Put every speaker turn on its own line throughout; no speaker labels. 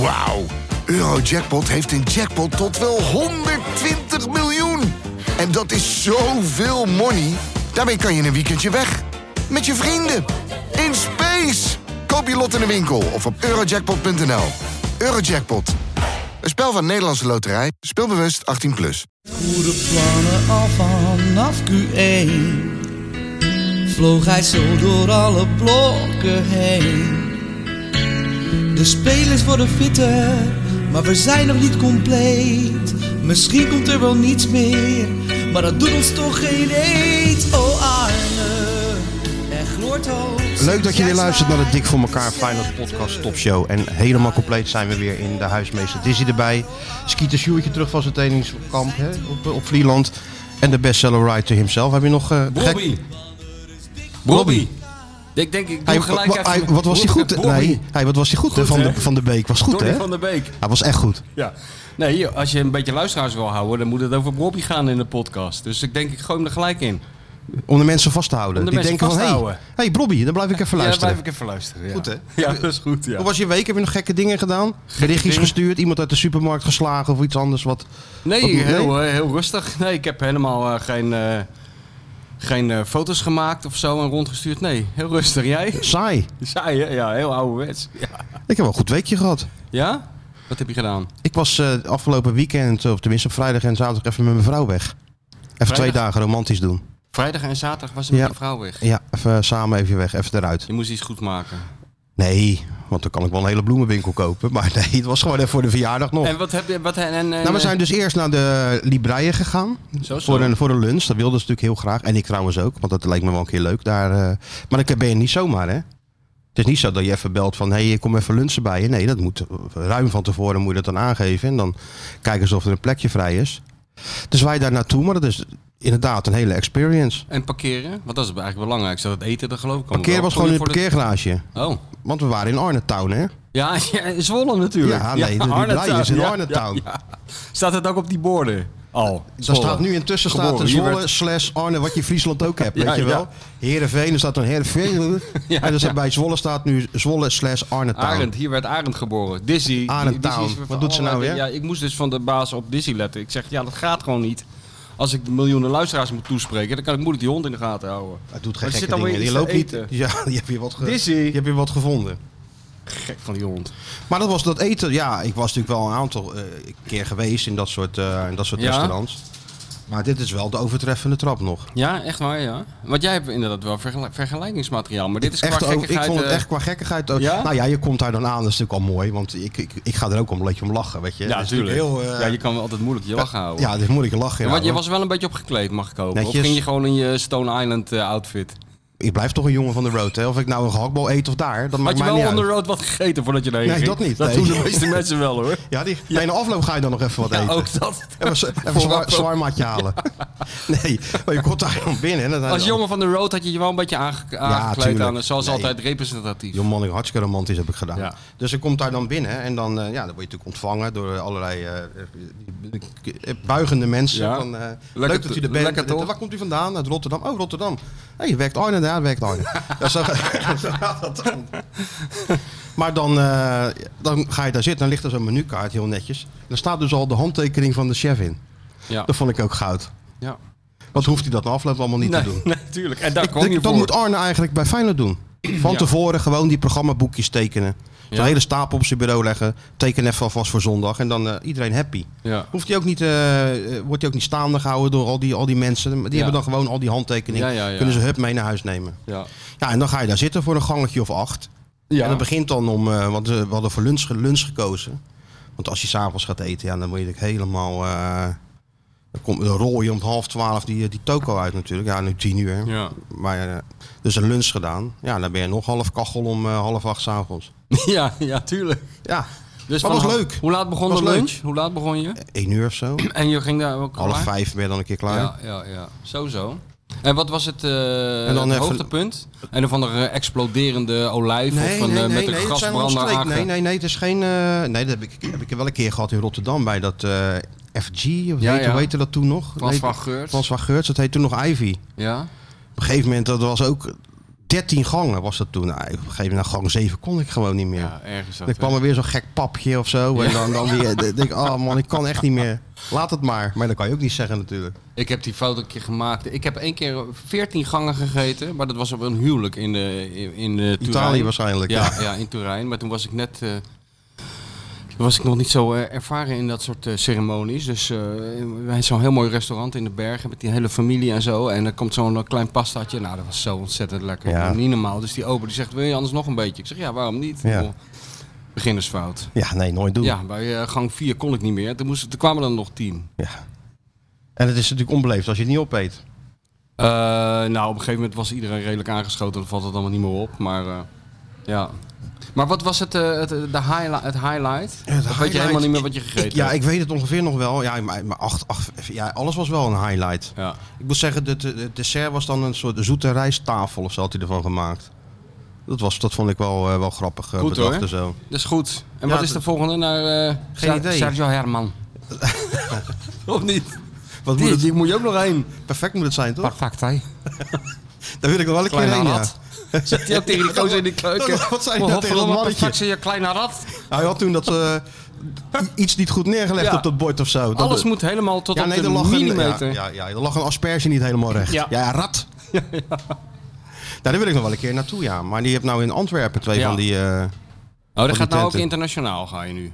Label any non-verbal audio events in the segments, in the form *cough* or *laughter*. Wauw. Eurojackpot heeft een jackpot tot wel 120 miljoen. En dat is zoveel money. Daarmee kan je in een weekendje weg. Met je vrienden. In space. Koop je lot in de winkel of op eurojackpot.nl. Eurojackpot. Een spel van Nederlandse Loterij. Speelbewust 18+. Plus.
Goede plannen al vanaf Q1 Vloog hij zo door alle blokken heen De spelers worden fitter Maar we zijn nog niet compleet Misschien komt er wel niets meer Maar dat doet ons toch geen eet Oh Arne Er gloort hoop
Leuk dat je weer
Jij
luistert naar de
zwaait.
Dik voor elkaar Finals Podcast Top Show. En helemaal compleet zijn we weer in de huismeester Dizzy erbij. Skeeter Sjoertje terug van zijn trainingskamp hè, op, op Vlieland. En de bestseller writer himself. Heb je nog... eh, gek-
Bobby. Bobby. Ik denk, ik doe
Hij,
gelijk
wa-
even...
hij- wat was hij goed?
Bobby.
Nee, hij, wat was hij goed? hè?
Goed,
van,
hè?
de, van de Beek was goed,
Donny
hè?
van der Beek.
Hij was echt goed.
Ja. Nee, hier, als je een beetje luisteraars wil houden, dan moet het over Bobby gaan in de podcast. Dus ik denk, ik gooi hem er gelijk in.
Om de mensen vast te houden.
Om de
Die
mensen
denken van,
vast te
hé, hey,
houden.
hey, Blobby, dan blijf ik even
Ja,
luisteren.
blijf ik even luisteren. Ja.
Goed, hè?
Ja, *laughs* dat is goed, ja.
Hoe was je week? Heb je nog gekke dingen gedaan? Berichtjes
dingen?
gestuurd? Iemand uit de supermarkt geslagen of iets anders? Wat? Wat
Nee,
moet-
heel,
nee?
eh, heel rustig. Nee, ik heb helemaal eh, geen, eh, geen eh, foto's gemaakt of zo en rondgestuurd. Nee, heel rustig. Jij? *laughs*
Saai.
Saai, hè? Ja, heel ouderwets. Ja?
Ik heb wel een goed weekje gehad.
ja? Wat heb je gedaan?
Ik was eh, afgelopen weekend, of tenminste op vrijdag en zaterdag, even met mijn vrouw weg. Even twee dagen romantisch doen.
Vrijdag en zaterdag was je met
Ja.
je vrouw weg.
Ja, even samen even weg, even eruit.
Je moest iets goed maken.
Nee, want dan kan ik wel een hele bloemenwinkel kopen. *laughs* Maar nee, het was gewoon even voor de verjaardag nog.
En wat heb je... Wat, en, en,
nou, we zijn dus eerst naar de Libreien gegaan.
Zo, zo.
Voor een, voor een lunch. Dat wilden ze natuurlijk heel graag. En ik trouwens ook, want dat lijkt me wel een keer leuk daar. eh. Maar dan ben je niet zomaar, hè? Het is niet zo dat je even belt van, hé, hey, kom even lunchen bij je. Nee, dat moet ruim van tevoren moet je dat dan aangeven. En dan kijken ze of er een plekje vrij is. Dus wij daar naartoe, maar dat is inderdaad een hele experience.
En parkeren? Want dat is eigenlijk belangrijk. Zodat het eten er geloof ik allemaal
Parkeer
wel.
was
Kon
gewoon
je
in een parkeergarage.
voor de- Oh.
Want we waren in Arnhem-town, hè?
Ja, *laughs* ja, in Zwolle natuurlijk.
Ja, nee, de
Arnhem
Librei
Town.
is in
Ja,
Arnhem
ja,
Town.
ja. Staat het ook op die borden? Al.
Daar
Zwolle.
staat nu intussen staat
Geboren.
een
Hier
Zwolle
werd-
slash Arne, wat je in Friesland ook hebt,
*laughs* Ja,
weet je wel.
ja.
Heerenveen, er staat een Heerenveen.
*laughs* Ja,
en er staat
ja.
bij Zwolle staat nu Zwolle slash Arne Town.
Arend, hier werd Arend geboren. Dizzy.
Arend
die- Dizzy is
Town.
van
Wat doet ze nou
allerlei-
weer?
Ja, ik moest dus van de baas op Dizzy letten. Ik zeg, ja, dat gaat gewoon niet. Als ik de miljoenen luisteraars moet toespreken, dan kan ik moeilijk die hond in de gaten houden.
Hij doet geen
Maar er
gekke
zit alweer
dingen. Je
iets te
loopt niet.
eten.
*laughs* Ja, je hebt hier wat, ge-
Dizzy.
je hebt hier wat gevonden.
Gek van die hond.
Maar dat was dat eten. Ja, ik was natuurlijk wel een aantal eh, keer geweest in dat soort, eh, in dat soort
Ja.
restaurants. Maar dit is wel de overtreffende trap nog.
Ja, echt waar, ja. Want jij hebt inderdaad wel vergel- vergelijkingsmateriaal. Maar dit is qua
Echt, ook- ik
gekkigheid,
vond het
eh,
echt qua gekkigheid. ook-
Ja?
Nou ja, je komt daar dan aan. Dat is natuurlijk al mooi. Want ik, ik, ik ga er ook om een beetje om lachen, weet je.
Ja,
Dat is natuurlijk
natuurlijk.
Heel, eh,
ja, je kan wel altijd moeilijk je lachen houden.
Ja, dus moet ik lachen. ja,
Want je
hoor.
was er wel een beetje opgekleed, mag ik hopen.
Netjes.
Of ging je gewoon in je Stone Island eh, outfit?
Ik blijf toch een jongen van de road, hè? Of ik nou een gehaktbal eet of daar, dat
Had
maakt
je
mij
wel
niet
on the
uit.
road wat gegeten voordat je erheen
Nee,
ging?
dat niet,
Dat
nee.
doen de
*laughs*
meeste mensen wel hoor.
Ja, die, nee, in de afloop ga je dan nog even wat
Ja,
eten.
ook dat.
Even een zwaar, zwaarmatje halen. *laughs* Nee, maar je komt daar dan binnen. En dan
Als jongen van de road had je je wel een beetje aange- aangekleed
tuurlijk.
aan, zoals
Nee.
altijd, representatief.
Jong man, ik hartstikke romantisch heb ik gedaan.
Ja.
Dus ik kom daar dan binnen en dan, eh, ja, dan word je natuurlijk ontvangen door allerlei eh, eh, buigende mensen.
Ja.
Van, eh,
Lekker
leuk dat u er bent.
lekker toch?
Waar komt u vandaan? Uit Rotterdam. Oh, Rotterdam. Hé, je werkt Arne, daar werkt Arne.
*laughs*
ja, zo, zo gaat *laughs* dat dan. Maar dan, eh, dan ga je daar zitten, dan ligt er zo'n menukaart heel netjes. Dan staat dus al de handtekening van de chef
Oh.
in.
Ja.
Dat vond ik ook goud.
ja.
Wat hoeft hij dat nou na afloop allemaal niet
*laughs* Nee,
te doen?
natuurlijk. En daar kwam
Ik
je
denk, dat
voor.
moet Arne eigenlijk bij Feyenoord doen. Van
Ja.
tevoren gewoon die programmaboekjes tekenen. Zo'n
Ja.
hele stapel op zijn bureau leggen. Teken even alvast voor zondag. En dan eh, iedereen happy.
Ja.
Hoeft hij ook niet, eh, eh, wordt hij ook niet staande gehouden door al die, al die mensen. Die hebben dan gewoon al die handtekeningen.
Ja, ja, ja.
Kunnen ze hup mee naar huis nemen.
Ja.
Ja, en dan ga je daar zitten voor een gangetje of acht.
Ja.
En dat begint dan om... eh, want eh, we hadden voor lunch, ge- lunch gekozen. Want als je s'avonds gaat eten, ja, dan word je natuurlijk helemaal... eh dan, kom, dan rol je om half twaalf die, die toko uit natuurlijk. Ja, nu tien uur. hè.
Ja. *laughs*
Maar eh, dus een lunch gedaan. Ja, dan ben je nog half kachel om eh, half acht s'avonds.
ja, ja, tuurlijk.
Ja,
Dus
Maar
van-
was leuk.
Hoe laat begon
Was
de lunch?
leuk.
Hoe laat begon je?
één uur of zo.
En je ging daar ook
Half
klaar?
vijf ben je dan een keer klaar.
Ja, ja, ja. Sowieso. En wat was het, eh
En dan
het
even-
hoogtepunt? Een of andere exploderende olijf
Nee,
of een,
nee,
eh,
nee,
met een
nee, het zijn allemaal
gasbrander
streek.
aange-
Nee, nee, nee, het is geen... eh, nee, dat heb ik, heb ik wel een keer gehad in Rotterdam bij dat eh, FG. Of
Ja,
heet,
ja.
Hoe heette dat toen nog?
Frans
Heet-
van Geurts.
Frans van Geurts, dat heet toen nog Ivy.
Ja?
Op een gegeven moment, dat was ook 13 gangen was dat toen. Nou, op een gegeven moment, na gang 7 kon ik gewoon niet meer.
Ja, ergens.
dan kwam er weer zo'n gek papje of zo. En dan, dan weer, dan denk ik, oh man, ik kan echt niet meer. Laat het maar. Maar dat kan je ook niet zeggen natuurlijk.
Ik heb die fout een keer gemaakt. Ik heb één keer 14 gangen gegeten, maar dat was op een huwelijk in, de, in, in eh, Turijn.
Italië waarschijnlijk,
Ja,
ja.
ja, in Turijn. Maar toen was ik net. eh, toen was ik nog niet zo eh, ervaren in dat soort eh, ceremonies. Dus eh wij hebben zo'n heel mooi restaurant in de bergen met die hele familie en zo. En er komt zo'n eh, klein pastaatje. Nou, dat was zo ontzettend lekker.
Ja.
Niet normaal. Dus die ober die zegt, wil je anders nog een beetje? Ik zeg, ja, waarom niet?
Ja.
Joh, Beginnersfout.
Ja, nee, nooit doen.
Ja, bij eh, gang 4 kon ik niet meer. Toen, moest, toen kwamen er nog 10.
Ja. En het is natuurlijk onbeleefd als je het niet opeet.
Eh, nou, op een gegeven moment was iedereen redelijk aangeschoten. Dan valt het allemaal niet meer op. Maar eh, ja. Maar wat was het, eh, het, de highli- het highlight?
Ja, de
dat weet
highlight-
je helemaal niet meer wat je gegeten
ik, Ja,
hebt.
ik weet het ongeveer nog wel. Ja, maar, maar acht, acht, ja, alles was wel een highlight.
Ja.
Ik moet zeggen, het de, het dessert was dan een soort zoete rijsttafel of zo had hij ervan gemaakt. Dat, was, dat vond ik wel, eh, wel grappig eh,
Goed,
bedacht
hoor.
en zo.
Dat is Dus goed. En
Ja,
wat is
dat-
de volgende naar eh
Geen
Ser-
idee.
Sergio
*laughs*
Herman? of niet?
Wat
Die,
moet het,
die moet je ook nog heen.
perfect moet het zijn, toch?
Perfect, hè?
Daar wil ik nog wel een keer
Kleine
heen, ja.
rat. Zegt hij ook tegen
*laughs*
die gozer in de keuken.
Wat zei je nou tegen dat
Godverdomme,
mannetje?
Perfect, zei je kleine rat.
Hij had toen dat, eh, iets niet goed neergelegd
Ja.
op dat bord of zo. Dat-
Alles moet helemaal tot
ja,
op
nee,
de
er lag
millimeter.
Een, ja, ja, ja, er lag een asperge niet helemaal recht. Ja,
*laughs* Ja.
ja rat. Nou, daar wil ik nog wel een keer naartoe, ja. Maar die heeft nou in Antwerpen twee
Ja.
van die... eh,
Oh, dat
die
gaat nou ook
tenten.
internationaal, ga je nu.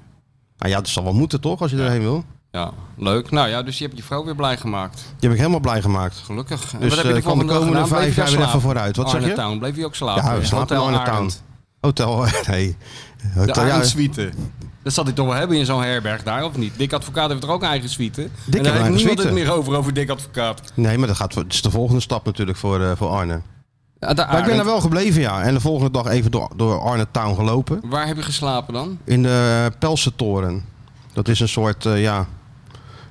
nou ja, dat zal wel moeten, toch? Als je erheen wil.
Ja, leuk. Nou ja, dus je hebt je vrouw weer blij gemaakt.
Die heb ik helemaal blij gemaakt.
Gelukkig. En
Dus,
wat heb
eh,
je de
kan de
volgende dag
komende
gedaan? Bleef
vijf
je
jaar
daar
weer even
slapen? Oh,
vooruit. Wat zeg
Arnhem
je?
Town, bleef je ook
Ja,
slapen?
we slapen in
Hotel
Arnhem Town.
Arend.
Hotel, *laughs* nee.
De
Hotel, ja,
eigen suite. Dat zal hij toch wel hebben in zo'n herberg daar, of niet? Dick Advocaat heeft er ook een eigen suite. en
heeft
daar
een
heeft niemand
suite.
het meer over, over Dick Advocaat.
nee, maar dat, gaat, dat is de volgende stap natuurlijk voor, eh, voor Arne.
Ja, de
Maar ik ben
Arend.
er wel gebleven, ja. En de volgende dag even door, door Arne Town gelopen.
Waar heb je geslapen dan?
In de Pelsentoren. Dat is een soort, eh, ja...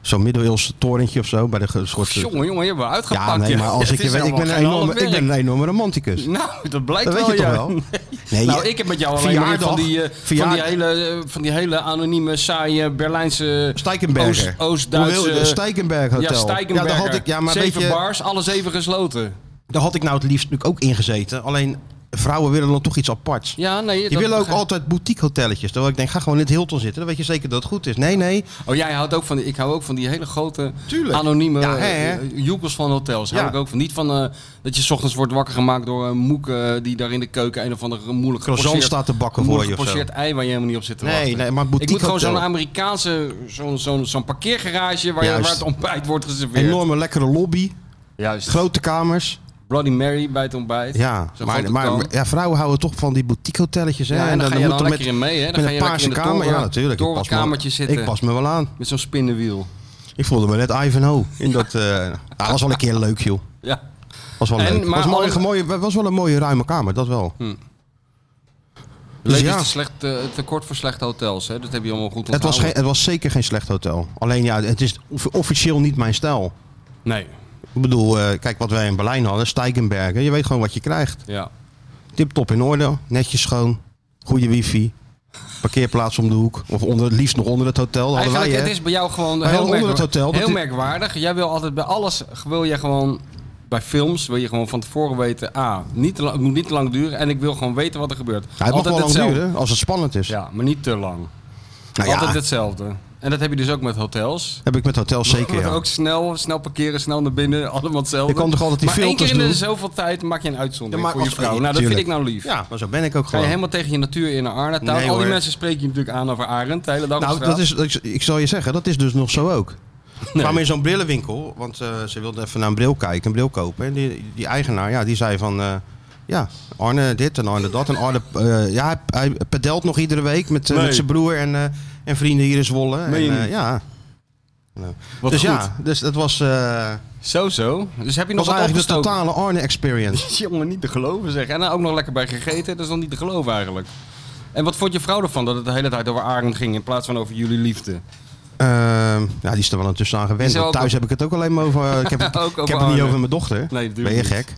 Zo'n middeleeuwse torentje of zo. Bij de ge- soort, eh,
Jongen, jongen, je hebt me uitgepakt.
Ja, nee,
joh.
maar als
Het
ik je
is
weet, ik ben, een
helemaal geen
enorme, ik ben
half
een enorme romanticus.
werk. *laughs* Nou, dat blijkt
Dat weet je
wel,
toch
ja.
wel?
*laughs*
Nee,
Nou,
je-
ik heb met jou alleen maar van
Verjaardag.
die, eh, van, die
Verjaardag.
hele, eh, van die hele anonieme, saaie Berlijnse...
Steikenberger.
Oost- Oost-Duitse-
Hoe wil je dat? Steikenberg Hotel.
Ja, Steikenberger.
Ja, daar had ik, ja, maar
Zeven
weet je,
bars, alles even gesloten.
daar had ik nou het liefst natuurlijk ook ingezeten. Alleen vrouwen willen dan toch iets aparts.
Ja, nee.
Die
dat
willen ook
begrijp-
altijd boutique hotelletjes. Terwijl ik denk, ga gewoon in het Hilton zitten. Dan weet je zeker dat het goed is. Nee, nee.
Oh, jij houdt ook van die, ik hou ook van die hele grote,
Tuurlijk.
anonieme
Ja, hè,
eh,
hè?
joekels van hotels. Hou
Ja.
ik ook van. Niet van eh, dat je 's ochtends wordt wakker gemaakt door een moek eh, die daar in de keuken een of andere moeilijk
Croissant
gepocheerd-
staat te bakken voor
moeilijk
je of zo.
gepocheerd ei waar je helemaal niet op zit te
Nee,
wachten.
nee, maar
ik
boutique
moet gewoon zo'n
hotel.
Amerikaanse, zo'n zo'n zo'n parkeergarage waar, je,
Juist.
waar het ontbijt wordt geserveerd.
Enorme lekkere lobby.
Juist.
Grote kamers.
Bloody Mary bij het ontbijt.
Ja,
Zo'n
maar,
grote
maar
kan.
ja, vrouwen houden toch van die boutique hotelletjes. Hè?
Ja, en dan ga je
moet
dan
er
lekker in mee, hè? Dan
met
ga
een
je lekker
paarse
in de
kamer.
toren-
ja, natuurlijk. Ik pas me-
torenkamertje zitten.
Ik pas me wel aan.
Met zo'n spinnenwiel.
Ik voelde me net Ivanhoe. In
*laughs*
dat, eh, nou, dat was wel een keer leuk, joh.
Ja.
Was wel
En,
leuk.
maar
was, wel
alle-
een mooie, was wel een mooie ruime kamer, dat wel. Dus
Leven
ja.
is te slecht, eh, tekort voor slechte hotels. Hè? Dat heb je allemaal goed
Het
onthouden.
was, geen, het was zeker geen slecht hotel. Alleen ja, het is off- officieel niet mijn stijl.
Nee.
Ik bedoel, eh, kijk wat wij in Berlijn hadden, Steigenbergen. Je weet gewoon wat je krijgt.
Ja.
Tip top in orde, netjes schoon, goede wifi, parkeerplaats om de hoek. Of onder, het liefst nog onder het hotel. Dat Hadden wij,
Eigenlijk,
hè?
het is bij jou gewoon eh,
Maar
heel,
onder het
merkwa-
hotel, dat
heel
is-
merkwaardig. Jij wil altijd bij alles, wil je gewoon... Bij films wil je gewoon van tevoren weten... Ah, niet te lang, het moet niet te lang duren en ik wil gewoon weten wat er gebeurt.
Ja, het mag wel lang
hetzelfde.
duren, als het spannend is.
Ja, maar niet te lang.
nou ja,
Altijd hetzelfde. En dat heb je dus ook met hotels.
heb ik met hotels zeker,
Wordt
ja.
Ook snel, snel parkeren, snel naar binnen, *laughs* allemaal hetzelfde.
Je kan toch altijd die
maar één
filters
keer in de
doen?
zoveel tijd maak je een uitzondering
Ja, maar
voor je
als-
vrouw. Nou, dat
tuurlijk.
vind ik nou lief.
Ja, maar zo ben ik ook
Ga je
gewoon.
helemaal tegen je natuur in naar Arnhem.
Nee,
Al die
hoor.
mensen spreken je natuurlijk aan over Arend de hele dag.
Nou,
op straat.
dat is, ik, ik zal je zeggen, dat is dus nog zo ook. We kwamen in zo'n brillenwinkel, want eh, ze wilde even naar een bril kijken, een bril kopen. En die, die eigenaar, ja, die zei van, eh, ja, Arne dit en Arne dat. En Arne, eh, ja, hij, hij pedelt nog iedere week met, eh,
Nee.
met zijn broer en, eh, en vrienden hier in Zwolle. En,
Meen je
eh,
niet?
ja. Nou,
Wat
dus
goed.
ja, dus dat was, eh,
Zo, zo. Dus heb je nog
was
wat
eigenlijk de
opgestoken?
totale Arne-experience.
*laughs* Jongen, niet te geloven zeg. En dan ook nog lekker bij gegeten. Dat is dan niet te geloven eigenlijk. En wat vond je vrouw ervan dat het de hele tijd over Arend ging in plaats van over jullie liefde?
Ehm, ja, die is er wel intussen aan gewend.
Is er
want
ook-
Thuis heb ik het ook alleen maar over, eh,
*laughs*
ik heb, het-
Ook
ik
over
heb het niet
Arne.
over mijn dochter.
Nee, natuurlijk
ben je
niet.
gek?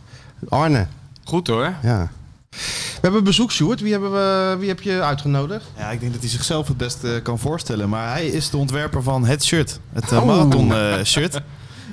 Arne.
Goed hoor.
Ja. We hebben bezoek, Sjoerd. Wie, hebben we, wie heb je uitgenodigd?
Ja, ik denk dat hij zichzelf het beste kan voorstellen. Maar hij is de ontwerper van het shirt. Het eh,
Oh.
marathon eh, shirt.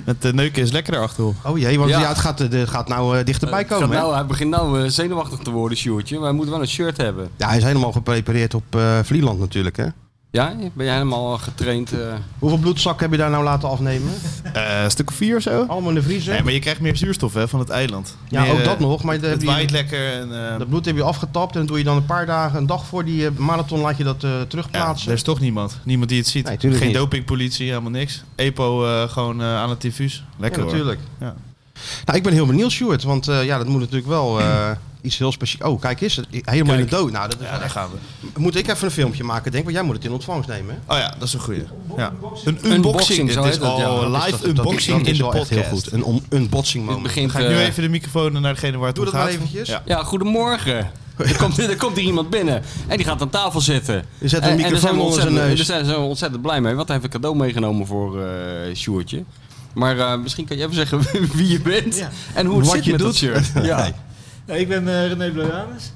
Met de neuken is lekkerder achterop.
Oh jee, want
Ja.
ja. het, gaat, eh, het gaat nou eh, dichterbij komen.
Gaat
hè?
nou, hij begint nou eh, zenuwachtig te worden, Sjoertje. Maar hij moet wel een shirt hebben.
Ja, hij is helemaal geprepareerd op eh, Vlieland natuurlijk. Hè?
Ja, ben jij helemaal getraind? eh?
Hoeveel bloedzak heb je daar nou laten afnemen?
Eh, een stuk of vier of zo?
Allemaal in de vriezer?
Nee, maar je krijgt meer zuurstof hè, van het eiland.
Ja,
Meer,
ook
eh,
dat nog, maar dat heb
het
je-
waait lekker. En, eh,
Dat bloed heb je afgetapt en dan doe je dan een paar dagen, een dag voor die eh, marathon laat je dat eh,
ja,
terugplaatsen.
er is toch niemand. Niemand die het ziet.
Nee, tuurlijk
Geen
niet.
dopingpolitie, helemaal niks. EPO eh, gewoon eh, aan het diffuus. Lekker
Ja,
hoor.
natuurlijk.
Ja.
Nou, ik ben heel benieuwd, Stuart, want eh, ja, dat moet natuurlijk wel eh, iets heel speciaals. Oh, kijk eens, helemaal in de dood. Nou, dat is
Ja, daar gaan we.
Moet ik even een filmpje maken, denk ik, want jij moet het in ontvangst nemen. hè?
Oh ja, dat is een goede. Ja. Een
Unboxing,
unboxing.
zo
Het is
heet dat, ja.
al
Dat
Dat
is
live
toch- dat-
unboxing
dat is
in de
wel echt
podcast.
heel goed. Een on- unboxing
dit
moment.
begint,
Ga ik nu
eh,
even de microfoon naar degene waar het
Doe
om
dat maar
gaat.
eventjes.
Ja.
Ja, goedemorgen. Er komt, er komt hier iemand binnen en die gaat aan tafel zitten.
Je zet een
En- en,
microfoon
daar zijn we
onder zijn
ontzettend-
neus.
Daar zijn ze ontzettend blij mee, want hij heeft een cadeau meegenomen voor eh Sjoertje. Maar eh, misschien kan je even zeggen *laughs* wie je bent en hoe het
Wat
zit
je
met dat
doet. *laughs*
shirt. Ja.
Nou, ik ben eh, René Blauwanus.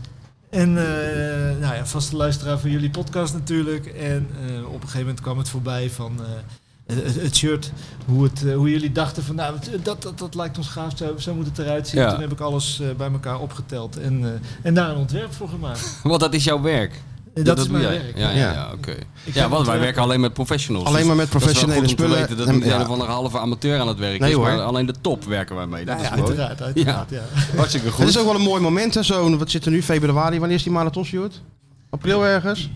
En eh, nou ja, vaste luisteraar van jullie podcast natuurlijk. En eh, op een gegeven moment kwam het voorbij van eh, het, het shirt. Hoe, het, eh, hoe jullie dachten van nou, het- dat, dat, dat lijkt ons gaaf. Zo, zo moet het eruit zien.
Ja.
Toen heb ik alles eh, bij elkaar opgeteld en, eh, en daar een ontwerp voor gemaakt.
Want dat is jouw werk.
En dat, is
doe
mijn
jij.
werk.
Ja, ja,
Ja.
ja, oké.
Ik
Ja,
heb
want wij
ontwerp-
werken alleen met professionals. dus
Alleen maar met professionele
dat is wel goed om
spullen.
Te weten dat niet
En-
een
ja.
van een halve amateur aan het werk
Nee,
is, maar
hoor.
alleen de top werken wij mee. Dat
Ja,
is mooi.
uiteraard, uiteraard. Ja.
Hartstikke goed.
Het is ook wel een mooi moment, hè? Zo, wat zit er nu? Februari, wanneer is die marathon, Stuart? April ergens?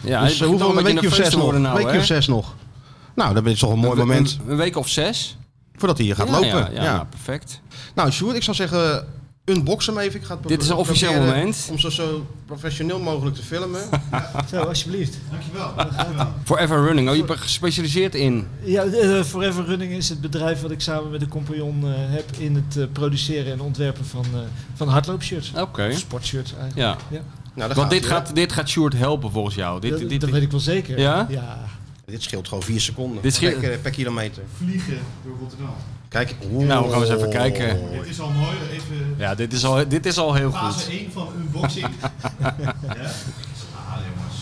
ja,
dus eh, hoeveel, een weekje of zes nog?
worden
Een
nou,
weekje of
hè?
zes nog. Nou, dat is toch een mooi
Een-
moment
Een, een week of zes.
voordat hij hier gaat
Ja,
lopen.
Ja, ja,
Ja.
nou, perfect.
Nou, Sjoerd, ik zou zeggen, unbox hem even. Ik ga het
Dit is een
pro-
officieel
proberen
moment.
Om zo, zo professioneel mogelijk te
*laughs*
filmen. Nou,
Zo, alsjeblieft.
Forever Running. Oh, je bent gespecialiseerd in.
Ja, eh, Forever Running is het bedrijf wat ik samen met een compagnon eh, heb in het eh, produceren en ontwerpen van, eh van hardloopshirts.
Oké.
Sportshirts eigenlijk.
Ja.
nou, daar
Want dit
ie, hè.
gaat, dit gaat Sjoerd helpen volgens jou. Dit,
dat,
dit,
dat
dit-
weet ik wel zeker.
Ja?
ja.
Dit scheelt gewoon 4 seconden
Dit scheelt-
per, per kilometer.
Vliegen door Rotterdam.
Kijk, oh.
Nou, we gaan eens even kijken.
Dit is al mooi. Even
ja, dit is al, dit is al heel goed.
1 van unboxing.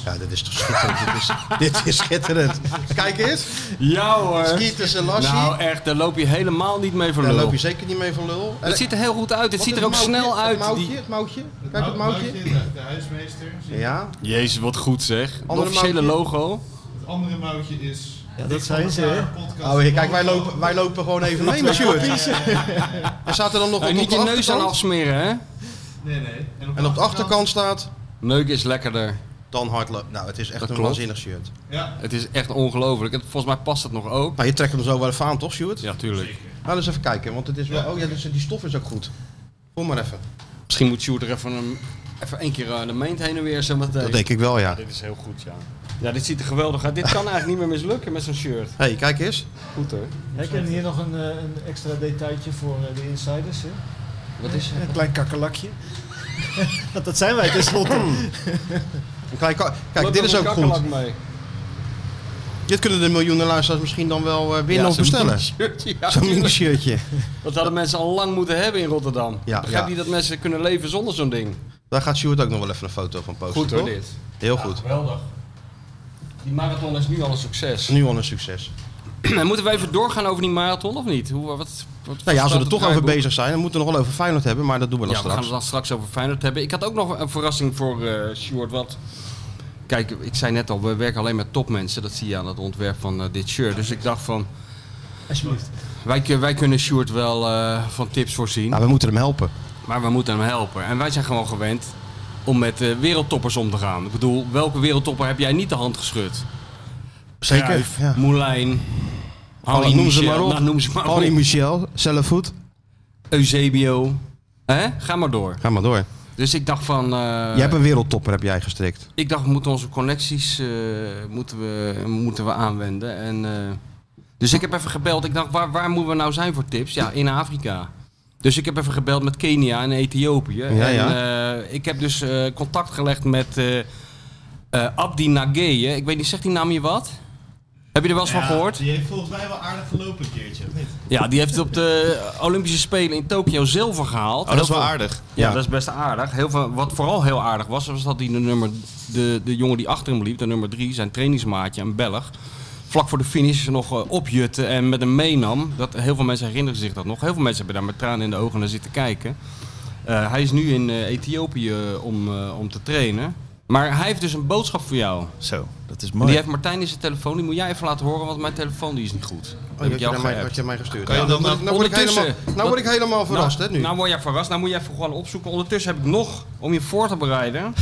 Ja, dit is toch schitterend. dit, is, *laughs* dit is schitterend. Kijk eens.
Ja hoor.
Kieters en Lassie.
Nou echt, daar loop je helemaal niet mee voor
daar
lul.
loop je zeker niet mee van lul. En-
Het ziet er heel goed uit. Het
wat
ziet
is
er ook
het mouwtje?
snel
Het
uit.
mouwtje,
Die... Nou,
het mouwtje. Kijk het mouwtje.
De huismeester.
Ja.
Jezus, wat goed zeg. Het
Andere
officiële
mouwtje.
logo.
Het andere moutje is...
Ja, dat zijn ze, hè?
Oh, hier, kijk, wij lopen, wij lopen gewoon even mee met Sjoerd. En staat *laughs* er dan nog wat
En
op
niet
de
je neus aan
achterkant?
afsmeren, hè?
Nee, nee.
En op de achterkant staat...
Neuk is lekkerder.
Dan hardlopen. Nou, het is echt
Dat
een
klopt.
waanzinnig shirt.
Ja.
Het is echt ongelooflijk. Het- Volgens mij past het nog ook.
Nou, je trekt hem zo wel even aan, toch, Sjoerd?
Ja, tuurlijk.
Nou, eens even kijken, want het is wel... Oh ja, dus die stof is ook goed. Kom maar even.
Misschien moet Sjoerd er even een, even één keer aan de meent heen en weer zo meteen.
Dat denk ik wel, ja.
Dit is heel goed, ja. Ja, dit ziet er geweldig uit. Dit kan eigenlijk niet meer mislukken met zo'n shirt.
Hé, hey, kijk eens.
Goed hoor.
Kijk, en hier nog een, eh, een extra detailtje voor eh, de insiders, hè?
Wat is het?
Een klein kakkerlakje. *laughs* Want dat zijn wij tenslotte.
Een klein ka- Kijk, dit is ook goed.
Mee.
Dit kunnen de miljoenen luisteraars misschien dan wel eh, winnen of bestellen. *laughs*
Shirtje, ja,
Zo'n mini
tuurlijk.
shirtje.
dat hadden mensen al lang moeten hebben in Rotterdam.
Ja,
Begrijp
ja.
je dat mensen kunnen leven zonder zo'n ding?
Daar gaat Sjoerd ook nog wel even een foto van posten,
Goed hoor,
toch?
dit.
Heel goed.
Geweldig. Die marathon is nu al een
Het
succes.
is nu al een succes.
*clears throat* En moeten we even doorgaan over die marathon of niet? Hoe, wat, wat
Nou ja, als we er
staat
toch
het
over
draaiboek?
bezig zijn, dan moeten we nog wel over Feyenoord hebben, maar dat doen we dan
Ja, we gaan
straks.
het dan straks over Feyenoord hebben. Ik had ook nog een verrassing voor eh Sjoerd. Want kijk, ik zei net al, we werken alleen met topmensen. Dat zie je aan het ontwerp van eh, dit shirt. Dus ik dacht van,
Alsjeblieft.
wij, kun- wij kunnen Sjoerd wel eh, van tips voorzien.
Nou, we moeten hem helpen.
Maar we moeten hem helpen. En wij zijn gewoon gewend om met eh, wereldtoppers om te gaan. Ik bedoel, welke wereldtopper heb jij niet de hand geschud?
Zeker.
Cruijff,
Ja.
Moulijn,
Oh,
Henri
noem ze maar
Michel,
op.
nou, noem ze maar
Henri
op.
Michel, Sellevoet.
Eusebio. Hè? Ga maar door.
Ga maar door.
Dus ik dacht van... eh,
jij hebt een wereldtopper, heb jij gestrikt.
Ik dacht, we moeten onze connecties eh, moeten we, moeten we aanwenden. En, eh, dus ik heb even gebeld. Ik dacht, waar, waar moeten we nou zijn voor tips? Ja, in Afrika. Dus ik heb even gebeld met Kenia en Ethiopië.
Ja,
en,
ja.
eh, ik heb dus eh, contact gelegd met eh, eh, Abdi Nageye. Ik weet niet, zegt die naam je wat? Heb je er wel eens van gehoord?
Die heeft volgens mij wel aardig gelopen een keertje, of niet?
Ja, die heeft op de Olympische Spelen in Tokio zilver gehaald.
Oh, dat is wel
Heel veel-
aardig.
ja,
Ja.
dat is best aardig. Heel veel, wat vooral heel aardig was, was dat die de, nummer, de, de jongen die achter hem liep, de nummer drie, zijn trainingsmaatje, een Belg vlak voor de finish nog eh, opjutten en met hem meenam. Dat, heel veel mensen herinneren zich dat nog. Heel veel mensen hebben daar met tranen in de ogen naar zitten kijken. Eh, hij is nu in eh, Ethiopië om, eh, om te trainen. Maar hij heeft dus een boodschap voor jou.
Zo, dat is
Die
mooi.
heeft Martijn in zijn telefoon. Die moet jij even laten horen, want mijn telefoon die is niet goed.
Oh, je
jou
hebt mij,
geappt.
had je mij gestuurd.
Kan je
Ja,
dat
nou,
nog-
nou word ik
ondertussen-
helemaal, nou word ik helemaal verrast,
nou,
hè, nu.
Nou word jij verrast. Nou moet je even gewoon opzoeken. Ondertussen heb ik nog, om je voor te bereiden...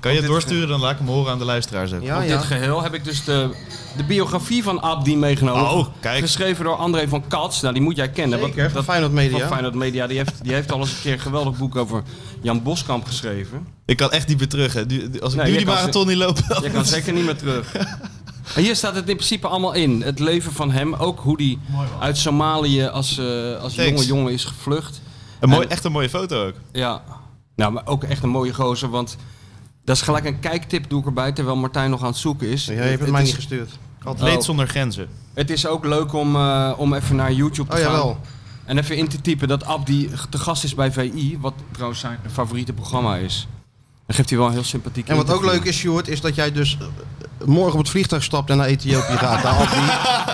Kan je het doorsturen? Dan laat ik hem horen aan de luisteraars ook.
ja,
op
ja.
dit geheel heb ik dus de, de biografie van Abdi meegenomen.
Oh, kijk.
Geschreven door André van Kats. Nou, die moet jij kennen. want
Zeker, van Feyenoord Media.
Van Feyenoord Media. Die heeft, die heeft al eens een keer een geweldig boek over Jan Boskamp geschreven.
Oh,
Ik kan echt niet meer terug. Hè. Nu- Als ik
Nee,
nu
jij
die
kan
marathon niet loop.
Je kan zeker niet meer terug. En hier staat het in principe allemaal in. Het leven van hem. Ook hoe die uit Somalië als, eh, als
Thanks.
jonge jongen is gevlucht.
Een mooi, Oh. echt een mooie foto ook.
Ja. Nou, maar ook echt een mooie gozer. Want dat is gelijk een kijktip doe ik erbij. Terwijl Martijn nog aan het zoeken is.
Jij hebt het mij
is-
niet gestuurd.
Atleet
Oh.
zonder grenzen.
Het is ook leuk om, eh, om even naar YouTube te
Oh,
gaan.
jawel.
En even in te typen dat Abdi te gast is bij VI. Wat trouwens zijn favoriete programma is. Dan geeft hij wel een heel sympathiek
En wat ook
interview.
leuk is, Sjoerd, is dat jij dus eh, morgen op het vliegtuig stapt en naar Ethiopië gaat. Daar
*laughs*
op die-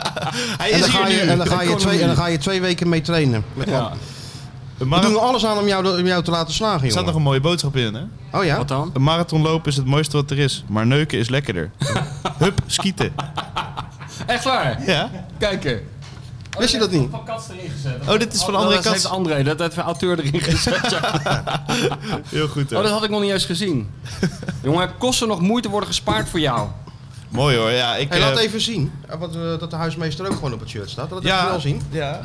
Hij
en,
is
dan
hier
ga je,
nu.
en, dan ga je
Economie.
twee, en dan ga je twee weken mee trainen. Met
Ja.
Ab.
Een
We doen
mara-
er alles aan om jou, om jou te laten slagen,
Er staat nog
jongen.
een mooie boodschap in, hè?
Oh ja?
Wat dan?
Een marathon lopen is het mooiste wat er is, maar neuken is lekkerder. Hup, skieten.
Echt waar?
Ja.
Kijken.
Wist je dat niet?
Van Kats erin gezet.
Oh, dit is van André
dat heeft
Kats.
André, dat heeft een auteur erin gezet. ja.
Heel goed,
Oh, dat
hoor.
had ik nog niet eens gezien. Jongen, het kosten nog moeite worden gespaard voor jou.
Mooi, hoor. Ja, ik...
Hey,
eh,
laat even zien eh, wat, eh, dat de huismeester ook gewoon op het shirt staat. Dat heb je
ja,
wel zien.
Ja.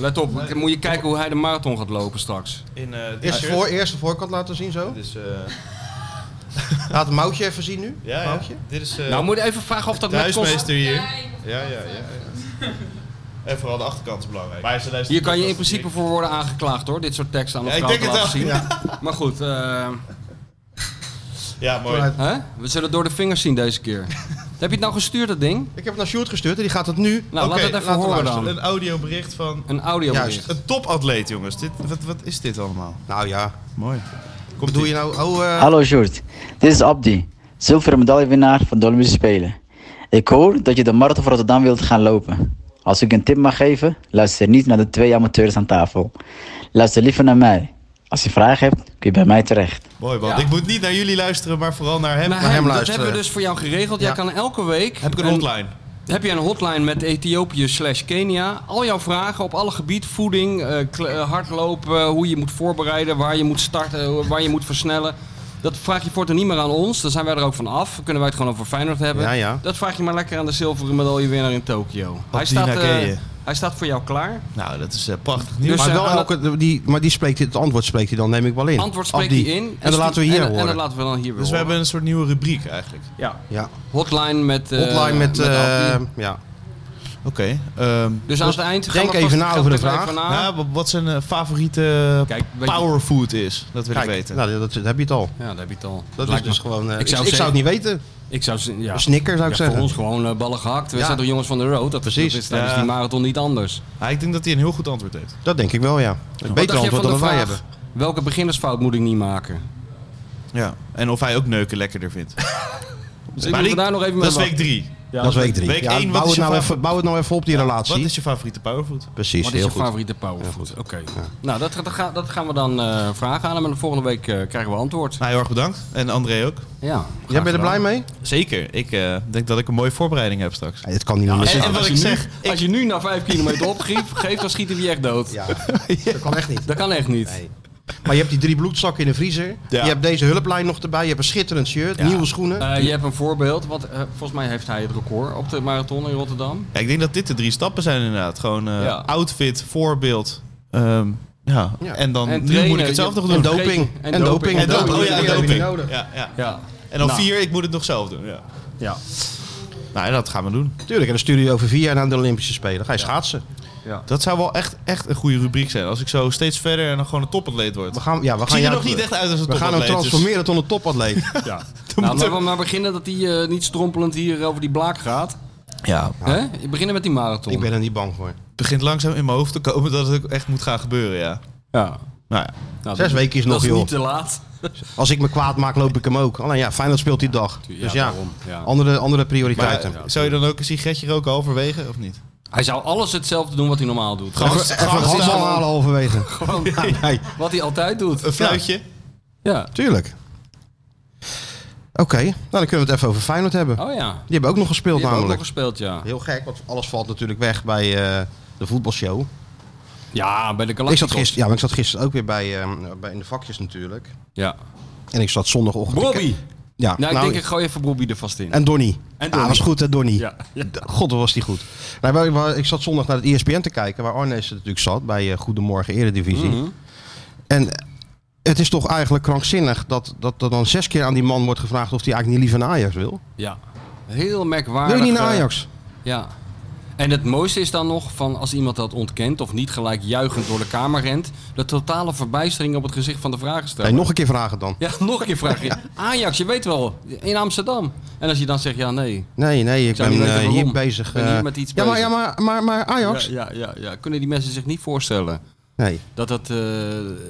Let op, dan moet je kijken hoe hij de marathon gaat lopen straks.
In, eh
Eerst, voor, eerst de voorkant laten zien zo.
Dus, eh
Laat het mouwtje even zien nu.
ja, ja.
Mouwtje.
Dit is eh
Nou, moet je even vragen of dat
de
met kosten...
huismeester hier. Ja, ja, ja. ja. En vooral de achterkant is belangrijk. Maar ze luisteren
Hier kan je in
podcast
principe
niet.
voor worden aangeklaagd hoor, dit soort teksten aan
Ja,
elkaar
ik
te
denk het
laten zien.
wel.
Maar goed, eh,
Ja, mooi.
Vooruit.
hè? we zullen het door de vingers zien deze
*laughs*
keer. Heb je het nou gestuurd, dat ding?
Ik heb het naar Sjoerd gestuurd en die gaat het nu.
Nou,
Oké,
laat het even
laten we
horen dan.
Een audiobericht van
Een audio
Juist.
een topatleet, jongens. Dit, wat, wat is dit allemaal?
Nou ja,
Mooi.
wat doe je nou? Oh, eh,
Hallo Sjoerd, dit is Abdi, zilveren medaillewinnaar van de Olympische Spelen. Ik hoor dat je de Marathon van Rotterdam wilt gaan lopen. Als ik een tip mag geven, luister niet naar de twee amateurs aan tafel. Luister liever naar mij. Als je vragen hebt, kun je bij mij terecht.
Mooi, man.
Ja.
Ik moet niet naar jullie luisteren, maar vooral naar hem.
Naar
hem
hem, dat
luisteren.
hebben we dus voor jou geregeld. Jij
Ja.
kan elke week...
Heb ik een hotline?
Heb je een hotline met Ethiopië slash Kenia? Al jouw vragen op alle gebied, voeding, eh, kle- eh, hardlopen, eh, hoe je moet voorbereiden, waar je moet starten, eh, waar je moet versnellen. Dat vraag je voortaan niet meer aan ons, dan zijn wij er ook van af. Dan kunnen wij het gewoon over Feyenoord hebben.
Ja, ja.
Dat vraag je maar lekker aan de zilveren medaillewinnaar in Tokio. Hij staat, eh,
Nakeye.
hij staat voor jou klaar.
Nou, dat is eh, prachtig nieuws.
Dus
maar,
eh,
wel
aan het
elke, die, maar die spreekt, het antwoord spreekt hij dan, neem ik wel in.
antwoord spreekt
Abdi.
hij in.
En dan laten we hier
en, En
horen.
dat laten we dan hier weer
Dus we
horen.
hebben een soort nieuwe rubriek eigenlijk.
Ja,
ja.
hotline met... eh,
Hotline met. eh,
Abdi.
ja.
Oké. ehm,
dus aan het eind gaan
denk
we vast-
even na
gaan
over
we
de
even
vraag.
na.
nou, wa- wat zijn eh, favoriete
Kijk, weet je-
powerfood is, dat wil
Kijk,
ik weten.
Nou, dat, dat heb je het al.
Ja, daar heb je het al.
Dat
Lijkt
is
me
dus gewoon. eh,
Ik
ik,
zou
zou ik zou het niet weten.
Ik zou z- ja.
Een snicker zou ik
Ja,
zeggen.
voor ons gewoon eh, ballen gehakt. We
Ja.
zijn toch jongens van de road? Dat
Precies.
Precies. is tijdens
Ja.
die marathon niet anders.
Ah, ik denk dat hij een heel goed antwoord heeft.
Dat denk ik wel, ja. Een beter
dacht je
antwoord
van
dan
de
wij
vraag,
hebben.
Welke beginnersfout moet ik niet maken?
Ja. En of hij ook neuken lekkerder vindt.
Dus ik moet
die-
daar nog even mee
dat is week
wachten.
drie.
dat is week drie.
Week
Ja,
één, wat
bouw,
is
het
je
nou
favor-
even, bouw het nou even op die relatie.
Wat is je favoriete powerfood?
Precies,
Wat is
heel
je
goed.
favoriete powerfood? Oké. Nou, dat, dat, ga- dat gaan we dan eh, vragen aan hem. En de volgende week eh, krijgen we antwoord.
Nou, heel erg bedankt. En André ook.
Ja.
Jij bent er blij mee?
Zeker. Ik eh, denk dat ik een mooie voorbereiding heb straks.
Het kan niet meer
als-
misgaan.
en wat
Als je,
ik
nu,
zeg,
als je nu na vijf kilometer *laughs* opgeeft, geeft, dan schieten we je echt dood.
*laughs* Ja, dat kan echt niet.
Dat kan echt niet.
Nee. Maar je hebt die drie bloedzakken in de vriezer. Je hebt deze hulplijn nog erbij. Je hebt een schitterend shirt, nieuwe schoenen.
Eh, je hebt een voorbeeld, want eh, volgens mij heeft hij het record op de marathon in Rotterdam.
Ja, ik denk dat dit de drie stappen zijn inderdaad. Gewoon eh,
Ja.
outfit, voorbeeld. ehm, ja.
Ja.
En dan
En
nu
trainen.
moet ik het zelf
Je-
nog
en
doen.
en doping.
vergeten.
En doping.
En doping.
Die
Oh ja, en
heb je
doping.
nodig.
Ja, ja.
Ja.
En dan
Nou.
vier, ik moet het nog zelf doen. Ja.
Ja.
Nou, ja, dat gaan we doen.
Tuurlijk, en dan stuur je over vier jaar naar de Olympische Spelen. Ga je schaatsen.
Dat zou wel echt, echt een goede rubriek zijn. Als ik zo steeds verder en dan gewoon een topatleet word.
We gaan, ja, we
ik zie
gaan
er
jou-
nog niet echt uit als een
We gaan hem
topatleet. dus-
*laughs* transformeren tot een topatleet.
Ja. Nou, laten we maar beginnen dat hij eh, niet strompelend hier over die blaak gaat.
Ja,
Hè? We beginnen met die marathon.
ik ben er niet bang voor.
het begint langzaam in mijn hoofd te komen dat het ook echt moet gaan gebeuren, ja.
ja.
Nou ja.
Nou,
Zes
dat-
weken is
dat
nog, joh.
niet te laat.
Als ik me kwaad maak, loop ik hem ook. Alleen ja, Feyenoord speelt die dag.
Ja,
dus ja,
daarom, ja.
Andere, andere
Maar
prioriteiten.
eh, zou je dan ook een sigaretje roken overwegen of niet?
Hij zou alles hetzelfde doen wat hij normaal doet.
Gast,
Even een
gast,
handbal
eh,
halen halverwege.
*laughs* Gewoon
Ja, nee,
wat hij altijd
Een
doet.
fluitje?
Ja.
tuurlijk. Oké, nou dan kunnen we het even over Feyenoord hebben.
Oh ja.
Die hebben ook nog
Die
gespeeld
hebben ook nog
namelijk.
gespeeld, ja.
Heel gek, want alles valt natuurlijk weg bij eh, de voetbalshow.
Ja, bij de
Ik
Galacticos.
zat, gister, ja, maar ik zat gisteren ook weer bij, eh, bij in de vakjes natuurlijk.
Ja.
En ik zat zondagochtend...
Bobby.
Ja,
Nou, ik
nou,
denk ik gooi even Bobby er vast in.
En Donny. En
Donny.
was goed hè, Donny.
Ja.
God, wat was die goed. Nou, waar- waar- ik zat zondag naar het E ESPN te kijken, waar Arnees natuurlijk zat, bij eh, Goedemorgen Eredivisie.
Mhm.
En het is toch eigenlijk krankzinnig dat, dat er dan zes keer aan die man wordt gevraagd of hij eigenlijk niet liever naar Ajax wil.
Ja. Heel merkwaardig.
Wil je niet naar
eh,
Ajax?
Ja. En het mooiste is dan nog van als iemand dat ontkent of niet gelijk juichend door de kamer rent, de totale verbijstering op het gezicht van de vragensteller.
Nee, nog een keer vragen dan.
Ja, nog een keer vraag je. Ajax, je weet wel, in Amsterdam. En als je dan zegt ja, nee.
Nee, nee, ik
zou
ben
niet weten
eh, hier
waarom.
bezig.
Ik ben hier
eh,
met iets
ja, maar, ja,
bezig.
maar, maar, maar Ajax?
Ja, ja, ja, ja. Kunnen die mensen zich niet voorstellen
Nee.
dat, dat, eh,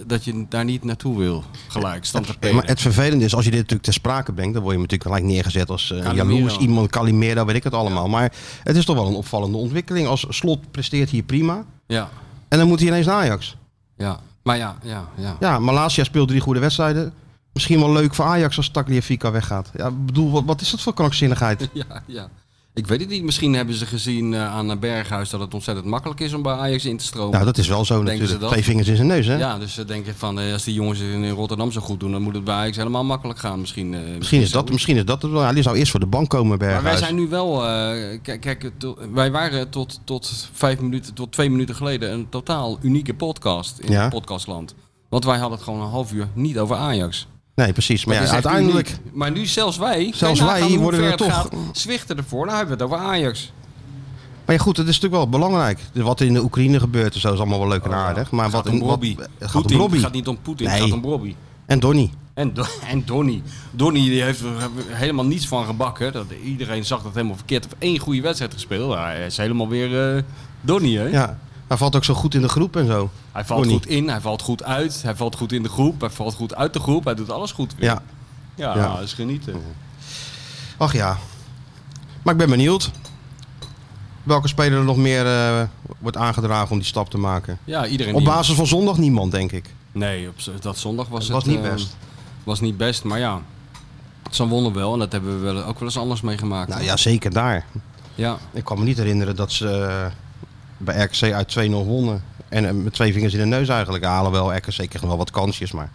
dat je daar niet naartoe wil? Gelijk, stand te
Maar het vervelende is, als je dit natuurlijk ter sprake brengt, dan word je natuurlijk gelijk neergezet als eh, een
Calimero.
jaloers iemand, Calimero, weet ik het allemaal. Maar het is toch wel een opvallende ontwikkeling. Als Slot presteert hier prima
Ja,
en dan moet hij ineens naar Ajax.
ja. Maar ja, ja, ja.
Ja, Malasia speelt drie goede wedstrijden. Misschien wel leuk voor Ajax als Tagliafica weggaat. Ja, ik bedoel, wat, wat is dat voor krankzinnigheid?
Ja, ja. Ik weet het niet. Misschien hebben ze gezien eh, aan Berghuis dat het ontzettend makkelijk is om bij Ajax in te stromen.
Nou, dat is wel zo
Denken ze
natuurlijk.
dat?
Twee vingers in zijn neus, hè?
Ja, dus ze denken van eh, als die jongens het in Rotterdam zo goed doen, dan moet het bij Ajax helemaal makkelijk gaan. Misschien, eh,
Misschien is
zo.
dat, misschien is dat het wel. Ja, die zou eerst voor de bank komen,
Maar
Berghuis.
wij zijn nu wel. eh, kijk, kijk, to- wij waren tot, tot vijf minuten, tot twee minuten geleden een totaal unieke podcast in
Ja.
het podcastland. Want wij hadden het gewoon een half uur niet over Ajax.
Nee, precies. Maar
Dat
ja,
is echt
uiteindelijk...
uniek. Maar nu zelfs wij.
Zelfs wij worden
er
er toch-
Zwichten ervoor, dan hebben we het over Ajax.
Maar ja, goed, het is natuurlijk wel belangrijk. Dus Wat er in de Oekraïne gebeurt en zo is allemaal wel leuk en aardig. Maar
Oh, gaat
wat
om
in wat-
Robbie.
eh,
Poetin.
gaat om Robbie.
gaat niet om Poetin,
Nee.
het gaat om Robbie.
En Donny.
En, Do- *laughs* en Donny. Donny die heeft er helemaal niets van gebakken. Dat, iedereen zag dat helemaal verkeerd. Heeft één goede wedstrijd gespeeld. Nou, Hij is helemaal weer eh Donny, hè?
Ja. Hij valt ook zo goed in de groep en zo.
Hij valt
Donny.
goed in, hij valt goed uit. Hij valt goed in de groep, hij valt goed uit de groep. Hij doet alles goed weer.
Ja.
ja,
Ja. Oh.
dat is genieten.
Ach ja. Maar ik ben benieuwd. Welke speler er nog meer eh, wordt aangedragen om die stap te maken?
Ja, iedereen
Op
die-
basis van zondag niemand, denk ik.
Nee, op z- dat zondag was
Het
het...
was niet
eh,
best.
was niet best, maar ja. Ze wonnen wel en dat hebben we wel, ook wel eens anders meegemaakt.
Nou ja, zeker daar.
ja.
Ik kan me niet herinneren dat ze eh, bij RKC uit 2-0 wonnen. En eh, met twee vingers in de neus eigenlijk halen wel. RKC kreeg nog wel wat kansjes, maar...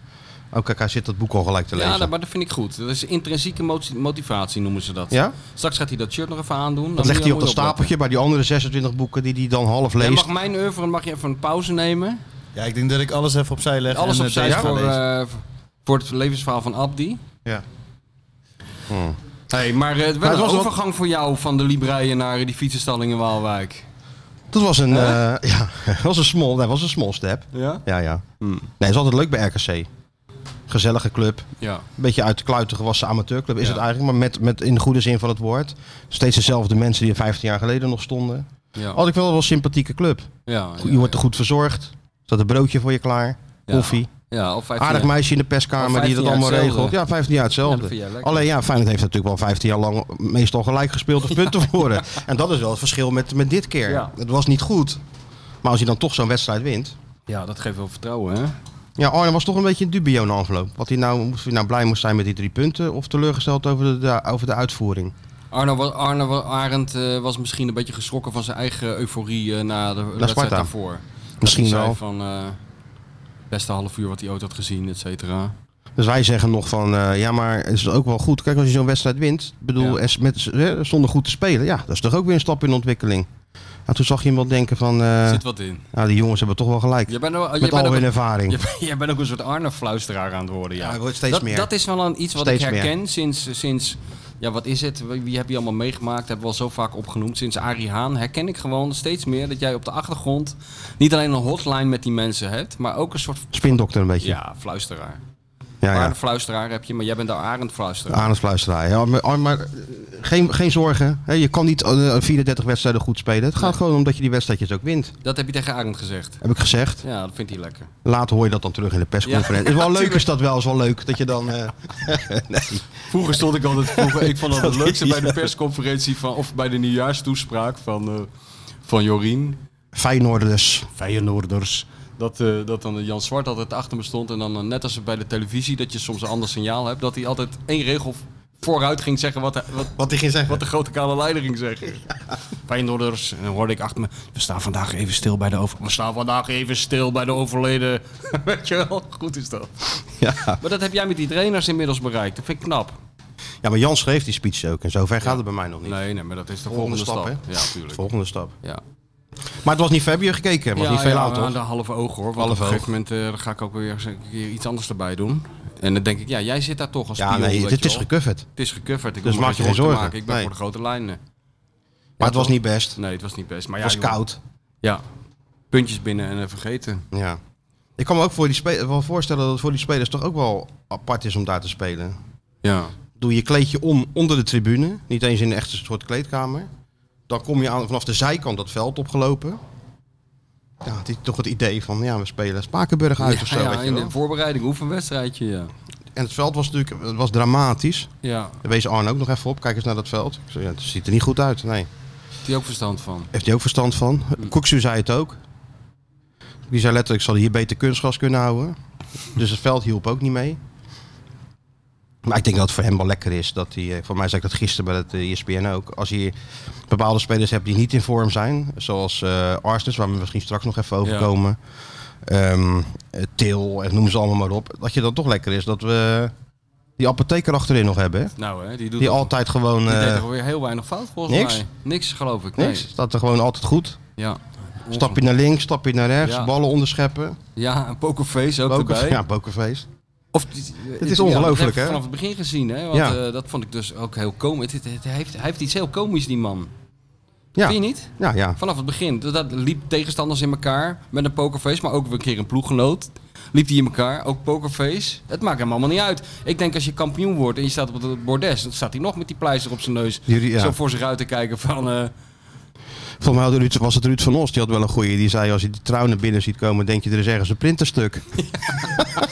Oh, kijk, hij zit dat boek al gelijk te lezen.
Ja, dat, maar dat vind ik goed. Dat is intrinsieke moti- motivatie, noemen ze dat.
Ja?
Straks gaat hij dat shirt nog even aandoen.
Dat
Dan
legt
moet
hij
je-
op dat
moet je opletten.
stapeltje bij die andere 26 boeken die hij dan half
Jij
leest.
mag mijn oeuvre, mag je even een pauze nemen.
Ja, ik denk dat ik alles even opzij leg.
Alles
en, eh,
opzij
deze ga
voor,
lezen.
eh, voor het levensverhaal van Abdi.
Ja.
Hey, maar eh, wel
het
een
was wel-
overgang voor jou van de Libreien naar die fietsenstalling in Waalwijk.
Dat was een, eh, *laughs* ja, dat was een small, dat was een small step.
Ja?
Ja, ja.
Hmm.
Nee, het is altijd leuk bij RKC. Gezellige club.
Ja.
Een beetje uit de kluiten gewassen amateurclub is
Ja.
het eigenlijk. Maar met, met in de goede zin van het woord. Steeds dezelfde mensen die er 15 jaar geleden nog stonden.
Ja.
Had ik wel wel een sympathieke club.
ja,
Je wordt er Oh, goed verzorgd. Er staat een broodje voor je klaar.
Ja.
Koffie.
Ja, of 15
Aardig
jaar.
meisje in de
Al
perskamer
15
die dat
jaar
allemaal
hetzelfde.
regelt. Ja, 15 jaar
Ja, dat
hetzelfde.
vind jij lekker.
Alleen ja, Feyenoord heeft natuurlijk wel 15 jaar lang meestal gelijk gespeeld of punten
*laughs*
verloren. En dat is wel het verschil met, met dit keer.
Ja.
Het was niet goed. Maar als je dan toch zo'n wedstrijd wint.
Ja, dat geeft wel vertrouwen, hè?
Ja, Arne was toch een beetje een dubio na afloop. Wat hij nou, of hij nou blij moest zijn met die drie punten of teleurgesteld over de, de- over de uitvoering.
Arno, wa- Arno wa- Arendt eh, was misschien een beetje geschrokken van zijn eigen euforie eh, na de wedstrijd
Sparta.
daarvoor. Dat
Misschien
hij zei
wel.
van eh, beste half uur wat hij ooit had gezien, et cetera.
Dus wij zeggen nog van, eh, ja maar het is ook wel goed. Kijk, als je zo'n wedstrijd wint, bedoel,
Ja.
en s- met, eh, zonder goed te spelen. Ja, dat is toch ook weer een stap in ontwikkeling. En toen zag je iemand denken van, eh,
Er zit wat in.
nou die jongens hebben toch wel gelijk.
Jij bent, wel- jij
met
bent
al
ook
hun
een,
ervaring.
jij bent- jij bent ook een soort Arno-fluisteraar aan het worden, ja.
Ja, hij wordt steeds
dat,
meer.
Dat is wel een, iets wat
Steeds
ik
meer.
herken sinds, sinds... Ja, wat is het? Wie wie heb je allemaal meegemaakt? Hebben we al zo vaak opgenoemd. Sinds Arie Haan herken ik gewoon steeds meer dat jij op de achtergrond... niet alleen een hotline met die mensen hebt, maar ook een soort...
Spindokter een beetje.
Ja, fluisteraar.
Ja, Ah. ja.
Paardenfluisteraar heb je, maar jij bent de arendfluisteraar.
Arendsfluisteraar. Ja, maar, oh, maar geen, geen zorgen. Hè? Je kan niet eh, 34 wedstrijden goed spelen. Het gaat gewoon omdat je die wedstrijdjes ook wint.
Dat heb je tegen Arend gezegd.
Heb ik gezegd.
Ja, dat vindt hij lekker.
Later hoor je dat dan terug in de persconferentie.
Ja,
is
*laughs*
wel leuk
tuurlijk.
is dat wel. Is wel leuk dat je dan... eh, nee.
Vroeger stond
*laughs*
ik altijd, vroeger, ik vond dat het
Dat
leukste
is-
bij de persconferentie van, of bij de nieuwjaarstoespraak van, eh, van Jorien.
Feyenoorders.
Feyenoorders. Dat, eh, dat dan Jan Zwart altijd achter me stond en dan eh, net als bij de televisie dat je soms een ander signaal hebt, dat hij altijd één regel vooruit ging zeggen wat, hij- wat,
Wat die ging zeggen.
wat de grote kale leider ging zeggen. Feyenoorders, en dan hoorde ik achter me, we staan vandaag even stil bij de over... We staan vandaag even stil bij de overleden. *laughs* Weet je wel, goed is dat.
Ja.
Maar dat heb jij met die trainers inmiddels bereikt, dat vind ik knap.
ja, maar Jan schreef die speech ook. En zover gaat het bij mij nog niet.
Nee, nee, maar dat is de
Volgende
volgende,
stap, hè?
stap. Ja,
De
tuurlijk.
Volgende stap.
Ja.
Maar het was niet ver, heb je gekeken. Het was niet veel
ja,
aan,
aan
toch?
de halve oog hoor. Want
Halve
op een
oog.
gegeven moment eh, dan ga ik ook weer eens een keer iets anders erbij doen. En dan denk ik, ja, jij zit daar toch als
Ja,
pion,
nee,
weet
dit
je
is
wel.
gecoverd.
Het is gecoverd. Ik
Dus
hoef me
maak je
zorgen
geen
te
zorgen.
maken. Ik ben
Nee.
voor de grote lijnen.
Maar het was
toch?
niet best. Het
Nee, het was niet best. Maar ja,
was
joh.
koud.
Ja. Puntjes binnen en eh, vergeten.
Ja. Ik kan me ook voor die spe- wel voorstellen dat het voor die spelers toch ook wel apart is om daar te spelen.
Ja.
Doe je kleedje om onder de tribune, niet eens in een echte soort kleedkamer. Dan kom je aan, vanaf de zijkant dat veld opgelopen. Ja, het is toch het idee van, ja, we spelen Spakenburg uit of zo.
Ja, ja,
weet je
in
wel.
de voorbereiding, oefenwedstrijdje, ja.
En het veld was natuurlijk het was dramatisch.
Ja,
Daar wees Arne ook nog even op. Kijk eens naar dat veld. Ik zei, ja, het ziet er niet goed uit. Nee.
die ook verstand van.
Heeft hij ook verstand van. Koeksu zei het ook. Die zei letterlijk, ze hadden hier beter kunstgras kunnen houden. Dus het veld hielp ook niet mee. Maar ik denk dat het voor hem wel lekker is. Dat hij, eh, voor mij zei ik dat gisteren bij het eh, ESPN ook. Als je bepaalde spelers hebt die niet in vorm zijn. Zoals eh Arsnes, waar we misschien straks nog even over
Ja.
komen. Ehm, eh, Til, en noem ze allemaal maar op. Dat je dan toch lekker is dat we die apotheker achterin nog hebben. hè?
Nou hè, die doet
Die
dat-
altijd gewoon...
die deed
eh,
er weer heel weinig fout volgens
niks?
mij. Niks, geloof ik. Nee.
niks. Staat er gewoon altijd goed.
Ja.
Stapje naar links, stapje naar rechts,
Ja.
ballen onderscheppen.
Ja, een pokerface ook
Poker-
erbij.
*laughs* ja, pokerfeest.
Of, eh,
Het is ongelooflijk,
ja, dat heb ik
hè?
Vanaf het begin gezien, hè? Want
Ja.
eh, dat vond ik dus ook heel komisch. Het, het- het heeft, hij heeft iets heel komisch, die man.
Ja.
Vind je niet?
Ja, ja.
Vanaf het begin. Dat, dat liep tegenstanders in elkaar met een pokerface, maar ook weer een keer een ploeggenoot. Liep die in elkaar, ook pokerface. Het maakt hem allemaal niet uit. Ik denk als je kampioen wordt en je staat op het bordes, dan staat hij nog met die pleister op zijn neus.
Jullie- ja.
Zo voor zich uit te kijken van... eh,
Volgens mij had Ruud- was het Ruud van Os, die had wel een goeie. Die zei, als je die trouw naar binnen ziet komen, denk je, er is ergens een *laughs* printerstuk. dat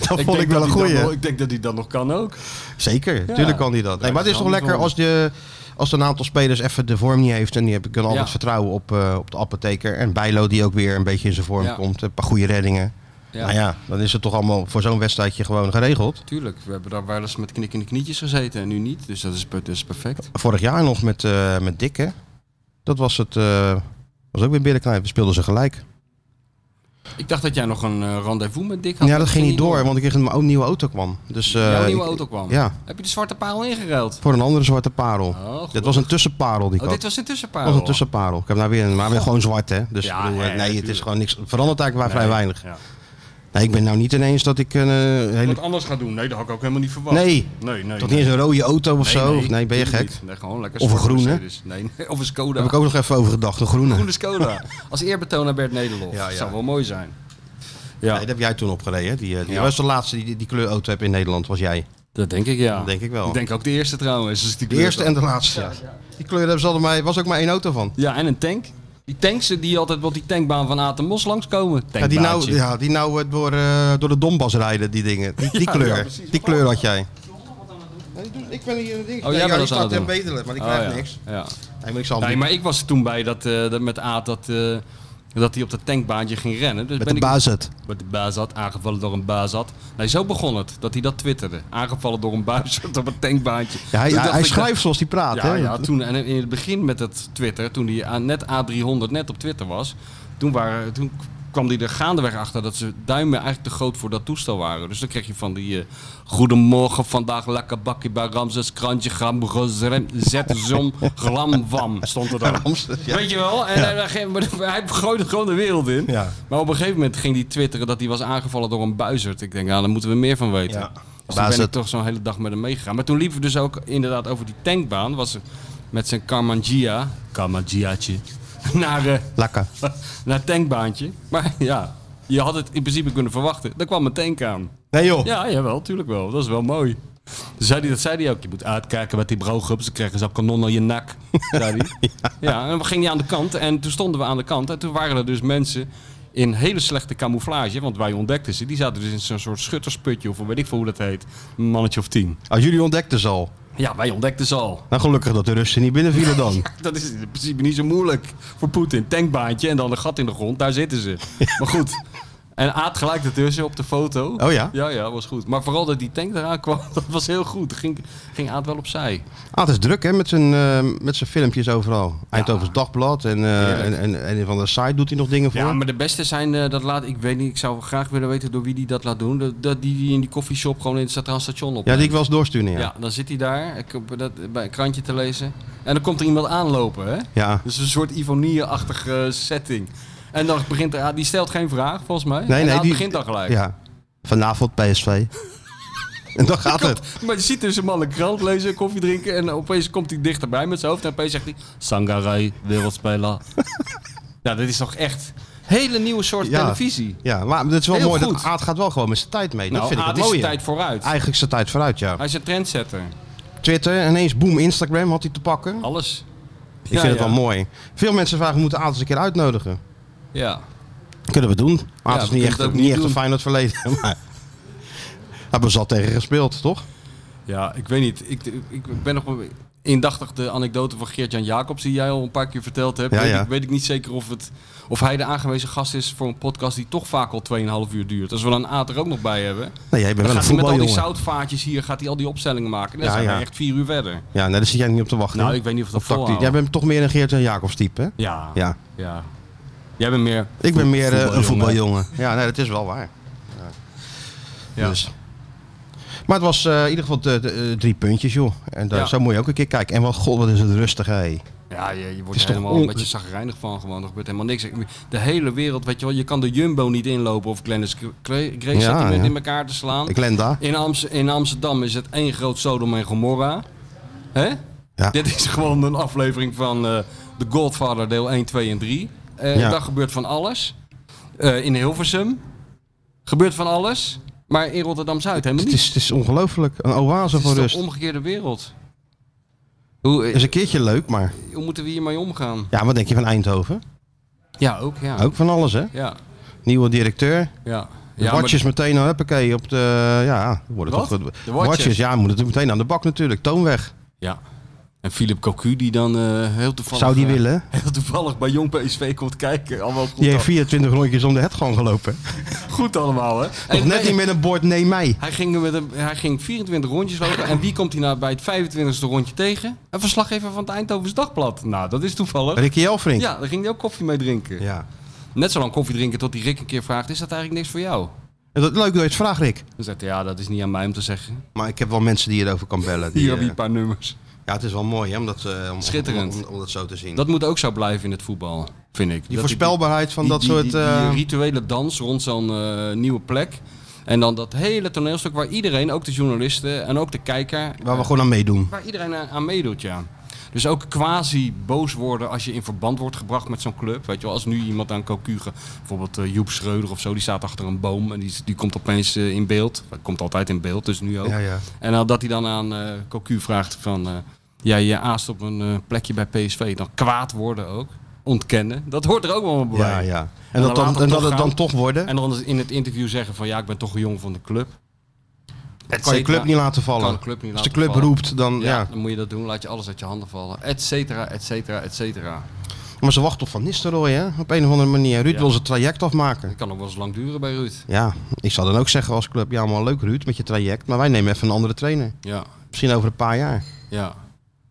vond ik
denk
wel
dat
een
hij dan
goeie.
nog- Ik denk dat hij dat nog kan ook.
Zeker, natuurlijk kan die dat. Nee, maar het is toch lekker als, je, als een aantal spelers even de vorm niet heeft. En die hebben- kunnen altijd
Ja.
vertrouwen op, eh, op de apotheker. En Bijlo die ook weer een beetje in zijn vorm
Ja.
komt. Een paar goede reddingen.
Ja.
Nou ja, dan is het toch allemaal voor zo'n wedstrijdje gewoon geregeld.
Tuurlijk, we hebben daar wel eens met knikkende knietjes gezeten en nu niet. Dus dat is, per- dat is perfect.
Vorig jaar nog met, eh met Dikke. Dat was het. eh, was ook weer binnenknijpen. Speelden ze gelijk.
Ik dacht dat jij nog een eh, rendezvous met Dick had.
Ja, dat ging niet door, want ik kreeg een oude nieuwe auto kwam. Dus, eh,
Jouw nieuwe
ik-
auto kwam.
Ja,
Heb je de zwarte parel ingeruild?
voor een andere zwarte parel.
Oh, goed.
dit was een tussenparel die ik
Oh,
had.
dit was een
Dat
tussenparel.
was een tussenparel. Ik heb nou weer een, maar weer gewoon zwart, hè? Dus
Ja,
ik bedoel, eh,
hè,
nee, het is
tuurlijk.
gewoon niks. Verandert eigenlijk maar vrij
Nee,
weinig.
ja.
Nee, ik ben nou niet ineens dat ik een eh, hele.
Wat anders gaat doen? Nee, dat had ik ook helemaal niet verwacht.
Nee,
nee, nee.
toch niet eens een rode auto of zo? Nee, ben je gek?
Nee, gewoon lekker
Of een
zwarte
groene?
Mercedes. Nee, nee, of een Skoda.
Daar heb ik ook nog even over gedacht, een groene.
Groene Skoda. Als eerbetoon aan Bert Nederlof.
Ja,
Dat
ja.
zou wel mooi zijn.
Nee, dat heb jij toen opgereden, hè? Die, eh, die
Ja.
was de laatste die, die kleurauto heb in Nederland, was jij.
Dat denk ik ja.
Dat denk ik wel.
Ik denk ook de eerste trouwens. Dus die
De eerste en de laatste. Ja. Die kleur hebben ze hadden mij, was ook maar één auto van.
Ja, en een tank. Die tanks die altijd op die tankbaan van Aten Mos langskomen.
Ja, die nou,
Tankbaantje.
ja, die nou eh, door, eh, door de Donbass rijden, die dingen. Die, die
Ja,
kleur.
ja, precies.
die kleur had jij. Ik ben hier een ding.
Oh, jij bent
die
dat aan
staat
het
hem
doen.
bedelen, maar die
Oh,
krijgt
ja.
niks.
Ja.
Nee, maar ik zal hem
Nee,
doen.
maar ik was er toen bij dat, eh, dat met Aad dat, eh, dat hij op dat tankbaantje ging rennen. Dus
Met
ben
de
ik
bazet.
met de Bazat, aangevallen door een Bazat. Nee, zo begon het, dat hij dat twitterde. Aangevallen door een *laughs* Bazat op een tankbaantje.
Ja, hij
Toen
hij,
dacht
hij
ik
schrijft
dat-
zoals hij praat,
ja,
hè? *laughs*
ja, toen, en in het begin met dat Twitter, toen hij aan- net A300 net op Twitter was, toen, waren, toen kwam hij er gaandeweg achter dat ze duimen eigenlijk te groot voor dat toestel waren. Dus dan kreeg je van die eh, goedemorgen vandaag lekker bakje bij Ramses, krantje, gram, gezrem, zet, zom, glam, wam, stond er dan.
*laughs*
Weet je wel? En hij- hij, *laughs* hij gooide gewoon de wereld in.
Ja.
Maar op een gegeven moment ging hij twitteren dat hij was aangevallen door een buizerd. Ik denk, nou, daar moeten we meer van weten.
Ja.
Dus toen ben ik
Buizerd.
toch zo'n hele dag met hem meegegaan. Maar toen liepen we dus ook inderdaad over die tankbaan. Was er met zijn Carmangia, Carmangiaatje, *laughs* naar, eh, *laughs*
Lekker.
naar het tankbaantje. Maar ja, je had het in principe kunnen verwachten. Daar kwam een tank aan.
Nee joh.
Ja, jawel, tuurlijk wel. Dat is wel mooi. Dan Zei die, dat zei hij ook. Je moet uitkijken met die broogups. Dan krijgen ze al kanon aan je *laughs* nak. Zei hij. ja. en we gingen aan de kant. En toen stonden we aan de kant. En toen waren er dus mensen in hele slechte camouflage. Want wij ontdekten ze. Die zaten dus in zo'n soort schuttersputje. Of weet ik veel hoe dat heet. Een mannetje of tien.
Als jullie ontdekten ze al.
Ja, wij ontdekten ze al.
Nou, gelukkig dat de Russen niet binnenvielen
*laughs*
dan.
Dat is in principe niet zo moeilijk voor Poetin. Tankbaantje en dan een gat in de grond, daar zitten
*laughs*
ze. Maar goed. En Aad gelijk ertussen op de foto.
Oh ja?
Ja, ja, was goed. Maar vooral dat die tank eraan kwam, *laughs* dat was heel goed. Toen Ging, ging Aad wel opzij.
Ah, het is druk hè, met zijn, eh, met zijn filmpjes overal. Eindhoven's Dagblad en, eh, en, en, en van de site doet hij nog dingen voor.
Ja, maar de beste zijn, eh, dat laat, ik weet niet, ik zou graag willen weten door wie die dat laat doen. Dat, dat die die in die koffieshop gewoon in het Centraal Station op.
Ja, die ik wel eens doorsturen, ja.
ja.
ja.
dan zit hij daar, ik, heb dat, bij een krantje te lezen. En dan komt er iemand aanlopen, hè? Dus een soort Ivonie-achtige setting. En dan begint er, ah, die stelt geen vraag, volgens mij.
Nee,
en
nee,
Aad
die
begint dan gelijk.
Ja. Vanavond
*laughs*
PSV. en dan gaat het.
Maar je ziet dus een man een krant lezen, koffie drinken en opeens komt hij dichterbij met zijn hoofd en opeens zegt hij... Sangarai,
*laughs*
wereldspeler. ja, dit is toch echt hele nieuwe soort
Ja.
televisie.
Ja, maar het is wel
Heel
mooi
goed.
dat Aad gaat wel gewoon met zijn tijd mee.
Nou,
dat vind ik
Aad
het
is
mooie.
de tijd vooruit.
Eigenlijk zijn tijd vooruit, ja.
Hij is een trendsetter.
Twitter, ineens boom, Instagram had hij te pakken.
Alles.
Ik vind het wel mooi. Veel mensen vragen, we moeten Aad eens een keer uitnodigen.
Ja.
Kunnen we doen. Aad
Ja,
is
we
niet
kunnen
echt,
het ook
niet
niet
echt een
doen.
Feyenoord verleden. *laughs* Maar hebben ze al tegen gespeeld, toch?
Ja, ik weet niet. Ik, ik ben nog wel indachtig de anekdote van Geert-Jan Jacobs die jij al een paar keer verteld hebt.
Ja,
weet,
ja.
Ik, weet ik niet zeker of, het, of hij de aangewezen gast is voor een podcast die toch vaak al 2,5 uur duurt. Als we dan Aad er ook nog bij hebben,
Nee, jij bent
dan
wel een
gaat hij met al die
voetbaljongen.
zoutvaatjes hier gaat hij al die opstellingen maken. Dan
Ja,
zijn
ja.
we echt vier uur verder.
Ja, nee, daar zit jij niet op te wachten.
Nou, ik weet niet of dat
Op tactiek.
volhoudt.
Jij bent toch meer een Geert en Jacobs type, hè?
Ja, ja.
Ja.
Jij bent meer...
Ik ben meer eh, een
Voetbaljongen.
voetbaljongen. Ja, nee, dat is wel waar.
Ja.
Dus. Maar het was eh, in ieder geval de, de, eh, drie puntjes, joh. En daar,
Ja.
zo moet je ook een keer kijken. En wat, god, wat is het rustig, hé.
Ja, je, je wordt
is
er
toch
helemaal
on-
een beetje zagrijnig van gewoon. Er gebeurt helemaal niks. De hele wereld, weet je wel, je kan de Jumbo niet inlopen of Glennis Grace
Ja,
zat die
ja.
met in elkaar te slaan.
Glenda.
In, Amst- in Amsterdam is het één groot Sodom en Gomorra. Hè?
Ja.
Dit is gewoon een aflevering van eh The Godfather deel 1, 2 en 3. Eh
Ja.
Daar gebeurt van alles. Eh, in Hilversum gebeurt van alles. Maar in Rotterdam-Zuid helemaal
Het
niet.
is, het is ongelooflijk. Een oase
Het
van
is de
rust.
omgekeerde wereld. Hoe, eh,
is een keertje leuk, maar...
hoe moeten we hiermee omgaan?
Ja, wat denk je van Eindhoven?
Ja, ook ja.
Ook van alles, hè?
Ja,
Nieuwe directeur.
ja.
De
ja
watjes meteen, al, huppakee, op de... Ja, worden
Wat?
toch...
De watjes?
watjes, ja, moeten natuurlijk meteen aan de bak natuurlijk. Toonweg.
ja. En Philip Cocu die dan eh, heel toevallig...
Zou die
eh,
willen?
*laughs* Heel toevallig bij Jong PSV komt kijken. Allemaal goed,
Die heeft
al-
24 rondjes om de het gewoon gelopen.
goed allemaal, hè?
Nog net niet met een bord, nee mij.
Hij ging, er met een, hij ging 24 rondjes lopen. En wie komt hij nou bij het 25e rondje tegen? Een verslaggever van het Eindhovens Dagblad. Nou, dat is toevallig.
Ricky Elfrink.
Ja, daar ging hij ook koffie mee drinken.
Ja.
Net zo lang koffie drinken tot die Rick een keer vraagt... is dat eigenlijk niks voor jou?
En dat, leuk dat je het vraagt, Rick.
Dan zegt hij, ja, dat is niet aan mij om te zeggen.
Maar ik heb wel mensen die hierover kan bellen. Die,
Hier heb je
eh,
een paar nummers.
ja, het is wel mooi hè, om, dat, eh, om,
Schitterend.
om, om dat zo te zien.
Dat moet ook zo blijven in het voetbal,
die
vind ik. Dat die-
voorspelbaarheid van
Die-
dat
die-
soort...
die- die
eh,
rituele dans rond zo'n eh, nieuwe plek. En dan dat hele toneelstuk waar iedereen, ook de journalisten en ook de kijker...
waar we gewoon aan meedoen.
waar iedereen aan, aan meedoet, ja. Dus ook quasi boos worden als je in verband wordt gebracht met zo'n club. Weet je wel, als nu iemand aan Cocu, ge- bijvoorbeeld eh, Joep Schreuder of zo, die staat achter een boom en die, die komt opeens eh, in beeld. Hij komt altijd in beeld, dus nu ook.
Ja, ja.
En dan dat hij dan aan eh Cocu vraagt van, eh, jij je aast op een eh, plekje bij PSV, dan kwaad worden ook. Ontkennen, dat hoort er ook wel bij.
Ja, ja. En,
En
dat, dan,
dan later
en dat
toch
het dan
gaan.
toch worden.
En dan in het interview zeggen van, ja, ik ben toch een jong van de club.
Dat kan je club niet laten vallen.
Kan de club niet
Als de
laten
club
vallen.
roept, dan... Ja.
Ja, dan moet je dat doen. Laat je alles uit je handen vallen. Et cetera, et cetera, et cetera.
Maar ze wachten op Van Nistelrooy, hè? Op een of andere manier. Ruud
Ja.
wil zijn traject afmaken.
Dat kan nog wel eens lang duren bij Ruud.
Ja, ik zou dan ook zeggen als club... Ja, maar leuk Ruud, met je traject. Maar wij nemen even een andere trainer.
Ja,
Misschien over een paar jaar.
ja.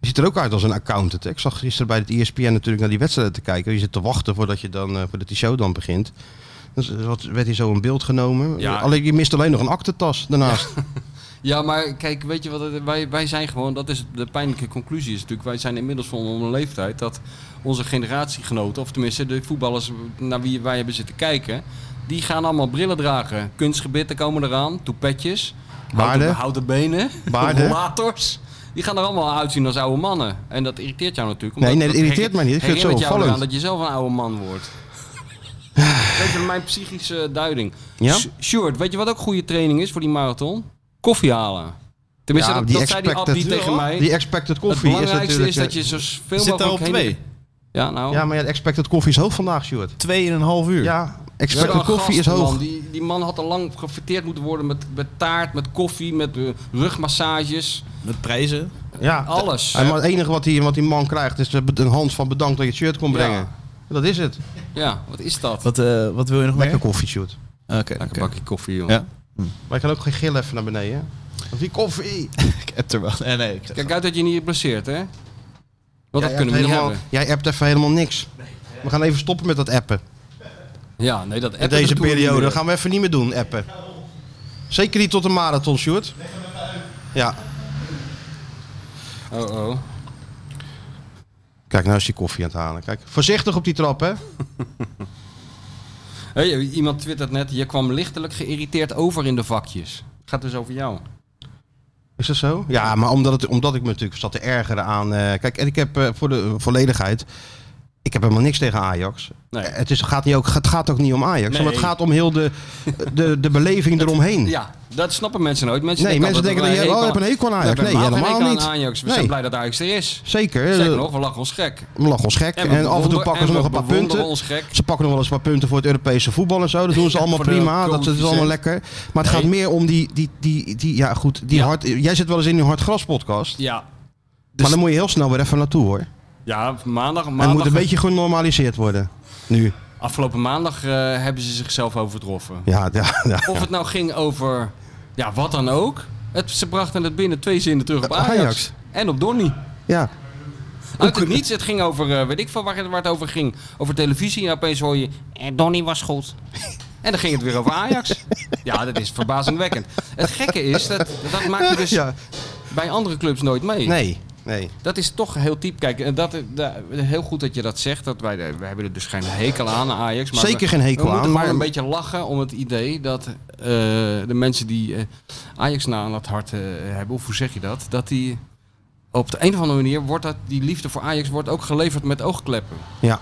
Je ziet er ook uit als een accountant. hè. Ik zag gisteren bij het E ESPN natuurlijk naar die wedstrijden te kijken. Je zit te wachten voordat, je dan, eh, voordat die show dan begint. Dus eh, wat werd hier zo in beeld genomen.
Ja.
Alleen, je mist alleen nog een aktentas daarnaast.
Ja, maar kijk, weet je wat? het- Wij, wij zijn gewoon, dat is de pijnlijke conclusie is natuurlijk. Wij zijn inmiddels van een leeftijd dat onze generatiegenoten, of tenminste de voetballers naar wie wij hebben zitten kijken, die gaan allemaal brillen dragen. Kunstgebitten komen eraan, toepetjes,
Baarden.
houten, houten benen, *laughs*
Baarden.
rollators. Die gaan er allemaal uitzien als oude mannen. En dat irriteert jou natuurlijk.
Nee, nee, dat irriteert mij niet. Ik vind het zo
herinnert
*sighs*
jou
opvallend.
eraan dat je zelf een oude man wordt. weet je, mijn psychische duiding.
Ja?
Sh- Sjoerd, weet je wat ook goede training is voor die marathon? Koffie halen. Tenminste,
Ja,
dat,
die
dat zei die
expected-
Abdi tegen mij.
Die expected coffee
het
is
belangrijkste is,
natuurlijk...
dat
eh,
je zo veel
Zit daar
mogelijk
op
heen-
twee.
Ja, nou.
Ja, maar ja, de expected coffee is hoog vandaag, Stuart.
Tweeënhalf uur.
Ja,
Zo'n
expected coffee is
gast, man.
hoog.
Die, die man had al lang gefeteerd moeten worden met, met taart, met koffie, met eh, rugmassages.
Met prijzen.
Ja,
Alles.
En maar het enige wat die, wat die man krijgt is eh, een hand van bedankt dat je het shirt kon
Ja.
brengen. Dat is het.
Ja, wat is dat?
Wat, eh, wat wil je nog meer?
Lekker koffie, Stuart.
Oké,
Lekker
oké.
bakje koffie, joh.
Ja.
Wij gaan ook geen gil even naar beneden. hè? Want die koffie.
Ik heb er wel. Nee, nee. Ik,
Kijk uit dat je niet blesseert, hè? Want dat
Jij
kunnen
appt
we niet
helemaal,
hebben.
Jij appt even helemaal niks. We gaan even stoppen met dat appen.
Ja, nee, dat
In
appen,
deze
dat doen we niet
periode
meer.
gaan we even niet meer doen, appen. Zeker niet tot de marathon, Stuart. Ja.
Oh, oh.
Kijk, nou is die koffie aan het halen. Kijk, voorzichtig op die trap, hè.
Hey, iemand twittert net, je kwam lichtelijk geïrriteerd over in de vakjes. Gaat dus over jou.
Is dat zo? Ja, maar omdat, het, omdat ik me natuurlijk zat te ergeren aan... eh, kijk, en ik heb eh, voor de volledigheid... Ik heb helemaal niks tegen Ajax.
Nee.
Eh, Het, is, gaat niet ook, het gaat ook niet om Ajax.
Nee.
Maar het gaat om heel de, de, de
*laughs*
beleving eromheen.
Ja, dat snappen mensen nooit. Mensen
Hm. nee, mensen denken dat
wij
je oh, je hebt een hekel aan Ajax.
We
Nee,
hebben helemaal geen
helemaal
hekel
niet.
aan Ajax. We
nee,
zijn blij dat Ajax er is.
Zeker.
Zeker
Eh,
nog, we lachen ons gek.
We lachen ons gek. En,
we
af en toe
bewonder-
pakken ze
en
nog
we
een paar
bewonderen
punten.
ons gek.
Ze pakken nog wel eens wat punten voor het Europese voetbal en zo. Dat doen ze allemaal
Voor de
prima. Dat, dat is allemaal
coëfficiënt.
lekker. Maar het
Nee.
gaat meer om die, die, die, die ja goed, die
Ja.
hard, jij zit wel eens in die hard gras podcast.
Ja,
Maar dan moet je heel snel weer even naartoe hoor.
ja maandag,
En het moet
maandag
een beetje genormaliseerd worden. Nu.
afgelopen maandag eh, hebben ze zichzelf overtroffen.
Ja, ja, ja.
Of het nou ging over, ja, wat dan ook. Het, ze brachten het binnen twee zinnen terug op
Op Ajax.
Ajax. En op Donny.
ja.
Uit het niets, het ging over, eh, weet ik veel waar het, waar het over ging. Over televisie en opeens hoor je, eh, Donny was goed. En dan ging het weer over Ajax. Ja, dat is verbazingwekkend. Het gekke is, dat, dat maak je dus
Ja.
bij andere clubs nooit mee.
Nee. Nee.
Dat is toch heel typ. Kijk, en dat, da- heel goed dat je dat zegt. Dat wij, wij hebben er dus geen hekel aan, Ajax. Maar
Zeker
we-
geen hekel
we moeten
aan,
gewoon
maar-
een beetje lachen om het idee dat eh, de mensen die eh, Ajax na aan het hart eh, hebben, of hoe zeg je dat? Dat die op de een of andere manier wordt dat, die liefde voor Ajax wordt ook geleverd met oogkleppen.
Ja.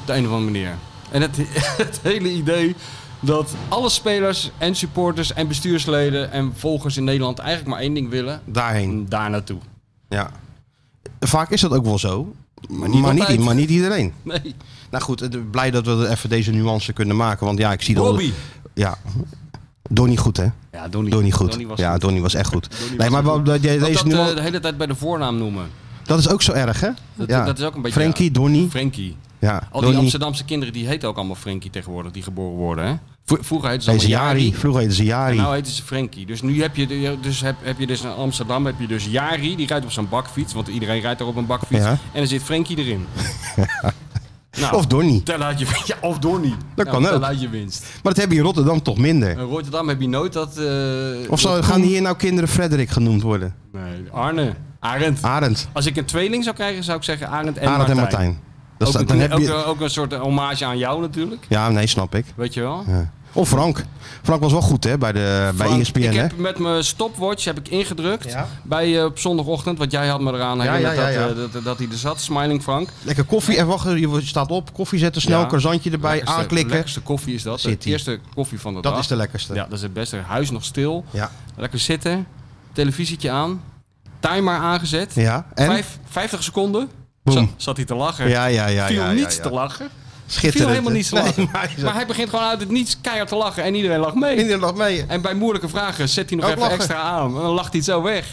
Op de een of andere manier. En het, *laughs* het hele idee dat alle spelers en supporters en bestuursleden en volgers in Nederland eigenlijk maar één ding willen.
Daarheen.
Daar naartoe.
Ja. Vaak is dat ook wel zo. Maar niet, maar
altijd.
niet, iedereen.
Nee.
Nou goed, eh, blij dat we er even deze nuance kunnen maken. Want ja, ik zie dat...
Bobby.
Ja. Donnie goed, hè?
Ja, Donnie.
Donnie goed.
was
ja,
goed.
Donnie was echt goed.
Donnie
nee,
was
maar
goed.
wat- dat jij
Want
deze
dat eh,
nuance...
de hele tijd bij de voornaam noemen.
dat is ook zo erg, hè?
Dat,
ja.
dat is ook een beetje...
Frankie, Donnie.
Frankie.
Ja,
Al die
Donnie.
Amsterdamse kinderen die heten ook allemaal Frankie tegenwoordig, die geboren worden. Hè? Vro- Vroeger heette ze
Deze
allemaal Jari.
Jari. Vroeger heette ze Jari.
En nou heten ze Frankie. Dus nu heb je, de- dus heb, heb je dus in Amsterdam heb je dus Jari, die rijdt op zijn bakfiets. Want iedereen rijdt daar op een bakfiets.
Ja.
En dan zit Frankie
*laughs*
erin. nou,
Of Donnie.
tel uit je, ja, of Donnie.
Dat
Nou,
kan
tel
ook.
uit je winst.
Maar dat hebben je in Rotterdam toch minder.
In Rotterdam heb je nooit dat... eh,
Of zo,
dat-
gaan hier nou kinderen Frederik genoemd worden?
Nee, Arne. Arend.
Arend.
Als ik een tweeling zou krijgen, zou ik zeggen Arend en
Ah. Arend en
Martijn.
Martijn. Dat
ook,
staat- dan
een-
heb
ook, eh,
je,
een- ook een soort hommage aan jou natuurlijk.
ja, nee, snap ik.
Weet je wel?
Ja. Of Frank. Frank was wel goed hè, bij, de, bij E
Frank,
ESPN.
ik
hè?
heb met mijn stopwatch heb ik ingedrukt
Ja.
bij, eh, op zondagochtend. Want jij had me eraan
Ja,
herinnerd
ja, ja,
Dat, eh, dat, dat hij er zat. Smiling Frank.
Lekker koffie. En wacht, je staat op. Koffie zetten, snel
Ja.
croissantje erbij,
lekkerste,
aanklikken.
lekkerste koffie is dat.
Zit
De
ie.
eerste koffie van de
Dat
dag.
is de lekkerste.
Ja, dat is het beste. Huis nog stil.
Ja.
Lekker zitten. Televisietje aan. Timer aangezet.
Ja, en?
Vijf- 50 seconden.
Boem.
Zat, zat hij te lachen.
Ja, ja, ja,
Viel
ja, ja,
niets
ja.
te lachen.
Schitterend.
viel helemaal niet
*laughs*
te
Nee,
lachen.
maar hij
maar hij begint gewoon uit het niets keihard te lachen en iedereen lacht mee.
Kinderen nog mee.
En bij moeilijke vragen zet hij nog
Ook
even
lachen.
extra aan. En dan lacht hij het zo weg.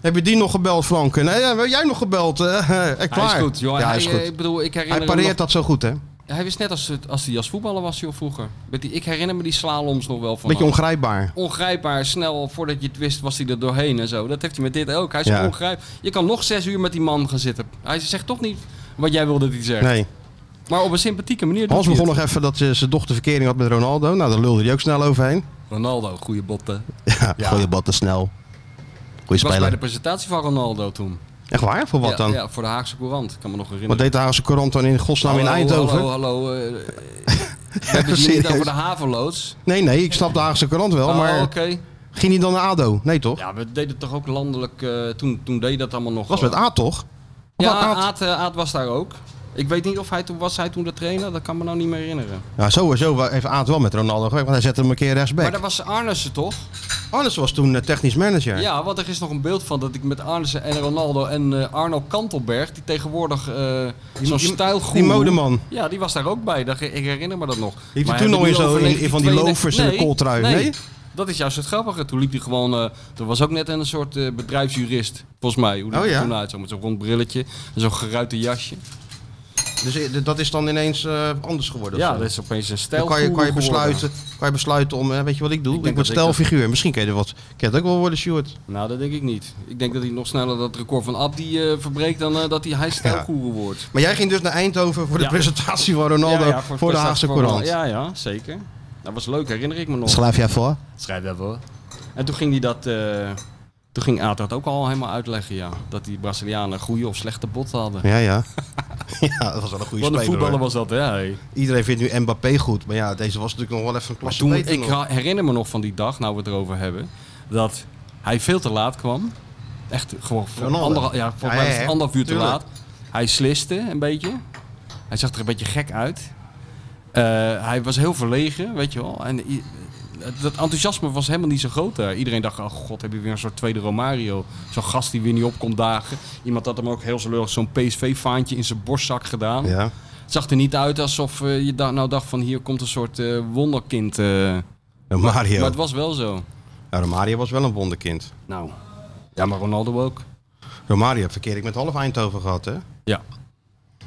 Heb je die nog gebeld, Frank? Nee, ja, heb jij nog gebeld? Eh, *laughs* eh, klaar.
Hij is goed, joh.
Ja, hij
hij,
is
eh,
goed.
Ik bedoel, ik herinner
Hij
me
pareert
nog-
dat zo goed, hè?
Hij wist net als, het- als hij als voetballer was, joh, vroeger. Met die, ik herinner me die slaloms nog wel van.
Beetje ongrijpbaar.
Ongrijpbaar, snel, voordat je het wist, was hij er doorheen en zo. Dat heeft hij met dit ook. Hij is
Ja.
ongrijp. Je kan nog zes uur met die man gaan zitten. Hij zegt toch niet wat jij wilde dat hij zegt.
Nee.
Maar op een sympathieke manier doet
Hans
hij
begon nog
het.
even dat eh, zijn dochter verkering had met Ronaldo. Nou, daar lulde hij ook snel overheen. *laughs*
Ronaldo, goede botten.
Ja, goeie bal te snel. Goeie
Ik was bij
speler.
de presentatie van Ronaldo toen.
Echt waar? Voor wat
ja,
dan?
Ja, voor de Haagse Courant. Ik kan me nog herinneren.
Wat deed de Haagse Courant dan in godsnaam in
Hallo,
Eindhoven?
Hallo, hallo. eh,
*laughs*
we hebben het hier niet
serieus.
over de havenloods.
Nee, nee, ik snap de Haagse Courant wel,
Oh,
maar
oké.
ging hij dan naar ADO? Nee, toch?
Ja, we deden toch ook landelijk. eh, toen, toen deed dat allemaal nog.
was met A, toch?
Ja,
Of had
Aad, eh, Aad was daar ook. Ik weet niet of hij toen was hij toen de trainer, dat kan me nou niet meer herinneren.
Nou, sowieso wa- heeft Aad wel met Ronaldo gewerkt, want hij zette hem een keer
Maar
rechtsback.
dat was Arnissen toch?
Alles was toen eh, technisch manager.
Ja, want er is nog een beeld van dat ik met Arnissen en Ronaldo en eh, Arno Kantelberg, die tegenwoordig eh zo'n
die-
stijlgoed...
die modeman.
Ja, die was daar ook bij, dat, ik herinner me dat nog.
hij
Maar
toen
hebben
nog
we
in
nu
zo
over
in- in van die
1992?
loafers en een kooltrui?
Nee,
Nee?
dat is juist het grappige. Toen liep hij gewoon, eh, er was ook net een soort eh, bedrijfsjurist, volgens mij, hoe die
Oh
er
ja?
toen uit, zo met zo'n rond brilletje en zo'n geruite jasje.
Dus eh, dat is dan ineens eh, anders geworden. of
ja,
zo.
dat is opeens een stijl.
dan kan je, kan, je besluiten, kan je besluiten om, eh, weet je wat ik doe?
Ik
Ik,
denk
word
dat ik dat-
stijlfiguur. Misschien kan je er wat. Kan het ook wel worden, Stuart.
Nou, dat denk ik niet. Ik denk dat hij nog sneller dat record van Abdi eh, verbreekt dan eh, dat hij hij stijlgoeroe wordt.
Maar jij ging dus naar Eindhoven voor de
Ja.
presentatie van Ronaldo
Ja,
voor,
ja, het
de
prestatie
Haagse
voor-
Courant.
Ja, ja, zeker. Dat was leuk, herinner ik me nog.
Schrijf jij voor?
Schrijf dat wel. En toen ging hij dat... eh, toen ging Aad dat ook al helemaal uitleggen, ja. Dat die Brazilianen goede of slechte botten hadden.
Ja,
*laughs*
ja. ja, dat was wel een goede
Wat een
speler.
voetballer
hoor.
was dat, hè? hey.
Iedereen vindt nu Mbappé goed. Maar ja, deze was natuurlijk nog wel even een
Maar
klasse
toen,
beter
ik
nog.
ha- herinner me nog van die dag, nou we het erover hebben, dat hij veel te laat kwam. Echt gewoon voor
Ronaldo.
anderhal- ja, volgens
Ja,
mij was
ja,
het
ja.
anderhalf uur te
Tuurlijk.
laat. Hij sliste een beetje. Hij zag er een beetje gek uit. Eh, hij was heel verlegen, weet je wel. En i- dat enthousiasme was helemaal niet zo groot daar. Iedereen dacht, oh god, heb je weer een soort tweede Romario. Zo'n gast die weer niet opkomt dagen. Iemand had hem ook heel zo lullig zo'n PSV-faantje in zijn borstzak gedaan.
Ja.
Het zag er niet uit alsof eh, je da- nou dacht van hier komt een soort eh, wonderkind. eh.
Mario.
Maar het was wel zo.
Ja, Romario was wel een wonderkind.
Nou, ja, maar Ronaldo ook.
Romario heeft verkeer ik met half Eindhoven gehad, hè?
Ja.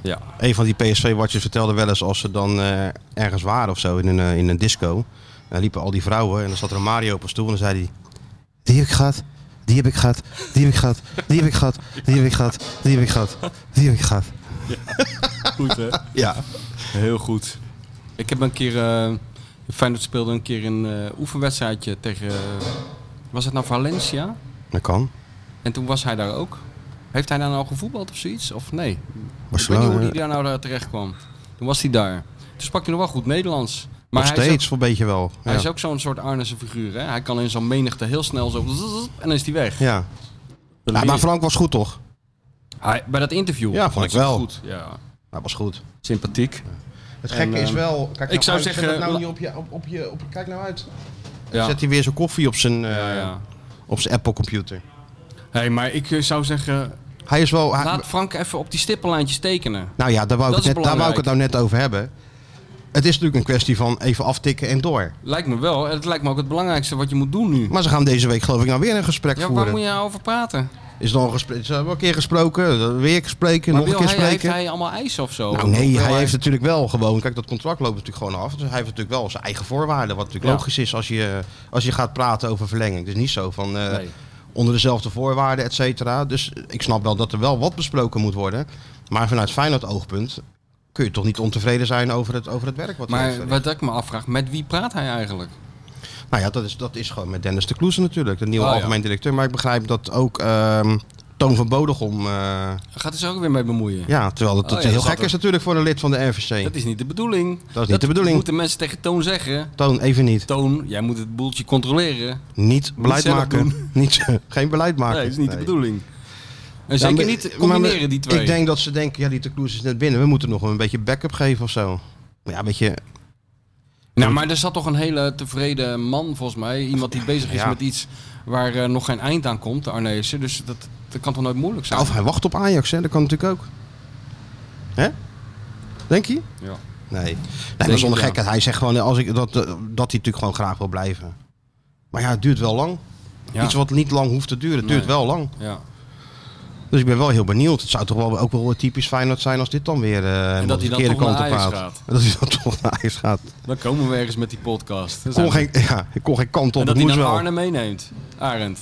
Ja.
Een van die PSV-watchers vertelde wel eens als ze dan eh, ergens waren of zo in een, eh, in een disco. Dan liepen al die vrouwen en dan zat er een Mario op een stoel en dan zei hij... Die heb ik gehad, die heb ik gehad, die heb ik gehad, die heb ik gehad, die heb ik gehad, die heb ik gehad, die heb ik gehad.
Goed hè?
Ja.
Heel goed. Ik heb een keer, eh Feyenoord speelde een keer een eh, oefenwedstrijdje tegen, eh, was het nou Valencia?
Dat kan.
En toen was hij daar ook. Heeft hij daar nou gevoetbald of zoiets? Of nee? Ik weet niet
Barcelona.
hoe hij daar nou eh, terecht kwam. Toen was hij daar. Toen sprak hij nog wel goed Nederlands.
eh, Nog
hij is ook-
steeds, voor een beetje wel.
Hij
Ja.
is ook zo'n soort Arnese figuur. Hè? Hij kan in zo'n menigte heel snel zo... En dan is hij weg.
Ja. Ja, maar Frank was goed, toch?
Hij- bij dat interview.
Ja, vond
was
ik
het
wel.
Goed. Ja.
Hij was goed.
Sympathiek.
Het gekke
En,
is
ehm,
wel... Kijk nou
ik zou
uit, zet
zeggen,
dat nou
la-
niet op je, op, op je, op je... Kijk nou uit.
Ja.
Zet hij weer zijn koffie op zijn, eh,
Ja, ja.
op zijn Apple-computer.
Hey, maar ik eh, zou zeggen...
Hij is wel... hij-
Laat Frank even op die stippenlijntjes tekenen.
Nou ja, daar wou, ik
Dat
het net,
is
daar wou ik het nou
belangrijk.
net over hebben. Het is natuurlijk een kwestie van even aftikken en door.
Lijkt me wel. En het lijkt me ook het belangrijkste wat je moet doen nu.
Maar ze gaan deze week geloof ik nou weer een gesprek
Ja, waar
voeren.
moet je nou over praten?
Is dan gesprek, ze hebben een keer gesproken, weer gesproken,
Maar
nog een
wil
keer
hij,
spreken.
heeft hij allemaal eisen of zo?
Nou nee,
Wil
hij heeft natuurlijk wel gewoon... Kijk, dat contract loopt natuurlijk gewoon af. Dus hij heeft natuurlijk wel zijn eigen voorwaarden. Wat natuurlijk
Ja.
logisch is als je, als je gaat praten over verlenging. Dus niet zo van eh,
Nee.
onder dezelfde voorwaarden, et cetera. Dus ik snap wel dat er wel wat besproken moet worden. Maar vanuit Feyenoord oogpunt kun je toch niet ontevreden zijn over het, over het werk wat hij heeft
Maar
verricht.
wat ik me afvraag, met wie praat hij eigenlijk?
Nou ja, dat is, dat is gewoon met Dennis de Kloeze natuurlijk, de nieuwe
Oh, ja.
algemeen directeur. Maar ik begrijp dat ook ehm, Toon van Bodegom... eh,
Gaat hij zich ook weer mee bemoeien?
ja, terwijl dat,
Oh
dat
ja,
heel
dat
gek
zat
is natuurlijk voor een lid van de RVC.
Dat is niet de bedoeling. Dat
is niet de bedoeling.
moeten mensen tegen Toon zeggen.
Toon, even niet.
Toon, jij moet het boeltje controleren.
Niet beleid
zelf
maken.
*laughs* doen.
Niet, eh, geen beleid maken.
Nee, dat is niet de bedoeling. En
Ja,
zeker
Nou, maar-
niet combineren
maar
die twee.
Ik denk dat ze denken, ja, die de Kloes is net binnen. We moeten nog een beetje backup geven of zo. Maar ja, weet je,
nou, maar er zat toch een hele tevreden man volgens mij. Iemand die bezig is
Ja.
met iets waar eh, nog geen eind aan komt, de Arnezen. Dus dat, dat kan toch nooit moeilijk zijn?
Nou, of hij wacht op Ajax, hè. Dat kan natuurlijk ook. Hè? Denk je?
Ja.
Nee. nee maar zonder
ik, ja.
gekheid. Hij zegt gewoon als ik, dat, eh, dat hij natuurlijk gewoon graag wil blijven. Maar ja, het duurt wel lang.
Ja.
Iets wat niet lang hoeft te duren. Het duurt
Nee.
wel lang.
ja.
Dus ik ben wel heel benieuwd. Het zou toch wel ook wel typisch Feyenoord zijn als dit dan weer eh
dat hij
de
dan
verkeerde
toch naar
kant op
Ajax
gaat.
gaat.
Dat hij dan *laughs* toch naar Ajax gaat.
Dan komen we ergens met die podcast. Dan
Kon
zijn we-
geen, ja, ik kon geen kant
en
op. Het
dat hij
moest
dan
wel.
Arne meeneemt. Arend.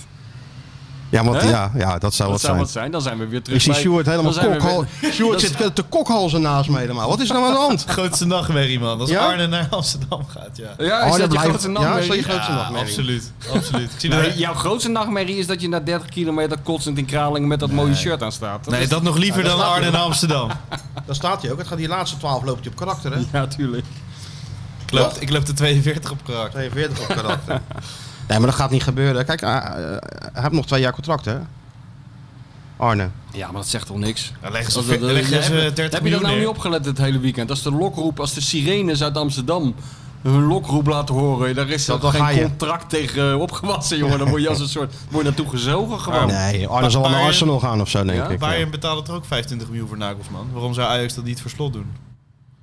Ja, want,
Hè?
ja, ja, dat zou
Dat
wat
zou
zijn.
wat zijn. Dan zijn we weer terug
Ik zie
bij-
Stuart helemaal
dan zijn we
kokhal.
weer-
Stuart
*laughs* Dat is-
zit te kokhalzen naast me helemaal. Wat is er nou aan de hand?
Grootste nachtmerrie, man. Als
Ja?
Arne naar Amsterdam gaat, ja.
Ja, is
Oh, dat
dat je
blijft-
grootste
ja,
nachtmerrie?
is dat je grootste
Ja,
nachtmerrie?
absoluut. absoluut. Ik zie
Nee,
dat-
jouw grootste nachtmerrie is dat je na 30 kilometer kotsend in Kralingen met dat mooie shirt aan staat.
nee,
is-
dat nog liever dan Arne naar Amsterdam.
Daar staat hij ook. Het gaat die laatste 12 loopt hij op karakter, hè?
*laughs* Ja, tuurlijk.
Ik loop, ik loop de 42 op karakter.
42 op
*laughs*
karakter.
eh,
Nee, maar dat gaat niet gebeuren. Kijk, ah, eh, hij heeft nog twee jaar contract, hè? Arne.
Ja, maar dat zegt toch niks?
Dan leggen ze,
Dat- dat- dat-
leggen
dat-
ze
heb-
30
Heb je dat
miljoen
nou niet
neer.
opgelet het hele weekend? Als de lokroep, als de sirenes uit Amsterdam hun lokroep laten horen, daar is
Dat
dat
dan ga
geen
je.
contract tegen eh, opgewassen, jongen. Dan word je als een soort word je naartoe gezogen gewoon.
Nee, Arne zal naar
Bayern-
Arsenal gaan of zo, denk
Ja,
ik. ja.
Bayern betaalt er ook 25 miljoen voor Nagelsman. Waarom zou Ajax dat niet voor slot doen?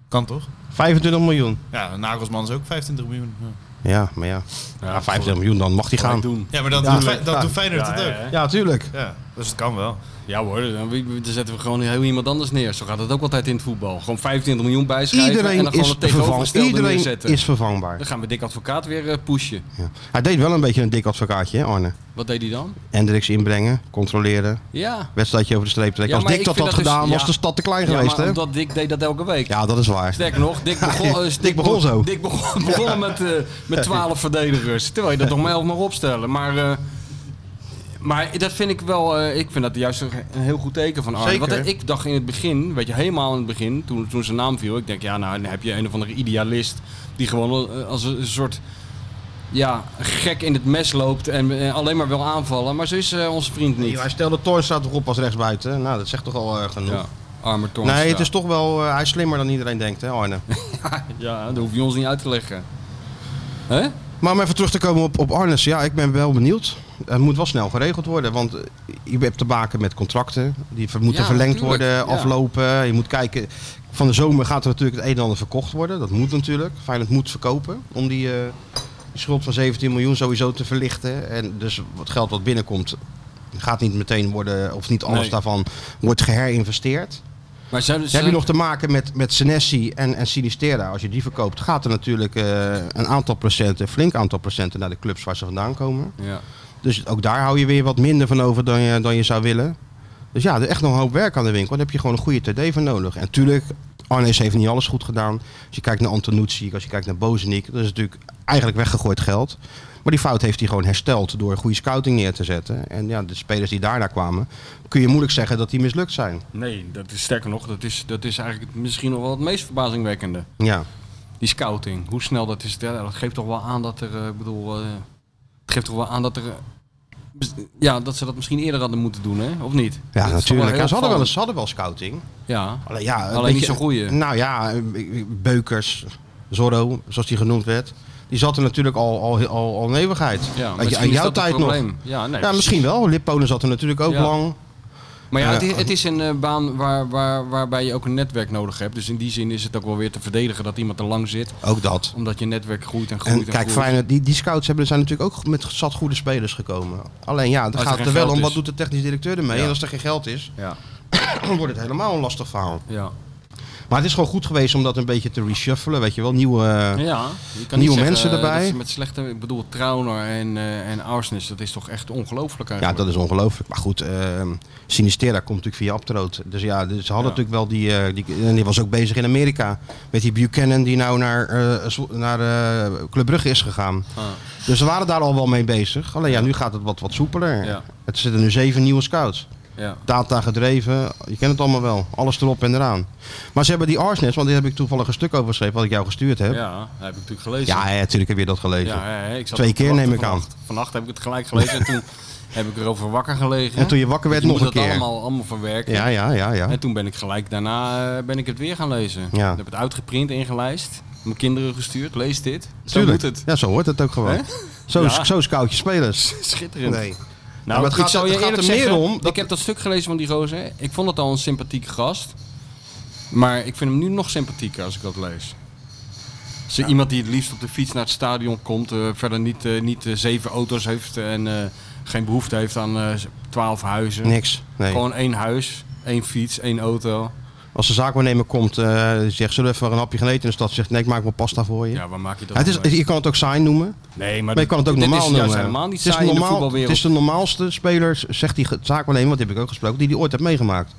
Kan toch?
25 miljoen.
Ja, Nagelsman is ook 25 miljoen. Ja,
Ja, maar ja. ja 25 miljoen, dan mag die
Gaan
gaan.
doen.
Ja, maar dat,
Ja,
doet, Fey-
ja.
dat doet Feyenoord het ook.
hè?
Ja, tuurlijk.
Ja, dus het kan wel.
ja hoor, dan, wie- wie- dan zetten we gewoon heel iemand anders neer. Zo gaat het ook altijd in het voetbal. Gewoon 25 miljoen bijschrijven en
Iedereen
dan gewoon
is,
het
vervang,
tegenovergestelde
Iedereen
neerzetten.
is vervangbaar.
Dan gaan we dik advocaat weer eh, pushen.
Ja. Hij deed wel een beetje een dik advocaatje, hè, Arne.
Wat deed hij dan?
Hendricks inbrengen, controleren,
Ja.
wedstrijdje over de streep trekken.
Ja,
Als
maar
Dick
ik
dat had
vind dat dus-
gedaan, was
ja.
de stad te klein
Ja,
geweest,
maar
hè?
omdat Dick deed dat elke week.
Ja, dat is waar.
Sterker
*laughs*
nog, Dick begon,
Ja,
eh,
Dick begon
be-
zo.
Dick begon, begon met, eh, met 12 verdedigers. Terwijl je dat nog maar 11 mag opstellen. Maar, eh, maar dat vind ik wel. eh, ik vind dat juist een, een heel goed teken van Arne.
Zeker.
Want eh, ik dacht in het begin, weet je, helemaal in het begin, toen, toen zijn naam viel, ik denk, ja, nou dan heb je een of andere idealist die gewoon eh, als een, een soort. Ja, gek in het mes loopt en eh, alleen maar wil aanvallen. Maar zo is eh, onze vriend
Nee,
niet.
hij stelde Toornstra toch op als rechtsbuiten. Nou, dat zegt toch al eh, genoeg.
Ja, arme Toornstra.
Nee, het is toch wel... eh, hij is slimmer dan iedereen denkt, hè, Arne?
Ja, dat hoef je ons niet uit te leggen. Hè?
Maar om even terug te komen op, op Arnes, ja, ik ben wel benieuwd. Het moet wel snel geregeld worden, want eh, je hebt te maken met contracten. Die ver- moeten
Ja,
verlengd
natuurlijk,
worden,
ja.
aflopen. Je moet kijken, van de zomer gaat er natuurlijk het een en ander verkocht worden. Dat moet natuurlijk. Feyenoord moet verkopen om die, eh, die schuld van 17 miljoen sowieso te verlichten. En dus het geld wat binnenkomt gaat niet meteen worden, of niet alles
Nee.
daarvan wordt geherinvesteerd.
Maar zouden ze-
Heb je nog te maken met, met Senesi en, en Sinistera? Als je die verkoopt, gaat er natuurlijk eh, een aantal procenten, een flink aantal procenten naar de clubs waar ze vandaan komen.
Ja.
Dus ook daar hou je weer wat minder van over dan je, dan je zou willen. Dus ja, er is echt nog een hoop werk aan de winkel. Dan heb je gewoon een goede TD voor nodig. En natuurlijk, Arnees heeft niet alles goed gedaan. Als je kijkt naar Antonucci, als je kijkt naar Bozenik, dat is natuurlijk eigenlijk weggegooid geld. Maar die fout heeft hij gewoon hersteld door goede scouting neer te zetten. En ja, de spelers die daarna kwamen, kun je moeilijk zeggen dat die mislukt zijn.
Nee, dat is sterker nog, dat is, dat is eigenlijk het- misschien nog wel het meest verbazingwekkende.
Ja.
Die scouting, hoe snel dat is. ja, Dat geeft toch wel aan dat er, eh, ik bedoel, eh, het geeft toch wel aan dat er, eh, bes- ja, dat ze dat misschien eerder hadden moeten doen, hè? Of niet?
Ja,
Dat is toch
natuurlijk.
heel
Ja, ze, hadden wel,
opvallend.
ze hadden wel scouting.
Ja,
Alleen, ja, een
Alleen niet zo'n goeie.
Nou ja, Beukers, Zorro, zoals die genoemd werd. Die zat er natuurlijk al, al, al, al een eeuwigheid.
ja
Uit,
misschien
uit
is
jouw
dat het
tijd nog.
probleem. Ja, nee,
Ja, misschien wel. Lipponen zat er natuurlijk ook
Ja.
lang.
Maar ja,
Eh,
het is, het is een eh, baan waar, waar, waarbij je ook een netwerk nodig hebt. Dus in die zin is het ook wel weer te verdedigen dat iemand er lang zit.
Ook dat.
Omdat je netwerk groeit en groeit
En
en,
kijk,
groeit.
Feyenoord, die, die scouts hebben, zijn natuurlijk ook met zat goede spelers gekomen. Alleen ja, het
Als er
gaat
geen
er wel
geld
om, wat
is.
doet de technisch directeur ermee?
Ja.
En als er geen geld is,
Ja,
*coughs* dan wordt het helemaal een lastig verhaal.
ja.
Maar het is gewoon goed geweest om dat een beetje te reshuffelen, weet je wel. Nieuwe, eh,
Ja, je kan
Nieuwe
niet zeggen eh,
mensen erbij.
dat ze Met slechte, ik bedoel, Trauner en, eh en Arsnes, dat is toch echt ongelooflijk
Ja,
eigenlijk.
dat is ongelooflijk. Maar goed, ehm Sinistera komt natuurlijk via Abtroot. Dus ja, dus ze hadden
Ja.
natuurlijk wel die, eh, die... En die was ook bezig in Amerika. Met die Buchanan die nou naar, eh, Zwo- naar eh, Club Brugge is gegaan.
Ah.
Dus ze waren daar al wel mee bezig. Alleen ja, nu gaat het wat, wat soepeler.
Ja.
Het zitten nu zeven nieuwe scouts.
Ja.
Data gedreven, je kent het allemaal wel. Alles erop en eraan. Maar ze hebben die Arsnes, want daar heb ik toevallig een stuk over geschreven... wat ik jou gestuurd heb. Ja,
Ja, dat heb ik natuurlijk gelezen.
ja, natuurlijk heb je dat gelezen.
Ja, ja, ja, ik zat
Twee
op te
keer
wachten
neem ik aan.
Vannacht, vannacht heb ik het gelijk gelezen en
*laughs*
toen heb ik erover wakker gelegen.
En toen je wakker werd,
Je
nog
moet
een
dat
keer.
allemaal, allemaal verwerken.
Ja, ja, ja, ja.
En toen ben ik gelijk daarna eh, ben ik het weer gaan lezen.
Ja.
Ik heb het uitgeprint, ingelijst. Mijn kinderen gestuurd, lees dit. Zo
Tuurlijk.
moet het. *laughs*
Ja, zo hoort het ook gewoon.
Hè?
Zo,
Ja.
zo scout je spelers.
Schitterend.
Nee.
Nou,
Maar het
ik
gaat-
zou je
het gaat
eerlijk
er meer
zeggen,
om dat-
ik heb dat stuk gelezen van die gozer. Ik vond het al een sympathieke gast. Maar ik vind hem nu nog sympathieker als ik dat lees. Is er Iemand die het liefst op de fiets naar het stadion komt. eh, verder niet, eh, niet eh, zeven auto's heeft en eh, geen behoefte heeft aan eh, twaalf huizen.
Niks. Nee.
Gewoon één huis, één fiets, één auto.
Als de zaakwaarnemer komt, eh, die zegt, zullen we even een hapje gaan eten in de stad? Zegt, nee, ik maak wel pasta voor je.
Ja, waar maak je dat
het is,
nou mee?
je kan het ook saai noemen,
Nee, maar,
maar je kan het ook
dit
normaal
is juist
noemen.
helemaal niet
het, is
saai in de
normaal, het
voetbalwereld.
is de normaalste speler, zegt die ge- zaakwaarnemer, want die heb ik ook gesproken, die die ooit heeft meegemaakt.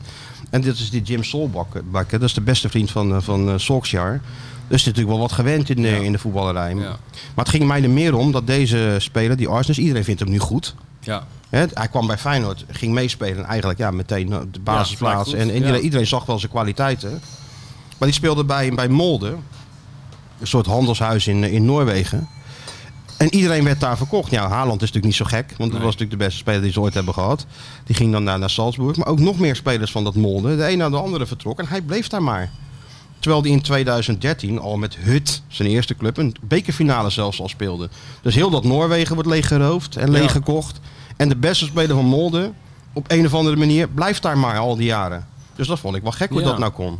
En dit is die Jim Solbak, Bak, hè, dat is de beste vriend van, eh, van eh, Solskjaer. Dus het is natuurlijk wel wat gewend in, de- in de voetballerij.
Ja.
Maar het ging mij er meer om dat deze speler, die Arsenal, iedereen vindt hem nu goed.
Ja.
Hè, hij kwam bij Feyenoord, ging meespelen. Eigenlijk ja, meteen op de
gelijk
basisplaats.
goed,
en en
ja.
iedereen, iedereen zag wel zijn kwaliteiten. Maar die speelde bij, bij Molde. Een soort handelshuis in, eh, in Noorwegen. En iedereen werd daar verkocht. Ja, Haaland is natuurlijk niet zo gek. Want dat was natuurlijk de beste speler die ze ooit hebben gehad. Die ging dan naar, naar Salzburg. Maar ook nog meer spelers van dat Molde. De een naar de andere vertrok. En hij bleef daar maar. Terwijl hij in 2013 al met Hut, zijn eerste club, een bekerfinale zelfs al speelde. Dus heel dat Noorwegen wordt leeggeroofd en leeggekocht. En de beste speler van Molde, op een of andere manier, blijft daar maar al die jaren. Dus dat vond ik wel gek hoe
Ja.
dat nou kon.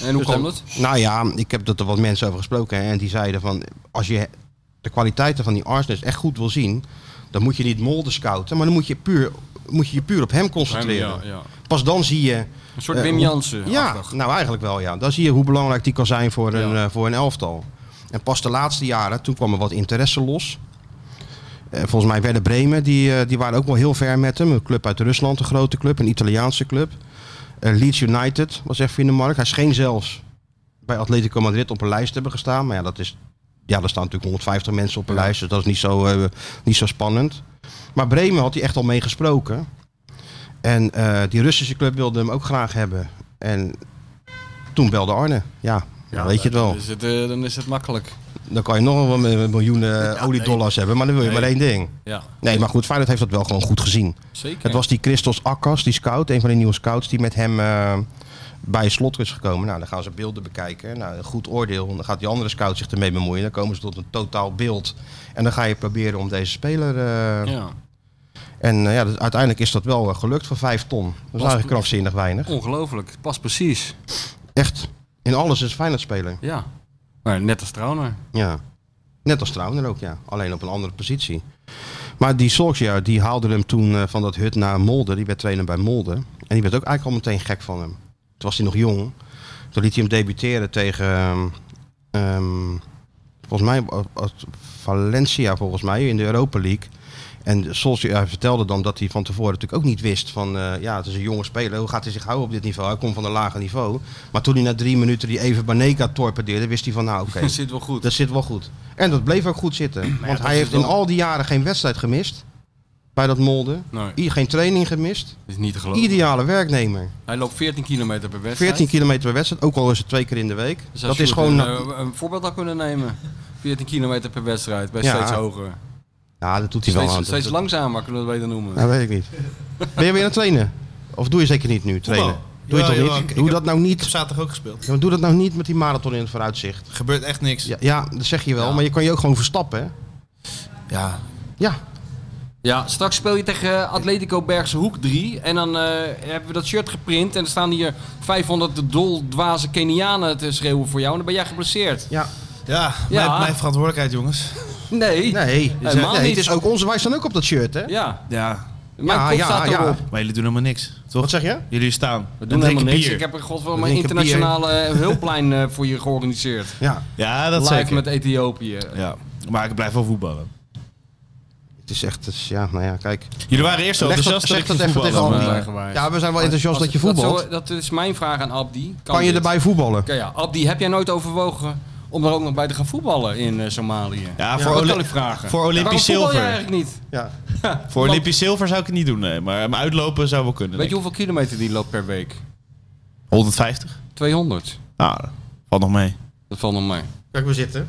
En hoe
Dus dan-
kwam dat?
Nou ja, ik heb dat er wat mensen over gesproken. Hè, en die zeiden van, als je de kwaliteiten van die Arsenis echt goed wil zien... dan moet je niet Molde scouten, maar dan moet je, puur, moet je je puur op hem concentreren.
Ja, ja.
Pas dan zie je...
Een soort
eh,
Wim
hoe-
Jansen.
Ja, nou eigenlijk wel ja. Dan zie je hoe belangrijk die kan zijn voor een,
Ja.
eh, voor een elftal. En pas de laatste jaren, toen kwam er wat interesse los... Eh, volgens mij Werder Bremen, die, eh, die waren ook wel heel ver met hem. Een club uit Rusland, een grote club, een Italiaanse club. Eh, Leeds United was even in de markt. Hij scheen zelfs bij Atletico Madrid op een lijst te hebben gestaan. Maar ja, dat is, ja er staan natuurlijk 150 mensen op een lijst, dus dat is niet zo, eh, niet zo spannend. Maar Bremen had hij echt al mee gesproken. En eh, die Russische club wilde hem ook graag hebben. En toen belde Arne. Ja, dan weet je het wel.
Dan is het, eh, dan is het makkelijk.
Dan kan je nog wel met miljoenen oliedollars hebben, maar dan wil je maar één ding.
Ja,
Nee, maar goed, Feyenoord heeft dat wel gewoon goed gezien.
zeker.
Het was die Christos Akkas, die scout, een van de nieuwe scouts, die met hem eh, bij slot is gekomen. Nou, dan gaan ze beelden bekijken. Nou, een goed oordeel. En Dan gaat die andere scout zich ermee bemoeien. Dan komen ze tot een totaal beeld. En dan ga je proberen om deze speler. eh,
ja.
En eh, ja, dat- uiteindelijk is dat wel eh, gelukt voor vijf ton. Dat is eigenlijk krankzinnig weinig.
Ongelooflijk. Het Past precies.
Echt. In alles is Feyenoord speler.
Ja. Maar net als Trauner.
Ja. Net als Trauner ook, ja. Alleen op een andere positie. Maar die Solskjaer, die haalde hem toen eh, van dat hut naar Molde. Die werd trainer bij Molde. En die werd ook eigenlijk al meteen gek van hem. Toen was hij nog jong. Toen liet hij hem debuteren tegen... ehm, ehm, volgens mij eh, eh, Valencia, volgens mij, in de Europa League. En Solskjaer vertelde dan dat hij van tevoren natuurlijk ook niet wist van... eh, ja, het is een jonge speler. Hoe gaat hij zich houden op dit niveau? Hij komt van een lager niveau. Maar toen hij na drie minuten die even Baneka torpedeerde... wist hij van, nou oké,
*laughs* Dat zit wel goed.
dat zit wel goed. En dat bleef ook goed zitten. want
dat
hij
is
heeft in
wel-
al die jaren geen wedstrijd gemist. Bij dat molde.
Nee, dat
I- Geen training gemist.
Nou, is niet te geloven.
Ideale werknemer.
Hij loopt 14 kilometer per wedstrijd.
14 kilometer per wedstrijd. Ook al is het twee keer in de week.
Dus als
dat
je
is
moet
gewoon...
Een, eh, een voorbeeld had kunnen nemen. 14 kilometer per wedstrijd. Bij
Ja.
steeds hoger.
Ja, dat doet hij wel.
Steeds,
aan.
steeds langzamer kunnen we het beter noemen.
Dat weet ik niet. Ben je weer aan het trainen? Of doe je zeker niet nu, trainen?
Voetbal.
Doe je
Ja,
toch
jawel,
niet?
ik-
Doe
ik
dat nou
Ik
niet.
heb zaterdag ook gespeeld.
Ja, maar Doe dat nou niet met die marathon in het vooruitzicht.
Gebeurt echt niks.
Ja, ja dat zeg je wel. Maar je kan je ook gewoon verstappen, hè?
Ja.
Ja.
Ja, straks speel je tegen eh, Atletico Bergse Hoek 3. En dan eh, hebben we dat shirt geprint. En er staan hier 500 doldwaze Kenianen te schreeuwen voor jou. En dan ben jij geblesseerd.
ja.
Ja,
Ja.
Mijn, mijn verantwoordelijkheid, jongens.
Nee.
Nee.
Helemaal
nee. Het
niet.
is ook onze. Wij staan ook op dat shirt, hè?
Ja.
Ja.
Mijn
Ja,
kop
ja,
staat
ja.
erop.
Maar jullie doen helemaal niks, toch?
Wat zeg je?
Jullie staan.
We
en
doen
drinken
helemaal niks.
bier.
Ik heb er godverdomme
We
een
drinken bier.
internationale eh, hulplijn eh, voor je georganiseerd.
*laughs* Ja.
Ja, dat
Live
zeker.
met Ethiopië.
Ja. Maar ik blijf wel voetballen.
Het is echt, het is- ja, nou ja, kijk.
Jullie waren eerst zo
Leg dat-
enthousiast
zeg
ik
dat
ging
even
voetballen,
tegen
maar-
Aldi. Eigenwijs.
Ja, we zijn wel enthousiast
Als-
dat je
dat
voetbalt.
zo- Dat, is mijn vraag aan Abdi.
kan je
dit?
erbij voetballen?
Oké, ja, Abdi, heb jij nooit overwogen om er ook nog bij te gaan voetballen in eh, Somalië?
Ja,
dat
voor, Oli-
kan ik vragen.
voor
Waarom
Olympisch
voetbal je
zilver.
eigenlijk niet?
Ja.
Voor Olympisch zilver zou ik het niet doen, nee. Maar maar uitlopen zou wel kunnen.
Weet je
denk
hoeveel kilometer die loopt per week?
ik. 150?
200.
Nou, valt nog mee.
Dat valt nog
*laughs*
mee.
Kijk, we zitten.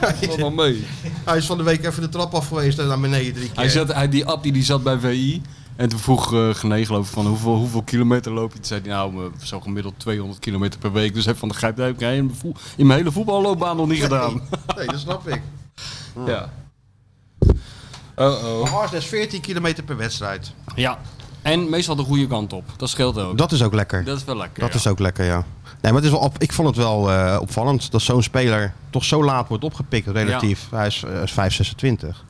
Dat valt nog mee.
Hij is van de week even de trap af geweest en naar beneden drie keer.
Hij zat, hij, die Abdi die zat bij VI. En toen vroeg eh Gené geloof ik van hoeveel, hoeveel kilometer loop je? Toen zei hij nou eh, zo gemiddeld 200 kilometer per week. Dus hij van de grijp heb ik in mijn vo- in mijn hele voetballoopbaan nog niet gedaan.
Nee, dat snap ik.
Ja. Oh oh.
Maar Arsenal is 14 kilometer per wedstrijd.
Ja, en meestal de goede kant op. Dat scheelt ook.
Dat is ook lekker.
Dat is wel lekker.
Dat
ja.
is ook lekker, ja. Nee, maar het is wel op, ik vond het wel eh, opvallend dat zo'n speler toch zo laat wordt opgepikt relatief. Hij is, eh, is 5, 26.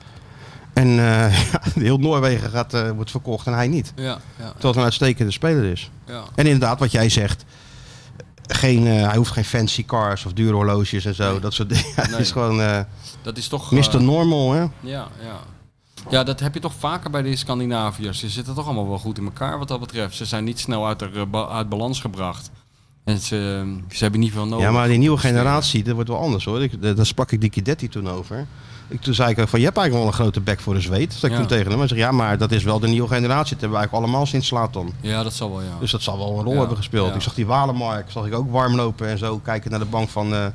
En eh, *laughs* ja, heel Noorwegen gaat, eh, wordt verkocht en hij niet.
Ja, ja,
Terwijl het een uitstekende speler is.
ja.
En inderdaad, wat jij zegt. Geen, eh, hij hoeft geen fancy cars of dure horloges en zo. Dat soort dingen. *laughs* Hij
Nee.
is gewoon eh
Dat is toch... eh, Oh,
Mr. Normal, hè?
ja, ja. Ja, dat heb je toch vaker bij de Scandinaviërs. Ze zitten toch allemaal wel goed in elkaar wat dat betreft. Ze zijn niet snel uit, de, eh, uit balans gebracht. En ze, ze hebben niet veel nodig.
Ja, maar die nieuwe generatie, dat wordt wel anders hoor. Ik, eh, daar daar sprak ik die Kidetti toen over. Ik, toen zei ik ook van, je hebt eigenlijk wel een grote bek voor de zweet. Zei ik
Ja.
toen tegen hem. Hij zegt, ja, maar dat is wel de nieuwe generatie. Dat hebben we eigenlijk allemaal sinds Slatan.
Ja, dat zal wel, ja.
Dus dat zal wel een rol
Ah. Ja,
hebben gespeeld.
ja.
Ik zag die Walemark, zag ik ook warm lopen en zo. Kijken naar de bank van... eh,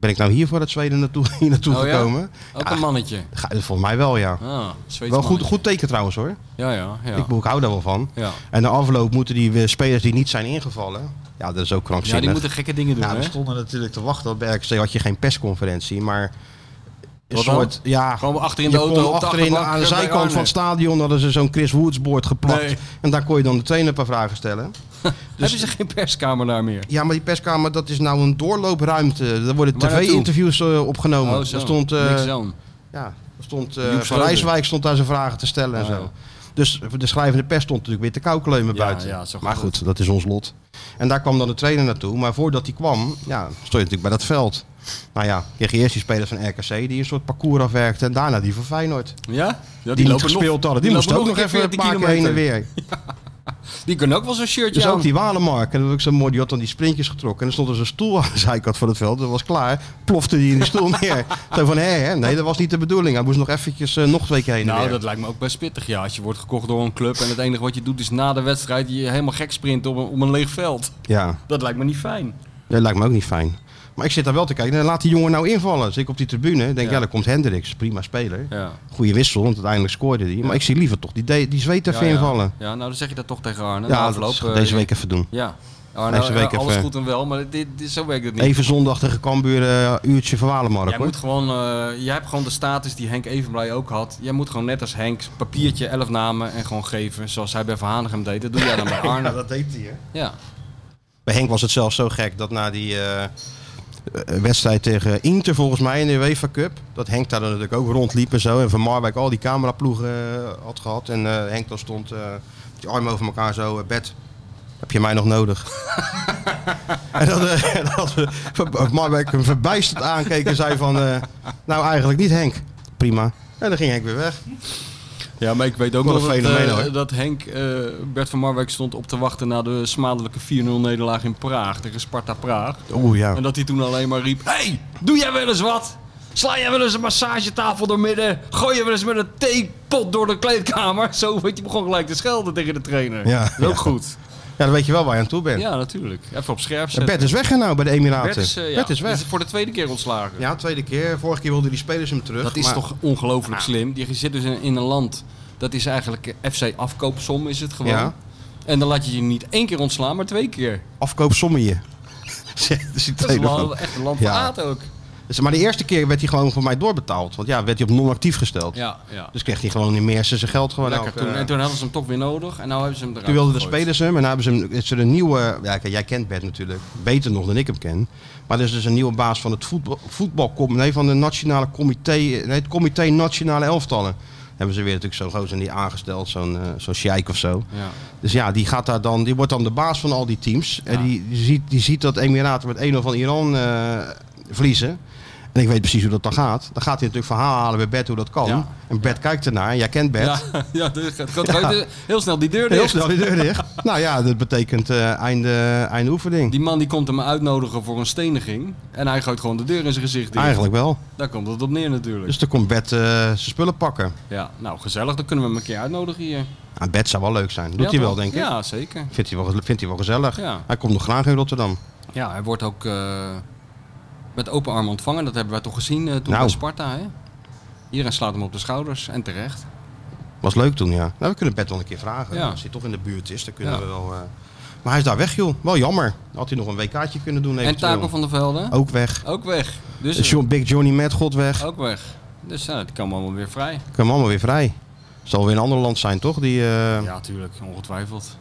Ben ik nou hier voor het Zweden naartoe, *laughs* hier naartoe
Oh ja?
gekomen?
Ook
Ja.
een mannetje.
Ga- Volgens mij wel, ja.
Ah, Zweeds
Ah. Wel goed,
mannetje.
goed teken trouwens hoor.
Ja, ja, ja.
Ik, bedoel, ik hou daar wel van.
ja.
En de afloop moeten die eh, spelers die niet zijn ingevallen. Ja, dat is ook krankzinnig.
ja, die moeten gekke dingen doen,
Nou, we
hè?
stonden natuurlijk te wachten. Op RKC had je geen persconferentie, maar een
Wat dan?
soort ja,
Gewoon achterin
je
de auto,
kon
op de
achterin
achterbank, eh,
aan de
bij
zijkant van
Arne.
het stadion hadden ze zo'n Chris Woods board geplakt
Nee.
en daar kon je dan de trainer een paar vragen stellen.
Hebben ze geen perskamer daar meer?
Ja, maar die perskamer dat is nou een doorloopruimte. Daar worden
Waar naartoe?
tv-interviews eh, opgenomen.
Oh,
daar
zo.
stond eh,
Niks aan.
ja, daar stond eh,
Joep
van
Schreuder.
Rijswijk stond daar zijn vragen te stellen en
Ah,
zo. Dus de schrijvende pers stond natuurlijk weer te kauwkleumen
Ja,
buiten.
ja, zo gaat
maar goed, dat is ons lot. En daar kwam dan de trainer naartoe. Maar voordat die kwam, ja, stond je natuurlijk bij dat veld. Nou ja, kreeg je eerst die spelers van RKC die een soort parcours afwerkte. En daarna die van Feyenoord. Die,
Ja? ja die,
niet gespeeld hadden. Die, moesten ook nog even een paar keer heen en weer.
Die kunnen ook wel zo'n shirtje
Dus
aan.
ook die Walenmark. En dat was ook zo mooi. Die had dan die sprintjes getrokken. En er stond dus een stoel aan de zijkant van het veld. Dat was klaar. Plofte die in die
*laughs*
stoel neer. Zo van, hé, hè, nee, dat was niet de bedoeling. Hij moest nog eventjes eh, nog twee keer heen en
Nou,
weer.
dat lijkt me ook best pittig. Ja, als je wordt gekocht door een club en het enige wat je doet is na de wedstrijd je helemaal gek sprinten op een, om een leeg veld.
Ja,
Dat lijkt me niet fijn.
dat lijkt me ook niet fijn. Maar ik zit daar wel te kijken. En laat die jongen nou invallen. Zit ik op die tribune. Denk,
Ja.
ja, daar komt Hendricks. Prima speler.
Ja.
Goeie wissel, want uiteindelijk scoorde die. Maar ik zie liever toch die, de- die zweet even
ja, ja.
invallen.
Ja, nou dan zeg je dat toch tegen Arne.
Ja,
na
dat
afloop,
is-
eh,
deze week even doen.
Ja. Arne,
Deze week
eh, alles
even-
goed en wel, maar dit, dit, zo werkt het niet.
Even zondag tegen Cambuur, eh, uurtje van Walenmark.
Jij,
hoor.
moet gewoon, eh, jij hebt gewoon de status die Henk Evenblij ook had. Jij moet gewoon net als Henk papiertje, elf namen en gewoon geven. Zoals hij bij Verhanigem deed. Dat doe jij dan
*laughs*
bij Arne.
dat deed hij, hè?
Ja.
Bij Henk was het zelfs zo gek dat na die eh, eh, wedstrijd tegen Inter, volgens mij in de UEFA Cup, dat Henk daar dan natuurlijk ook rondliep en zo. En Van Marwijk al die cameraploegen eh, had gehad. En eh, Henk dan stond eh, met die armen over elkaar zo, eh, bed. Heb je mij nog nodig? *laughs* en dat, eh, *laughs* dat we- Van Marwijk hem verbijsterd aankeek en zei van... eh, nou, eigenlijk niet Henk. Prima. En dan ging Henk weer weg.
ja, maar ik weet ook
Wat
nog
een
dat,
fenomeen,
eh,
hoor.
dat Henk eh, Bert van Marwijk stond op te wachten na de smadelijke 4-0 nederlaag in Praag. Tegen Sparta Praag.
Oeh, ja.
En dat hij toen alleen maar riep: hey, doe jij wel eens wat? Sla jij wel eens een massagetafel door midden? Gooi je wel eens met een theepot door de kleedkamer? *laughs* Zo, weet je, begon gelijk te schelden tegen de trainer.
Ja.
Dat is ook
Ja.
goed.
Ja, dan weet je wel waar je aan toe bent.
Ja, natuurlijk. Even op scherp zetten.
Bert is weg hè, nou bij de Emiraten.
Bert is, eh, ja,
Bert is weg.
is voor de tweede keer ontslagen.
Ja, tweede keer. Vorige keer wilden die spelers hem terug.
dat is
maar-
toch ongelooflijk slim. Je zit dus in, in een land, dat is eigenlijk eh, FC afkoopsom is het gewoon.
Ja.
En dan laat je je niet één keer ontslaan, maar twee keer.
Afkoop *laughs* sommige. Zegt de
Dat is
telefoon.
wel echt een land van
Ja.
aard ook.
Dus- Maar de eerste keer werd hij gewoon voor mij doorbetaald. Want ja, werd hij op non-actief gesteld.
Ja, ja.
Dus kreeg hij gewoon in Meersen zijn geld gewoon
Lekker
elke-
toen. En toen hadden ze hem toch weer nodig. En nu hebben ze hem eruit
eh, Toen wilden de
gegooid.
spelers hem en nou hebben ze, hem, is er een nieuwe... Ja, kijk, jij kent Bert natuurlijk beter nog dan ik hem ken. Maar er is dus een nieuwe baas van het voetbal, voetbalcom... Nee, van de nationale comité... Nee, het comité Nationale Elftallen. Hebben ze weer natuurlijk zo'n gozer niet aangesteld. Zo'n eh zo'n sheik of zo.
Ja.
Dus ja, die, gaat daar dan, die wordt dan de baas van al die teams. En die, die, ziet, die ziet dat Emiraten met 1-0 van Iran eh, verliezen. En ik weet precies hoe dat dan gaat. Dan gaat hij natuurlijk verhaal halen bij Bert hoe dat kan.
Ja.
En Bert kijkt ernaar. Jij kent Bert.
Ja, *laughs* ja dat gaat gaat buiten- heel snel die deur
*laughs*
dicht.
Heel snel die deur
*laughs*
dicht. nou ja, dat betekent eh, einde, einde oefening.
Die man die komt hem uitnodigen voor een steniging. En hij gooit gewoon de deur in zijn gezicht dicht.
Eigenlijk wel.
Daar komt het op neer natuurlijk.
Dus dan komt Bert eh, zijn spullen pakken.
Ja, nou gezellig. Dan kunnen we hem een keer uitnodigen hier.
Nou, Bert zou wel leuk zijn. Doet
Ja,
hij wel,
toch?
denk ik.
Ja, zeker.
Vindt, hij wel, vindt hij wel gezellig.
Ja.
Hij komt nog graag in Rotterdam.
Ja, hij wordt ook eh, met open armen ontvangen. Dat hebben wij toch gezien eh, toen
Nou.
bij Sparta. Hè? Iedereen slaat hem op de schouders. En terecht.
Was leuk toen, ja. Nou, we kunnen Bert wel een keer vragen.
Ja.
Als hij toch in de buurt is, dan kunnen
Ja.
we wel... eh, Maar hij is daar weg, joh. Wel jammer. Had hij nog een WK'tje kunnen doen
En
eventueel.
Taco van der Velde?
Ook weg.
Ook weg. Dus eh,
John, Big Johnny Madgod weg.
ook weg. Dus ja, die kan allemaal weer vrij.
Ik hem allemaal weer vrij. Zal weer een ander land zijn, toch? Die, eh,
Ja, tuurlijk. Ongetwijfeld.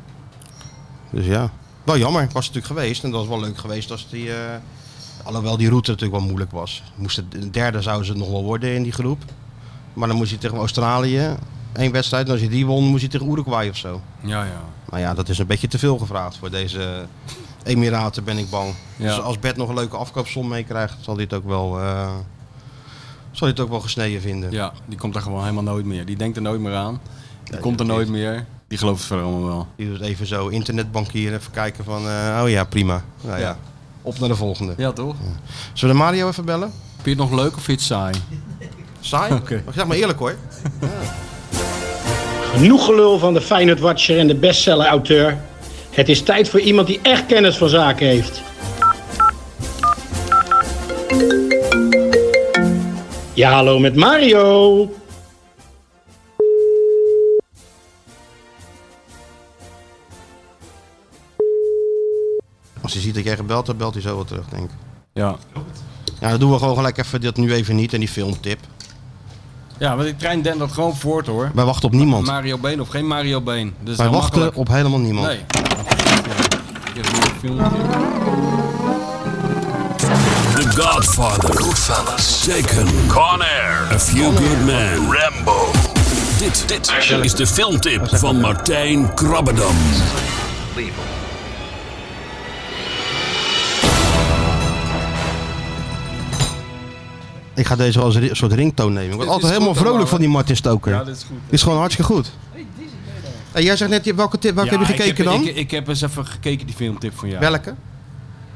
Dus ja. Wel jammer. Was het natuurlijk geweest. En dat was wel leuk geweest als die... eh, Alhoewel die route natuurlijk wel moeilijk was. Moest het, een derde zouden ze het nog wel worden in die groep. Maar dan moest je tegen Australië één wedstrijd. En als je die won, moest je tegen Uruguay of zo.
Ja, ja.
Nou ja, dat is een beetje te veel gevraagd voor deze Emiraten, ben ik bang.
Ja.
Dus als Bert nog een leuke afkoopsom meekrijgt, zal hij het ook wel, eh, zal hij het ook wel gesneden vinden.
Ja, die komt er gewoon helemaal nooit meer. Die denkt er nooit meer aan. Die
Nee,
komt er
dat
nooit
is-
meer. Die gelooft het verder allemaal wel.
Die doet even zo internetbankieren, even kijken van, eh, oh ja, prima. Nou ja.
Ja.
op naar de volgende.
Ja, toch?
Zullen we Mario even bellen?
Vind je het nog leuk of vind je het saai?
Saai?
*laughs* Oké.
Maar Zeg maar eerlijk hoor.
Genoeg gelul van de Feyenoord Watcher en de bestseller auteur. Het is tijd voor iemand die echt kennis van zaken heeft. Ja, hallo met Mario.
Als hij ziet dat jij gebeld hebt, belt hij zo wel terug, denk ik.
Ja.
Ja, dan doen we gewoon gelijk even dat nu even niet en die filmtip.
ja, want ik trein Den dat gewoon voort hoor.
Wij wachten op niemand.
Mario Been of geen Mario Been. Dat is
Wij
heel
wachten
makkelijk.
op helemaal niemand.
Nee. Hier is nog een filmpje.
The Godfather. Goodfellas. Taken. Con Air. A Few Good Men. Rambo. Dit, dit is de filmtip van Martijn Krabbedam.
Ik ga deze wel als een soort ringtoon nemen. Ik word altijd helemaal vrolijk van die Martin Stoker.
Ja,
dit
dit is goed.
is gewoon hartstikke goed. En jij zegt net, je- welke tip welke
Ja,
heb je gekeken
ik heb,
dan?
Ik, ik heb eens even gekeken die filmtip van jou.
Welke?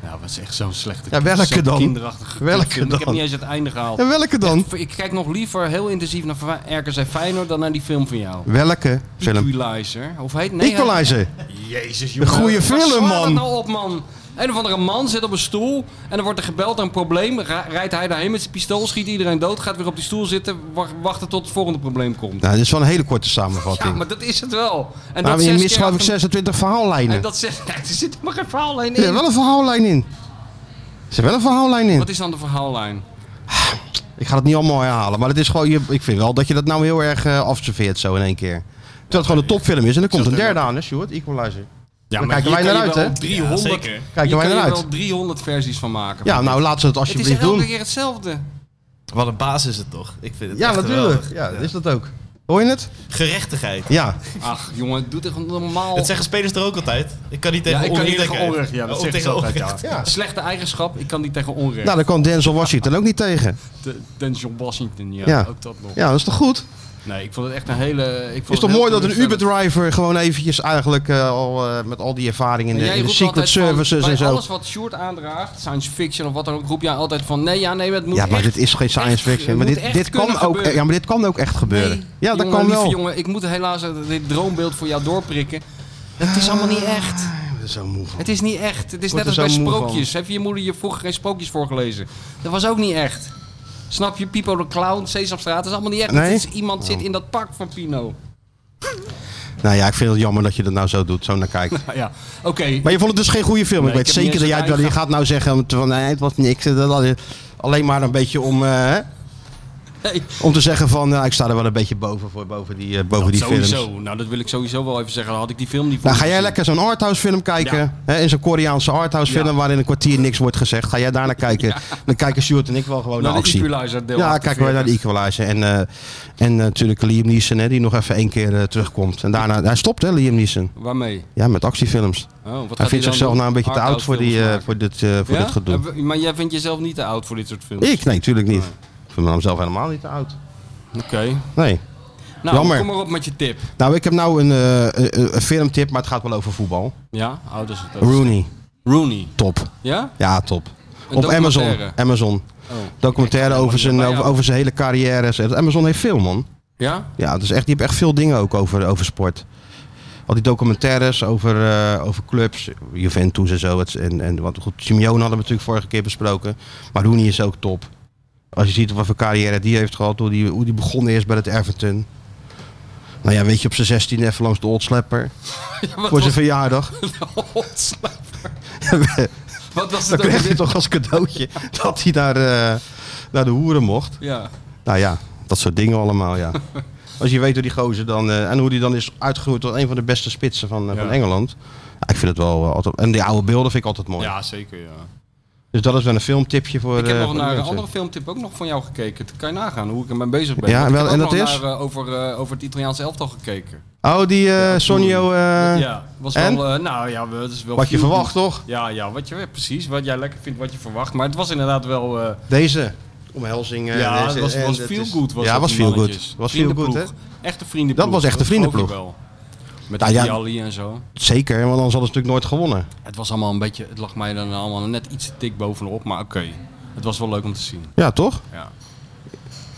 Ja, dat was echt zo'n slechte
Ja, welke
zo'n
dan?
kinderachtige
Welke
film. Ik heb
dan?
niet eens het einde gehaald.
En welke dan?
Ik kijk nog liever heel intensief naar Fa- RKC Feyenoord dan naar die film van jou.
Welke film?
Equalizer. Of heet nee,
Equalizer.
Jezus,
Een goede
Waar
film,
slaat dat
man.
nou op, man? Een of andere man zit op een stoel en dan wordt er gebeld aan een probleem. Ra- Rijdt hij daarheen met zijn pistool, schiet iedereen dood, gaat weer op die stoel zitten, wa- wachten tot het volgende probleem komt.
Nou, dit is wel een hele korte
Ja,
samenvatting.
maar dat is het wel. En
maar
dat
je
zes
mist
keer
geloof ik
achter-
26
En
verhaallijnen.
dat zes, *laughs* er zit helemaal geen verhaallijn
Er
in.
zit wel een verhaallijn in. Er zit wel een verhaallijn in.
Wat is dan de verhaallijn?
Ik ga het niet allemaal herhalen, maar het is gewoon, je, ik vind wel dat je dat nou heel erg eh afserveert zo in één keer. Terwijl het gewoon een topfilm is en er komt een derde aan, hè, Stuart? Equalizer. Ja, maar kijken wij naar uit, hè?
Ja,
300,
zeker.
Kijken
hier
wij
kan
naar
je
uit.
wel 300 versies van maken.
Ja, nou laten ze het
het is
alsjeblieft
elke
doen.
keer
*laughs*
hetzelfde.
Wat een baas is het toch? Ik vind het
Ja,
echt
natuurlijk.
geweldig.
Ja, is dat ook. Hoor je het?
Gerechtigheid.
Ja.
Ach, jongen, doe toch normaal.
Dat zeggen spelers er ook altijd. Ik kan niet
ja,
tegen
ik kan niet
onrecht.
tegen
denken.
onrecht. Ja, dat
Of
zeggen ze
tegen
altijd. Ja.
onrecht.
ja.
Slechte eigenschap, ik kan niet tegen onrecht.
Nou, daar kwam Denzel Washington ook niet tegen.
De- Denzel Washington, ja,
Ja.
ook dat nog.
Ja, dat is toch goed?
Nee, ik vond het echt een hele... Ik vond
Is
het
toch
heel
mooi dat een
teleurstellend.
Uber-driver gewoon eventjes eigenlijk eh, al eh, met al die ervaring in
En
de,
jij
in de
roept
secret
altijd van,
services
bij
en zo.
alles wat Short aandraagt, science fiction of wat dan ook, roep jij altijd van... Nee, ja, nee, maar het moet
Ja, maar
echt-
dit is geen science
echt-
fiction.
het
Maar
moet
dit,
echt
dit kan
kunnen
ook,
gebeuren.
ja, maar dit kan ook echt gebeuren.
Nee.
ja, dat
Jongen,
kan
lieve
wel.
jongen, ik moet helaas eh, dit droombeeld voor jou doorprikken. Het is allemaal niet echt.
Ik ben zo moe van.
Het is niet echt. Het is
word
net als
er
bij
zo moe van.
sprookjes. Heb je je moeder je vroeger geen sprookjes voorgelezen? Dat was ook niet echt. Snap je? Pipo de Clown, Sesamstraat, dat is allemaal niet echt.
Nee? Oh.
Het is, iemand zit in dat pak van Pino. *laughs*
Nou ja, ik vind het jammer dat je dat nou zo doet, zo naar kijkt.
Nou ja, oké.
Maar je vond het dus geen goede film.
Nee,
ik weet
ik heb niet
zeker dat jij
eens een
het wel- je gaat nou zeggen van nee, het was niks. Dat had je- alleen maar een beetje om, eh, hè,
Hey,
om te zeggen van nou, ik sta er wel een beetje boven voor boven die, eh, boven die films.
sowieso. Nou, dat wil ik sowieso wel even zeggen. Dan had ik die film
Nou,
niet voor
ga jij
gezien.
lekker zo'n arthouse film kijken,
Ja.
hè, in zo'n Koreaanse arthouse film
Ja.
waarin een kwartier niks wordt gezegd. Ga jij daar naar kijken? Dan kijken Stuart en ik wel gewoon naar,
Naar de
actie.
Equalizer deel
ja,
48.
kijken wij naar de Equalizer. En, eh, en eh, natuurlijk Liam Neeson, hè, die nog even één keer eh, terugkomt. En daarna, hij stopt hè, Liam Neeson.
Waarmee?
Ja, met actiefilms.
Oh, wat gaat
Hij vindt
dan
zichzelf
doen?
nou een beetje te oud voor, die, eh,
Arthouse films
voor, dit, eh, voor
maken.
dit gedoe.
Ja? Maar jij vindt jezelf niet te oud voor dit soort films?
Ik? Nee, natuurlijk niet. Ik vind mezelf helemaal niet te oud.
Oké.
Nee.
Nou,
Jammer.
kom maar op met je tip.
Nou, ik heb nou een, eh, eh, een filmtip, maar het gaat wel over voetbal.
Ja, ouders het ook.
Rooney,
Rooney.
top.
Ja?
Ja, top.
Een
Op Amazon.
documentaire.
Amazon.
Oh.
Documentaire over zijn,
bij
over,
jou.
over zijn hele carrière. Amazon heeft veel, man. *laughs*
Ja?
Ja, het is echt, die hebben echt veel dingen ook over, over sport. Al die documentaires over, eh, over clubs, Juventus en zo. Het, en, en, want goed, Simeone hadden we natuurlijk vorige keer besproken. Maar Rooney is ook top. Als je ziet wat voor carrière die heeft gehad, hoe die, hoe die begonnen is bij het Everton. Nou ja, weet je, op zijn 16 even langs de Old
*laughs*
Slapper. voor zijn verjaardag. *laughs*
Wat was
Dan
het ook
kreeg hij
alweer?
toch als cadeautje dat hij naar, eh, naar de hoeren mocht.
Ja.
Nou ja, dat soort dingen allemaal,
*laughs*
ja. Als je weet hoe die gozer dan... eh, en hoe die dan is uitgegroeid tot een van de beste spitsen van, eh,
Ja.
van Engeland. Ja, ik vind het wel eh, altijd... En die oude beelden vind ik altijd mooi.
ja, zeker ja.
Dus dat is wel een filmtipje voor...
Ik heb
eh,
nog
voor de
naar een
mensen.
andere filmtip ook nog van jou gekeken. Dat kan je nagaan hoe ik ermee bezig ben.
Ja,
Want ik
wel,
heb
en
ook
dat
nog
is?
Naar, eh, over, eh, over het Italiaanse elftal gekeken.
Oh, die eh Sonio... eh,
ja, was
en?
wel... eh, nou ja, we- dat is wel...
Wat je
feel-
verwacht, toch?
Ja, ja, wat je, ja, precies. Wat jij lekker vindt, wat je verwacht. Maar het was inderdaad wel... eh,
Deze omhelzing. eh,
ja, het
deze-
was,
en
was
het
feel
is-
good. Was
ja,
dat,
was
die
feel
mannetjes.
good. Was feel good, hè?
Vriendenploeg. Echt een vriendenploeg.
Dat was echt een
geloof ik
vriendenploeg.
wel. Met
Nou ja,
Vialli en zo.
Zeker, want anders hadden ze natuurlijk nooit gewonnen.
Het was allemaal een beetje... Het lag mij dan allemaal net iets te dik bovenop. Maar oké. Het was wel leuk om te zien.
Ja, toch?
Ja.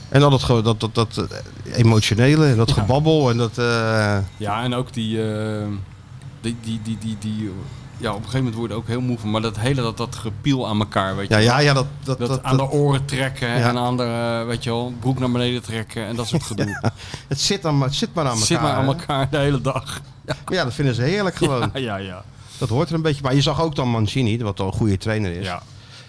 En dan dat, ge- dat, dat, dat eh, emotionele, dat gebabbel en dat... eh,
Ja, en ook die, eh, die, die, die, die, die ja, op een gegeven moment word je er ook heel moe van. Maar dat hele dat, dat gepiel aan elkaar, weet je.
Ja, ja, ja, dat... dat,
dat,
dat-
aan de oren trekken
Ja.
en aan de, eh, weet je wel, broek naar beneden trekken en dat soort gedoe.
het, zit aan, het zit maar *laughs* aan elkaar.
Zit maar aan
hè? Oh.
elkaar de hele dag.
Maar ja, dat vinden ze heerlijk gewoon.
*laughs* Ja, ja, ja.
Dat hoort er een beetje bij. Je zag ook dan Mancini, wat al een goede trainer is.
ja.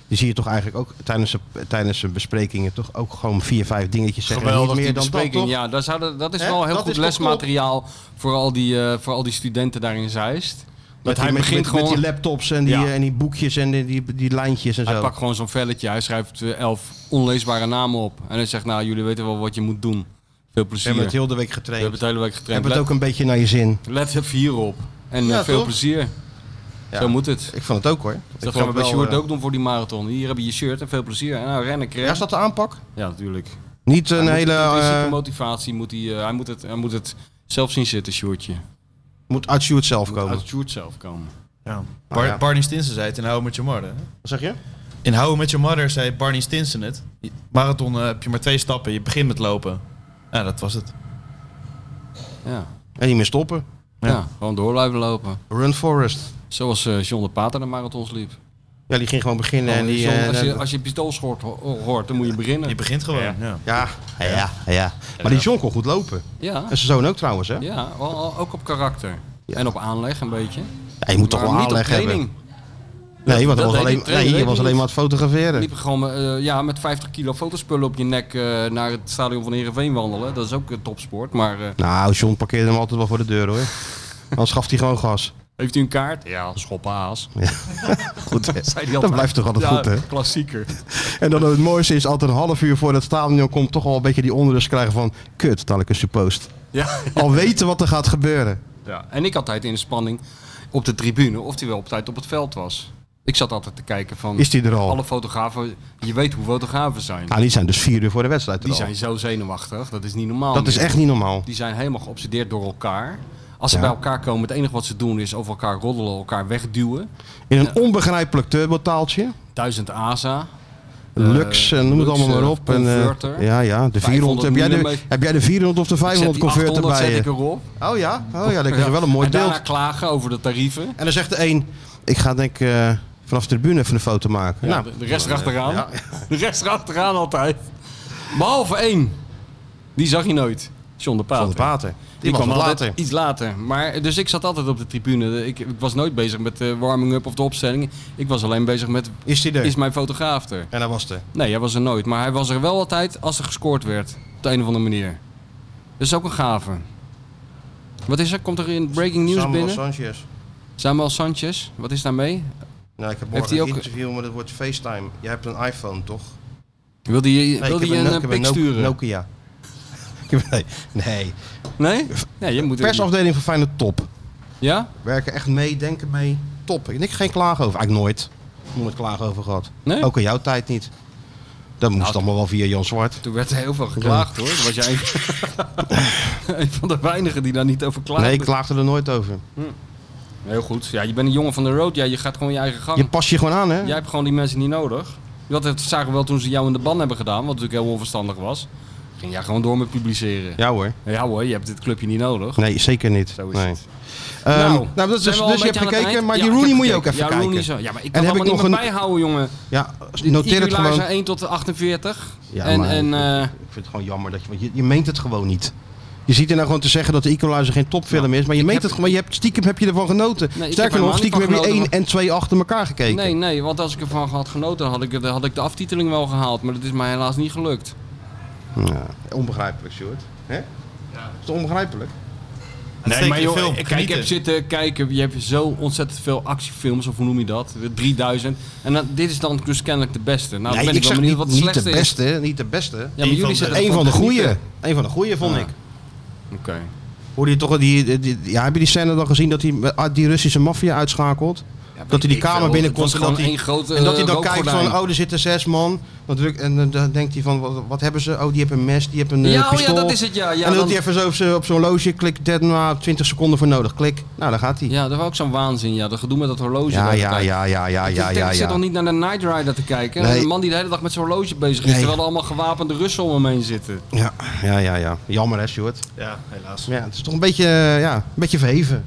Die zie je toch eigenlijk ook tijdens, de- tijdens zijn besprekingen toch ook gewoon vier, vijf dingetjes zeggen. en
Geweldig
niet
die
meer dan dat,
bespreking.
toch?
ja, daar zouden, dat is
Hè?
wel heel
Dat
goed
is toch
lesmateriaal voor al, die, eh, voor al die studenten daar in Zeist.
Met,
Want hij
die, met,
begint
met-
gewoon...
met die laptops en die,
Ja.
eh, en die boekjes en die, die, die lijntjes en
Hij
zo.
pakt gewoon zo'n velletje. Hij schrijft eh, elf onleesbare namen op. En hij zegt, nou, jullie weten wel wat je moet doen. Veel
We
plezier.
hebben
We
het heel de week getraind.
hebben het de hele week getraind.
hebben het ook een beetje naar je zin.
Let, let even hierop. En eh,
Ja,
veel
toch?
plezier.
Ja.
Zo moet het.
Ik vond het ook hoor. Ik
Dat
vond
gaan we
het
bij
wel,
Sjoerd
eh,
ook doen voor die marathon. Hier heb je je shirt en veel plezier. En nou, rennen,
Ja,
krijg.
is dat de aanpak?
Ja, natuurlijk.
Niet een
Hij moet-
hele...
intrinsieke
eh,
motivatie moet hij... eh, hij, moet het, hij moet het zelf zien zitten, Sjoerdje.
moet uit Sjoerd zelf
Moet
komen.
uit Sjoerd zelf komen.
Ja.
Ah, ja.
Barney Stinson zei het in How Met Your Mother. hè?
Wat zeg je?
In How Met Your Mother zei Barney Stinson het. Marathon eh, heb je maar twee stappen. Je begint met lopen. Ja, dat was het.
Ja.
En niet meer stoppen.
Ja. gewoon door blijven lopen.
Run Forest.
Zoals eh, John de Pater de marathons liep.
Ja, die ging gewoon beginnen en
Gewoon,
die...
John,
eh,
als, je,
en-
als je pistoolschort ho- hoort, dan moet je beginnen.
Je begint gewoon. Ja.
ja, ja, ja, ja. Maar die John kon goed lopen.
Ja,
En zijn zoon ook trouwens, hè?
ja wel- wel- ook op karakter.
Ja.
En op aanleg een beetje.
Ja, je moet toch
Maar
wel
niet op
aanleg hebben.
training.
Nee, want
dat
dat was
deed
alleen,
die trainer,
nee, je
weet
was
je
alleen
niet.
maar aan het fotograferen.
Liepen gewoon eh, ja, met 50 kilo fotospullen op je nek eh, naar het stadion van Heerenveen wandelen. Dat is ook een topsport. Maar eh,
Nou, John parkeerde hem altijd wel voor de deur, hoor. Anders gaf hij gewoon gas.
heeft u een kaart? Ja, schoppaas.
Goed, hè?
Zei die
dat
altijd.
blijft toch altijd
Ja,
goed, hè?
Klassieker.
*laughs*
*laughs*
En dan het mooiste is, altijd een half uur voor dat stadion komt toch al een beetje die onrust krijgen van... Kut, dadelijk is supposed.
Ja.
Al weten wat er gaat gebeuren.
ja. En ik had altijd in de spanning op de tribune of hij wel op tijd op het veld was. Ik zat altijd te kijken van
Is die er al?
alle fotografen. Je weet hoe fotografen zijn.
Nou, die zijn dus vier uur voor de wedstrijd er
Die
al.
zijn zo zenuwachtig. Dat is niet normaal.
Dat is
meer.
echt niet normaal.
Die zijn helemaal geobsedeerd door elkaar. Als ze
Ja.
bij elkaar komen, het enige wat ze doen is over elkaar roddelen, elkaar wegduwen.
In een onbegrijpelijk turbotaaltje.
Duizend ASA.
Lux, en noem het
Eh, Lux,
allemaal maar
eh,
op. En, eh,
converter.
ja, ja, de 400. Heb jij de,
millimeter.
heb jij de 400 of de
Ik zet
500
die
converter
800
bij
zet ik
je?
erop.
Oh ja, oh ja, dat is wel een mooi
en
beeld.
daarna klagen over de tarieven.
En dan zegt de een, ik ga denk ik eh, vanaf de tribune even een foto maken.
Ja,
nou,
de, de rest erachteraan. De rest erachteraan altijd. Behalve één. Die zag je nooit. John de Pater.
van de Pater. Die,
Die,
kwam
kwam
wat
altijd
later.
iets later. Maar, dus ik zat altijd op de tribune. Ik, ik was nooit bezig met de warming-up of de opstelling. Ik was alleen bezig met,
Is die er?
is mijn fotograaf er?
En dat was de.
Nee, hij was er nooit. Maar hij was er wel altijd als er gescoord werd. Op de een of andere manier. Dat is ook een gave. Wat is er? Komt er in breaking news
Samuel
binnen?
Sanchez.
Samuel Sanchez. Wat is daarmee?
Nou, ik heb
Heeft
morgen
hij
een
ook-
interview, maar dat wordt FaceTime. Je hebt een iPhone, toch?
Wil die, wil
ik
die
heb no-
een,
ik
eh,
heb
pik
No-
sturen?
Nokia. *laughs* Ik heb- nee, nee.
Nee? Nee, je moet
Persafdeling van Feyenoord top.
Ja?
Werken echt mee, denken mee. Top. Ik heb geen klagen over. Eigenlijk nooit. Nooit klagen over gehad.
Nee?
Ook in jouw tijd niet. Dat moest
Nou,
allemaal wel via Jan Zwart.
Toen werd er heel veel geklaagd hoor. Dan was jij
*laughs*
een, *laughs* een van de weinigen die daar niet over klaagde.
Nee, ik klaagde er nooit over.
Heel goed. Ja, je bent een jongen van de road. Ja, je gaat gewoon je eigen gang.
Je pas je gewoon aan, hè?
Jij hebt gewoon die mensen niet nodig. Dat dat zagen we wel toen ze jou in de ban hebben gedaan, wat natuurlijk heel onverstandig was. Ging jij gewoon door met publiceren.
Ja hoor.
Ja, hoor, je hebt dit clubje niet nodig.
Nee, zeker niet.
Zo is
nee.
het.
Ehm, nou,
Nou,
dat is,
zijn
dus
we al een
je hebt
beetje aan het
gekeken,
eind?
maar
Ja,
die
ik
Rooney
heb
moet je ook even
gekeken. ja,
kijken.
Rooney zo. Ja, maar ik
En
kan
heb
allemaal
ik
niet
nog
meer
een-
bijhouden, jongen.
Ja,
Noteer
noteer het gewoon.
1 tot de 48.
Ja,
en
maar-
en eh,
Ik vind het gewoon jammer dat je, want je, je meent het gewoon niet. Je ziet er nou gewoon te zeggen dat de Equalizer geen topfilm is, maar je meent
heb-
het gewoon. Je hebt, stiekem heb je ervan genoten.
heb er
Sterker
helemaal
nog,
niet
stiekem
van
heb je één
genoten,
en twee achter elkaar gekeken.
nee, nee, want als ik ervan had genoten, had ik, had ik de aftiteling wel gehaald. Maar dat is mij helaas niet gelukt.
Ja, onbegrijpelijk, Sjoerd. Hè? Is het onbegrijpelijk?
Uitstekende film.
eh, kijk, ik
Genieten.
heb zitten kijken, je hebt zo ontzettend veel actiefilms, of hoe noem je dat? 3000. En dan- dit is dan dus kennelijk de beste. Nou, dan ben ik,
zeg
wel benieuwd wat de
niet, niet
slechtste
de
is.
beste, niet de beste.
Ja, maar
Eén
jullie
van de-
zitten
Eén van de goede.
goede.
Eén van de goede vond
Ja.
ik.
Oké.
Hoorde je toch wel die, die- die- ja, heb je die scène dan gezien dat hij eh, die Russische maffia uitschakelt? dat hij die kamer binnenkomt
en
en
gewoon
dat
één
hij,
grote
en dat hij dan
eh,
kijkt van,
rookgordijn.
oh, er zitten zes man. Dan druk- en eh, dan denkt hij van, wat, wat hebben ze? Oh, die hebben een mes, die hebben een eh,
ja, oh,
pistool.
ja, dat is het, ja.
en
Ja,
dan doet
dan-
hij even zo op z'n- op zo'n loge, klik, dead, nou, 20 seconden voor nodig, klik. Nou, daar gaat hij.
ja, dat was ook zo'n waanzin, ja. Dat gedoe met dat horloge.
Ja,
de hele
ja,
tijd.
ja, ja, ja,
Ik
ja,
denk,
ja.
Ik zit nog
ja.
niet naar de Night Rider te kijken.
Nee.
Een man die de hele dag met zijn horloge bezig is,
Nee.
terwijl er allemaal gewapende Russen om hem heen zitten.
Ja, ja, ja, ja. Jammer hè, Sjoerd.
Ja, helaas.
Maar ja, het is toch een beetje, eh, ja, een beetje verheven.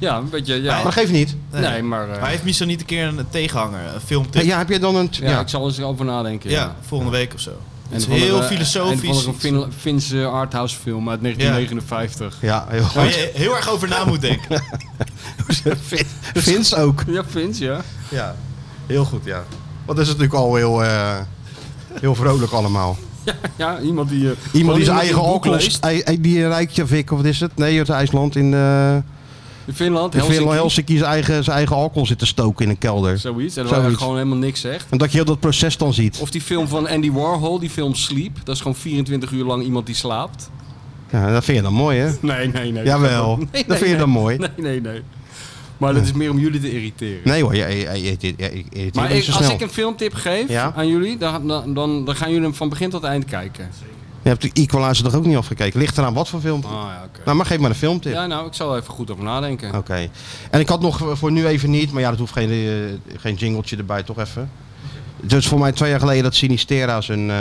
Ja, een beetje, ja.
Maar dat geeft niet.
nee, maar... eh,
Maar heeft Michel niet een keer een tegenhanger, een filmtip?
Ja, heb je dan een...
ja,
Ja,
ik zal eens erover nadenken.
Ja, volgende week of zo. Het is
of andere-
heel
Een of
filosofisch.
andere Fin- Finse arthouse film uit 1959.
ja heel
Waar
goed.
je heel erg over na moet denken.
Vins ook.
Ja, Fins, ja.
Ja, heel goed, ja. Want dat is natuurlijk al heel, eh, heel vrolijk allemaal.
Ja, iemand die... eh, gewoon
Iemand die zijn eigen
een boek
alcohols...
leest.
ei- ei- Die Rijkjavik, of wat is het? Nee, uit IJsland in... eh
In Finland,
in
Helsinki.
Helsinki zijn eigen, zijn eigen alcohol zit te stoken in een kelder.
Zoiets. En dat
Zoiets.
hij gewoon helemaal niks zegt.
En dat je heel dat proces dan ziet.
Of die film van Andy Warhol, die film Sleep. Dat is gewoon 24 uur lang iemand die slaapt.
Ja, dat vind je dan mooi, hè?
Nee, nee, nee.
Jawel.
Nee,
dat vind je dan mooi.
Nee, nee, nee. Maar dat is meer om jullie te irriteren.
Nee hoor, je, je, je, je, je, je- je- je-
Maar
je-
ik-
zo
als
snel.
ik een filmtip geef
Ja?
aan jullie, dan, dan, dan, dan gaan jullie hem van begin tot eind kijken.
Je hebt de Equalizer toch ook niet afgekeken? Ligt eraan wat voor film?
Ah, ja, oké.
Nou, maar geef maar een filmtip.
Ja, nou, ik zal er even goed over nadenken.
Oké. En ik had nog eh, voor nu even niet, maar ja, dat hoeft geen, eh, geen jingletje erbij, toch even. Het is voor mij twee jaar geleden dat Sinistera zijn, eh,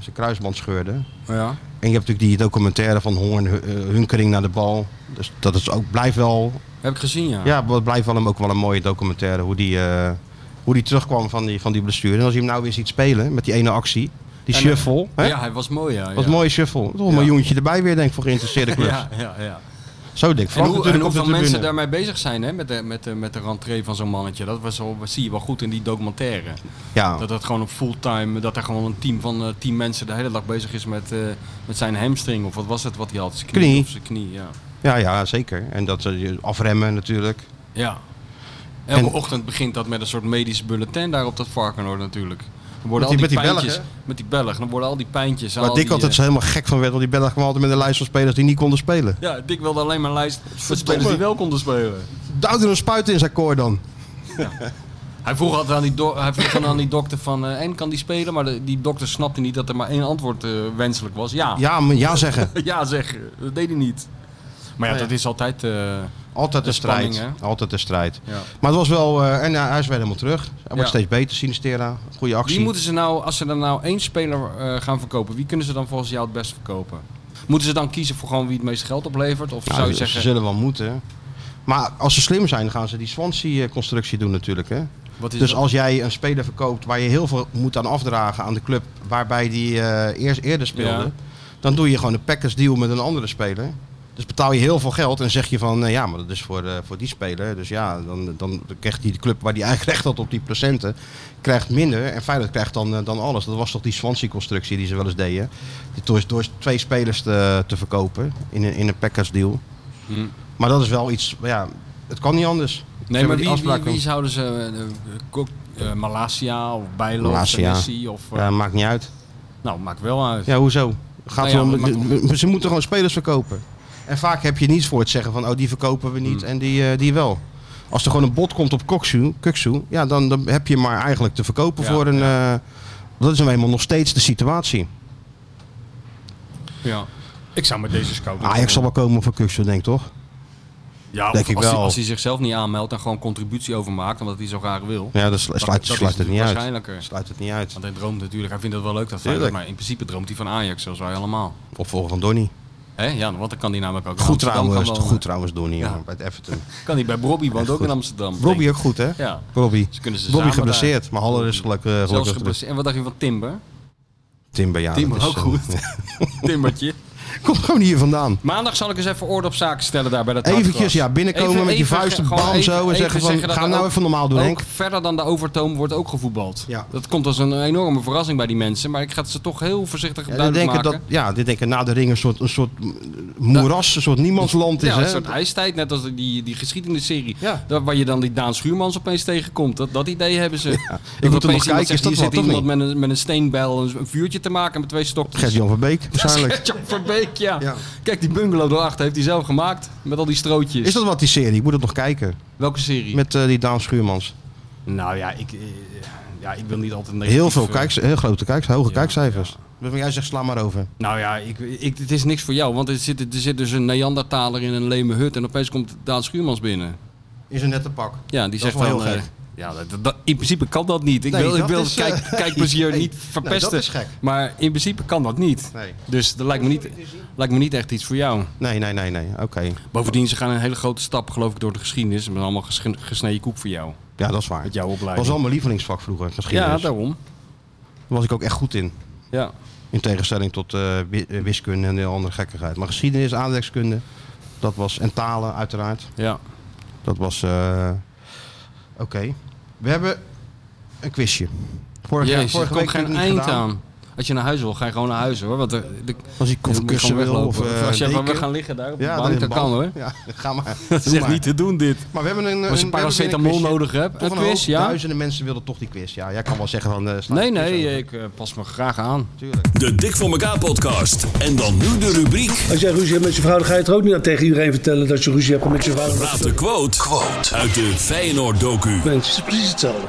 zijn kruisband scheurde.
Oh Ja.
En je hebt natuurlijk die documentaire van Hoorn, hu- eh, Hunkering naar de bal. Dus dat is ook, blijft wel,
Heb ik gezien, ja.
ja, het blijft wel hem ook wel een mooie documentaire. Hoe die, eh, hoe die terugkwam van die, van die blessure. En als je hem nou weer ziet spelen met die ene actie, die
En, eh,
shuffle. Hè?
Ja, hij was mooi, ja.
Wat
ja.
een mooie shuffle. Toch een miljoentje erbij weer, denk ik, voor geïnteresseerde clubs.
*laughs* Ja, ja, ja.
Zo dik.
En,
Frank
hoe, en
natuurlijk op de
hoeveel
tribune.
mensen daarmee bezig zijn hè, met, de, met, de, met de rentree van zo'n mannetje. Dat was al, zie je wel goed in die documentaire.
Ja.
Dat dat gewoon op fulltime, dat er gewoon een team van eh, tien mensen de hele dag bezig is met, eh, met zijn hamstring. Of wat was het wat hij had? Zijn knie.
Knie.
Of zijn knie, ja.
ja, ja, zeker. En dat eh, je afremmen natuurlijk.
Ja. Elke
En-
ochtend begint dat met een soort medisch bulletin daar op dat Varkenoord natuurlijk. Dan worden
Met die-
al die,
met die Belg,
pijntjes, met die Belg, dan worden al die pijntjes. en
Waar
al
Dick
die,
altijd
eh,
zo helemaal gek van werd, want die bellen kwam altijd met een lijst van spelers die niet konden spelen.
ja, Dick wilde alleen maar een lijst met spelers die wel konden spelen.
Duwde er een spuit in zijn koor dan.
Hij vroeg altijd aan die, do- hij vroeg dan aan die dokter van, eh, en kan die spelen? Maar de- die dokter snapte niet dat er maar één antwoord eh, wenselijk was. Ja. *laughs* ja.
Ja, maar ja zeggen.
zeg, dat deed hij niet. Maar
Oh
ja, dat is altijd... eh,
Altijd een
De spanning,
strijd. Altijd een strijd.
Ja.
Maar het was wel, eh, en ja, hij is weer helemaal terug. Hij wordt
Ja.
steeds beter, Sinistera. Goede actie.
Wie moeten ze nou, als ze dan nou één speler eh, gaan verkopen, wie kunnen ze dan volgens jou het best verkopen? Moeten ze dan kiezen voor gewoon wie het meeste geld oplevert? Of
Nou,
zou je
ze
zeggen,
zullen wel moeten. Maar als ze slim zijn, gaan ze die Swansea-constructie doen natuurlijk. Hè?
wat is
Dus
dat?
als jij een speler verkoopt waar je heel veel moet aan afdragen aan de club waarbij die eh, eerst eerder speelde,
Ja.
dan doe je gewoon een package deal met een andere speler. Dus betaal je heel veel geld en zeg je van, eh, ja, maar dat is voor, eh, voor die speler. Dus ja, dan, dan krijgt die club waar die eigenlijk *laughs* recht had op die procenten, krijgt minder. En Feyenoord krijgt dan, eh, dan alles. Dat was toch die Swansea-constructie die ze wel eens deden. Die Door, door twee spelers te, te verkopen in een, in een package deal.
Hm.
Maar dat is wel iets, ja, het kan niet anders.
nee,
die
maar wie, wie,
afspraak
wie
ook.
zouden ze, eh, eh, Kok- eh, Malasia of Bijlo of
Malasia.
Senesi of... eh,
Ja, maakt niet uit.
Nou, maakt wel uit.
Ja, hoezo? Gaat
Nou ja,
wel-
maar-
de- de- ze moeten gewoon spelers verkopen. En vaak heb je niets voor het zeggen van, oh die verkopen we niet
Hmm.
en die, eh, die wel. Als er gewoon een bod komt op Koksu, Kuksu, ja, dan, dan heb je maar eigenlijk te verkopen
Ja,
voor een... eh, dat is nou eenmaal nog steeds de situatie.
Ja. Ik zou met deze scout...
Ajax zal wel komen voor Kuksu, denk ik toch?
Ja, of
denk ik
als,
wel.
Hij, als hij zichzelf niet aanmeldt en gewoon contributie overmaakt, omdat hij zo graag wil.
Ja, dat slu-
Dat-
sluit,
dat
sluit
is
het niet uit.
waarschijnlijker.
Sluit het niet uit.
Want hij droomt natuurlijk, hij vindt het wel leuk dat Feyenoord,
Tuurlijk.
maar in principe droomt hij van Ajax, zoals wij allemaal.
Opvolger van Donny.
Hè? Ja, want dan kan hij namelijk ook in
Goed
Amsterdam gaan
trouwens,
wonen.
goed trouwens Donny
Ja.
hoor, bij het Everton.
Kan hij bij Robbie, woont
Echt
ook
goed.
in Amsterdam.
Robbie ook goed hè?
Ja,
Robbie.
dus kunnen ze
Robbie
samen
geblesseerd, maar Haller is gelukkig,
daar- Zelfs
gelukkig terug.
geblesseerd. En wat dacht je van Timber?
Timber, ja.
Timber
dat is,
ook
eh,
goed. Timbertje.
*laughs* Komt gewoon hier vandaan.
Maandag zal ik eens even orde op zaken stellen daar bij dat
Eventjes, ja, binnenkomen met je vuisten, bam, zo. En zeggen van, ga nou even normaal doen, Henk.
Ook verder dan de overtoom wordt ook gevoetbald.
Ja.
Dat komt als een enorme verrassing bij die mensen. Maar ik ga het ze toch heel voorzichtig
Ja, die,
duidelijk
denken
maken.
dat, ja, die denken na de ring een soort, een soort moeras, een soort niemandsland is.
ja, een
hè?
soort ijstijd, net als die, die geschiedenisserie.
Ja.
Daar, waar je dan die Daan Schuurmans opeens tegenkomt. Dat, dat idee hebben ze. Dat
moet
opeens
er nog
iemand
kijken,
zegt,
is dat
hier
wat,
zit
of
iemand met een, met een steenbijl een, een vuurtje te maken met twee stokjes.
Gert-Jan van Beek, waarschijnlijk.
Gert-Jan Verbeek, *laughs* ja.
Ja.
Kijk, die bungalow daarachter heeft hij zelf gemaakt. Met al die strootjes.
Is dat wat, die serie? Ik moet het nog kijken.
Welke serie?
Met eh, die Daan Schuurmans.
Nou ja ik, eh, ja, ik wil niet altijd negatief,
Heel veel
eh,
kijks, heel grote kijks, hoge
ja,
kijkcijfers. Waarvan Jij zegt, sla maar over.
Nou ja, ik, ik, het is niks voor jou. Want er zit, er zit dus een Neandertaler in een leme hut. En opeens komt Daan Schuurmans binnen.
Is een nette pak.
Ja, die
Dat is
zegt
wel heel
dan... eh,
gek.
Ja, dat, dat- in principe kan dat niet. Ik
Nee,
wil, ik
dat
wil
is,
het kijk,
eh, *laughs*
kijkplezier
nee,
niet
nee,
verpesten.
dat is gek.
Maar in principe kan dat niet.
Nee.
Dus dat lijkt me niet, lijkt me niet echt iets voor jou.
Nee, nee, nee, nee. Oké.
Bovendien, ze gaan een hele grote stap, geloof ik, door de geschiedenis. Met allemaal gesche- gesneden koek voor jou.
Ja, dat is waar.
Met jouw opleiding.
was al mijn lievelingsvak vroeger, geschiedenis.
ja,
daar
daarom.
was ik ook echt goed in.
Ja.
In tegenstelling tot eh, wi- eh, wiskunde en de andere gekkigheid. Maar geschiedenis, aardrijkskunde, dat was, en talen uiteraard,
Ja.
dat was... eh, Oké. We hebben een quizje. Vorige,
Jezus, er
vorige week
komt geen
heb ik het
eind
niet gedaan.
aan. Als je naar huis wil, ga je gewoon naar huis hoor. Want er, de,
Als je
dan
of
moet je
kussen
gewoon
wil,
weglopen.
of, eh,
als je van we
deken.
gaan liggen daar op de
Ja,
bank,
is
dat
een
kan
bank.
hoor.
*laughs* Ja, ga
*laughs*
maar.
Dat is
Doe
echt
maar.
niet te doen dit.
Maar we hebben een,
Als je
een- we
paracetamol
hebben weer een quizje.
nodig hebt,
Toch
een
hoop
quiz, ja?
Duizenden mensen wilden toch die quiz. Ja, jij kan wel zeggen van... eh, sla
Nee,
de quiz
nee,
over.
ik eh, pas me graag aan.
Tuurlijk.
De Dik voor elkaar podcast. En dan nu de rubriek
Als jij ruzie hebt met je vrouw, dan ga je het er ook niet aan tegen iedereen vertellen dat je ruzie hebt met je vrouw.
Raad de quote, uit de Feyenoord docu.
Het is precies hetzelfde.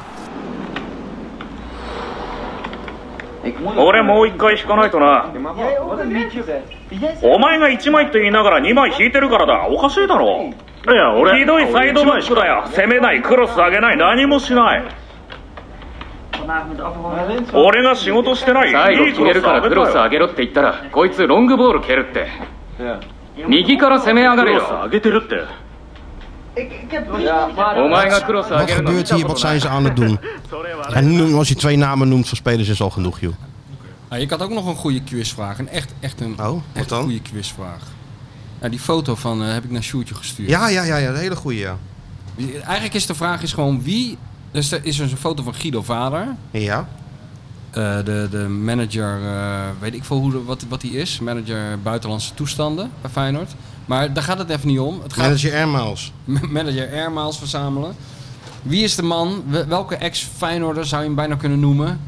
俺もう一回引かないとなお前が1枚と言いながら2枚引いてるからだおかしいだろいや俺ひどいサイドバックだよ攻めないクロス上げない何もしない俺が仕事してない
最後
いい
決めるからクロス上
げ
げろって言ったらこいつロングボール蹴るって右から攻め上がれよ
げてるって
お前がクロス上
Wat
げるの見
gebeurt
た
hier?
こ
Wat
とない
zijn ze aan het doen? En nu, als je twee namen noemt van spelers is al genoeg, joh.
Ah, ik had ook nog een goede quizvraag. Een echt, echt een
Oh, wat
echt
dan?
goede quizvraag. Ja, die foto van eh, heb ik naar Sjoertje gestuurd.
Ja, ja, ja, ja. Een hele goede, ja.
Wie- Eigenlijk is de vraag is gewoon wie... Dus er is dus een foto van Guido Vader.
Ja,
eh, de, de manager, eh, weet ik veel hoe, de- wat, wat die is. Manager buitenlandse toestanden bij Feyenoord. Maar daar gaat het even niet om. Het *laughs* gaat
manager Air Miles.
manager airmaals verzamelen. Wie is de man? Wel- Welke ex-Feyenoorder zou je hem bijna kunnen noemen?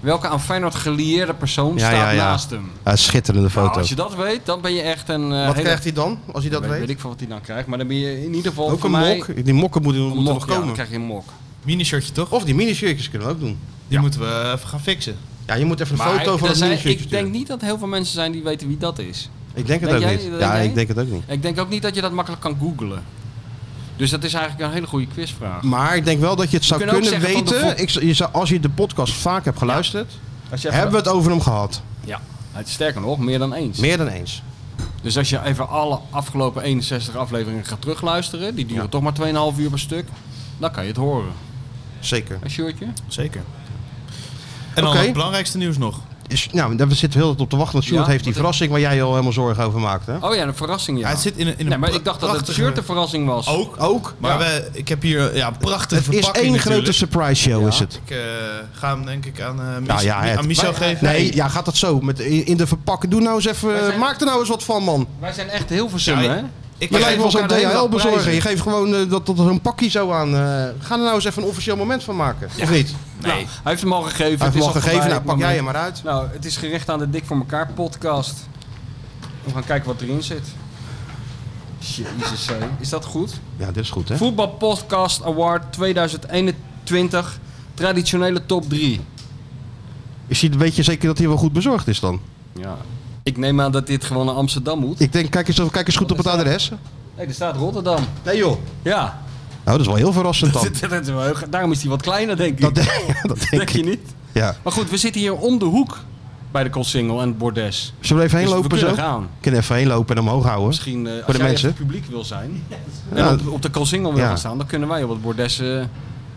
Welke aan Feyenoord gelieerde persoon
Ja,
staat
ja, ja.
naast hem?
Ja, schitterende
Nou,
foto.
als je dat weet, dan ben je echt een... eh,
Wat
hele-
krijgt hij dan, als hij dat
weet, weet
weet?
ik van wat hij dan krijgt, maar dan ben je in ieder geval
Ook
voor
een
mij...
mok. Die mokken moeten,
Een
moeten
mok,
nog
ja, dan
komen.
krijg je een mok.
Minishirtje toch?
Of die minishirtjes kunnen we ook doen.
Die moeten we even gaan fixen.
Ja, je moet even een
Maar
foto van
er
het
zijn-
minishirtje
ik denk
sturen.
niet dat heel veel mensen zijn die weten wie dat is.
Ik denk het
Denk
ook
jij-
niet.
denk
Ja,
jij?
ik denk het ook niet.
Ik denk ook niet dat je dat makkelijk kan googlen. Dus dat is eigenlijk een hele goede quizvraag.
Maar ik denk wel dat je het zou
kunt ook
kunnen
zeggen van de
weten.
vo-
Ik, zou- je zou, als je de podcast vaak hebt geluisterd, hebben we het over hem gehad.
Ja, het is sterker nog, meer dan eens.
Meer dan eens.
Dus als je even alle afgelopen 61 afleveringen gaat terugluisteren, die duren toch maar 2,5 uur per stuk, dan kan je het horen.
Zeker.
Een shirtje?
Zeker. En dan
Oké.
het belangrijkste nieuws nog.
Is, nou, daar zitten we heel erg op te wachten. Want Sjoerd
Ja,
heeft die
wat-
verrassing waar jij je al helemaal zorgen over maakt. Hè?
Oh ja, een verrassing ja.
Ja, het zit in een, in een
nee, maar
pra-
ik dacht dat het
prachtige-
shirt een verrassing was.
Oh.
Ook,
Ook.
maar we, ik heb hier ja, een prachtige
Het is
verpakking
één
natuurlijk.
grote surprise show, is het.
Ik eh, ga hem denk ik aan, eh Mich-
Nou ja, het-
aan Michel
Wij-
geven.
Nee, ja, gaat dat zo. Met, in in de verpakken. Doe nou eens even.
Wij zijn-
Maak er nou eens wat van, man.
Wij zijn echt heel verzonnen,
Ja,
hè?
Nou,
Ik,
Je
geef
lijkt wel zo'n
elkaar de hele
DHL
dag
bezorger.
prijzen.
Je geeft gewoon eh, dat, dat er zo'n pakje zo aan. eh, ga er nou eens even een officieel moment van maken. Of niet?
Nee. hij heeft hem al gegeven.
Hij heeft
het
hem al
is
gegeven.
voorbij,
Nou,
het
pak jij hem
moment.
maar uit.
Nou, het is gericht aan de Dik voor elkaar podcast. We gaan kijken wat erin zit. Jezus, hé. is dat goed?
Ja, dit is goed, hè?
Voetbal Podcast Award 2021, traditionele top 3.
Is hij, weet je zeker dat hij wel goed bezorgd is dan?
Ja. Ik neem aan dat dit gewoon naar Amsterdam moet.
Ik denk, kijk eens, of- kijk eens goed op het adres.
Nee, er staat Rotterdam.
Nee, joh.
Ja,
Nou, dat is wel heel verrassend
*laughs*
dan.
Dat is wel heel ge- daarom is hij wat kleiner, denk
Dat,
ik.
ja, dat denk
Denk je
ik.
niet?
Ja.
Maar goed, we zitten hier om de hoek bij de Kotsingel en het bordes.
Zullen we even heen
Dus we
lopen zo?
kunnen gaan.
Ik kan even heen lopen en omhoog houden.
Misschien eh,
Voor
als
de
jij
mensen.
even publiek wil zijn
Ja.
en op, op de Kotsingel wil
Ja.
gaan staan, dan kunnen wij op het bordes... eh, hè?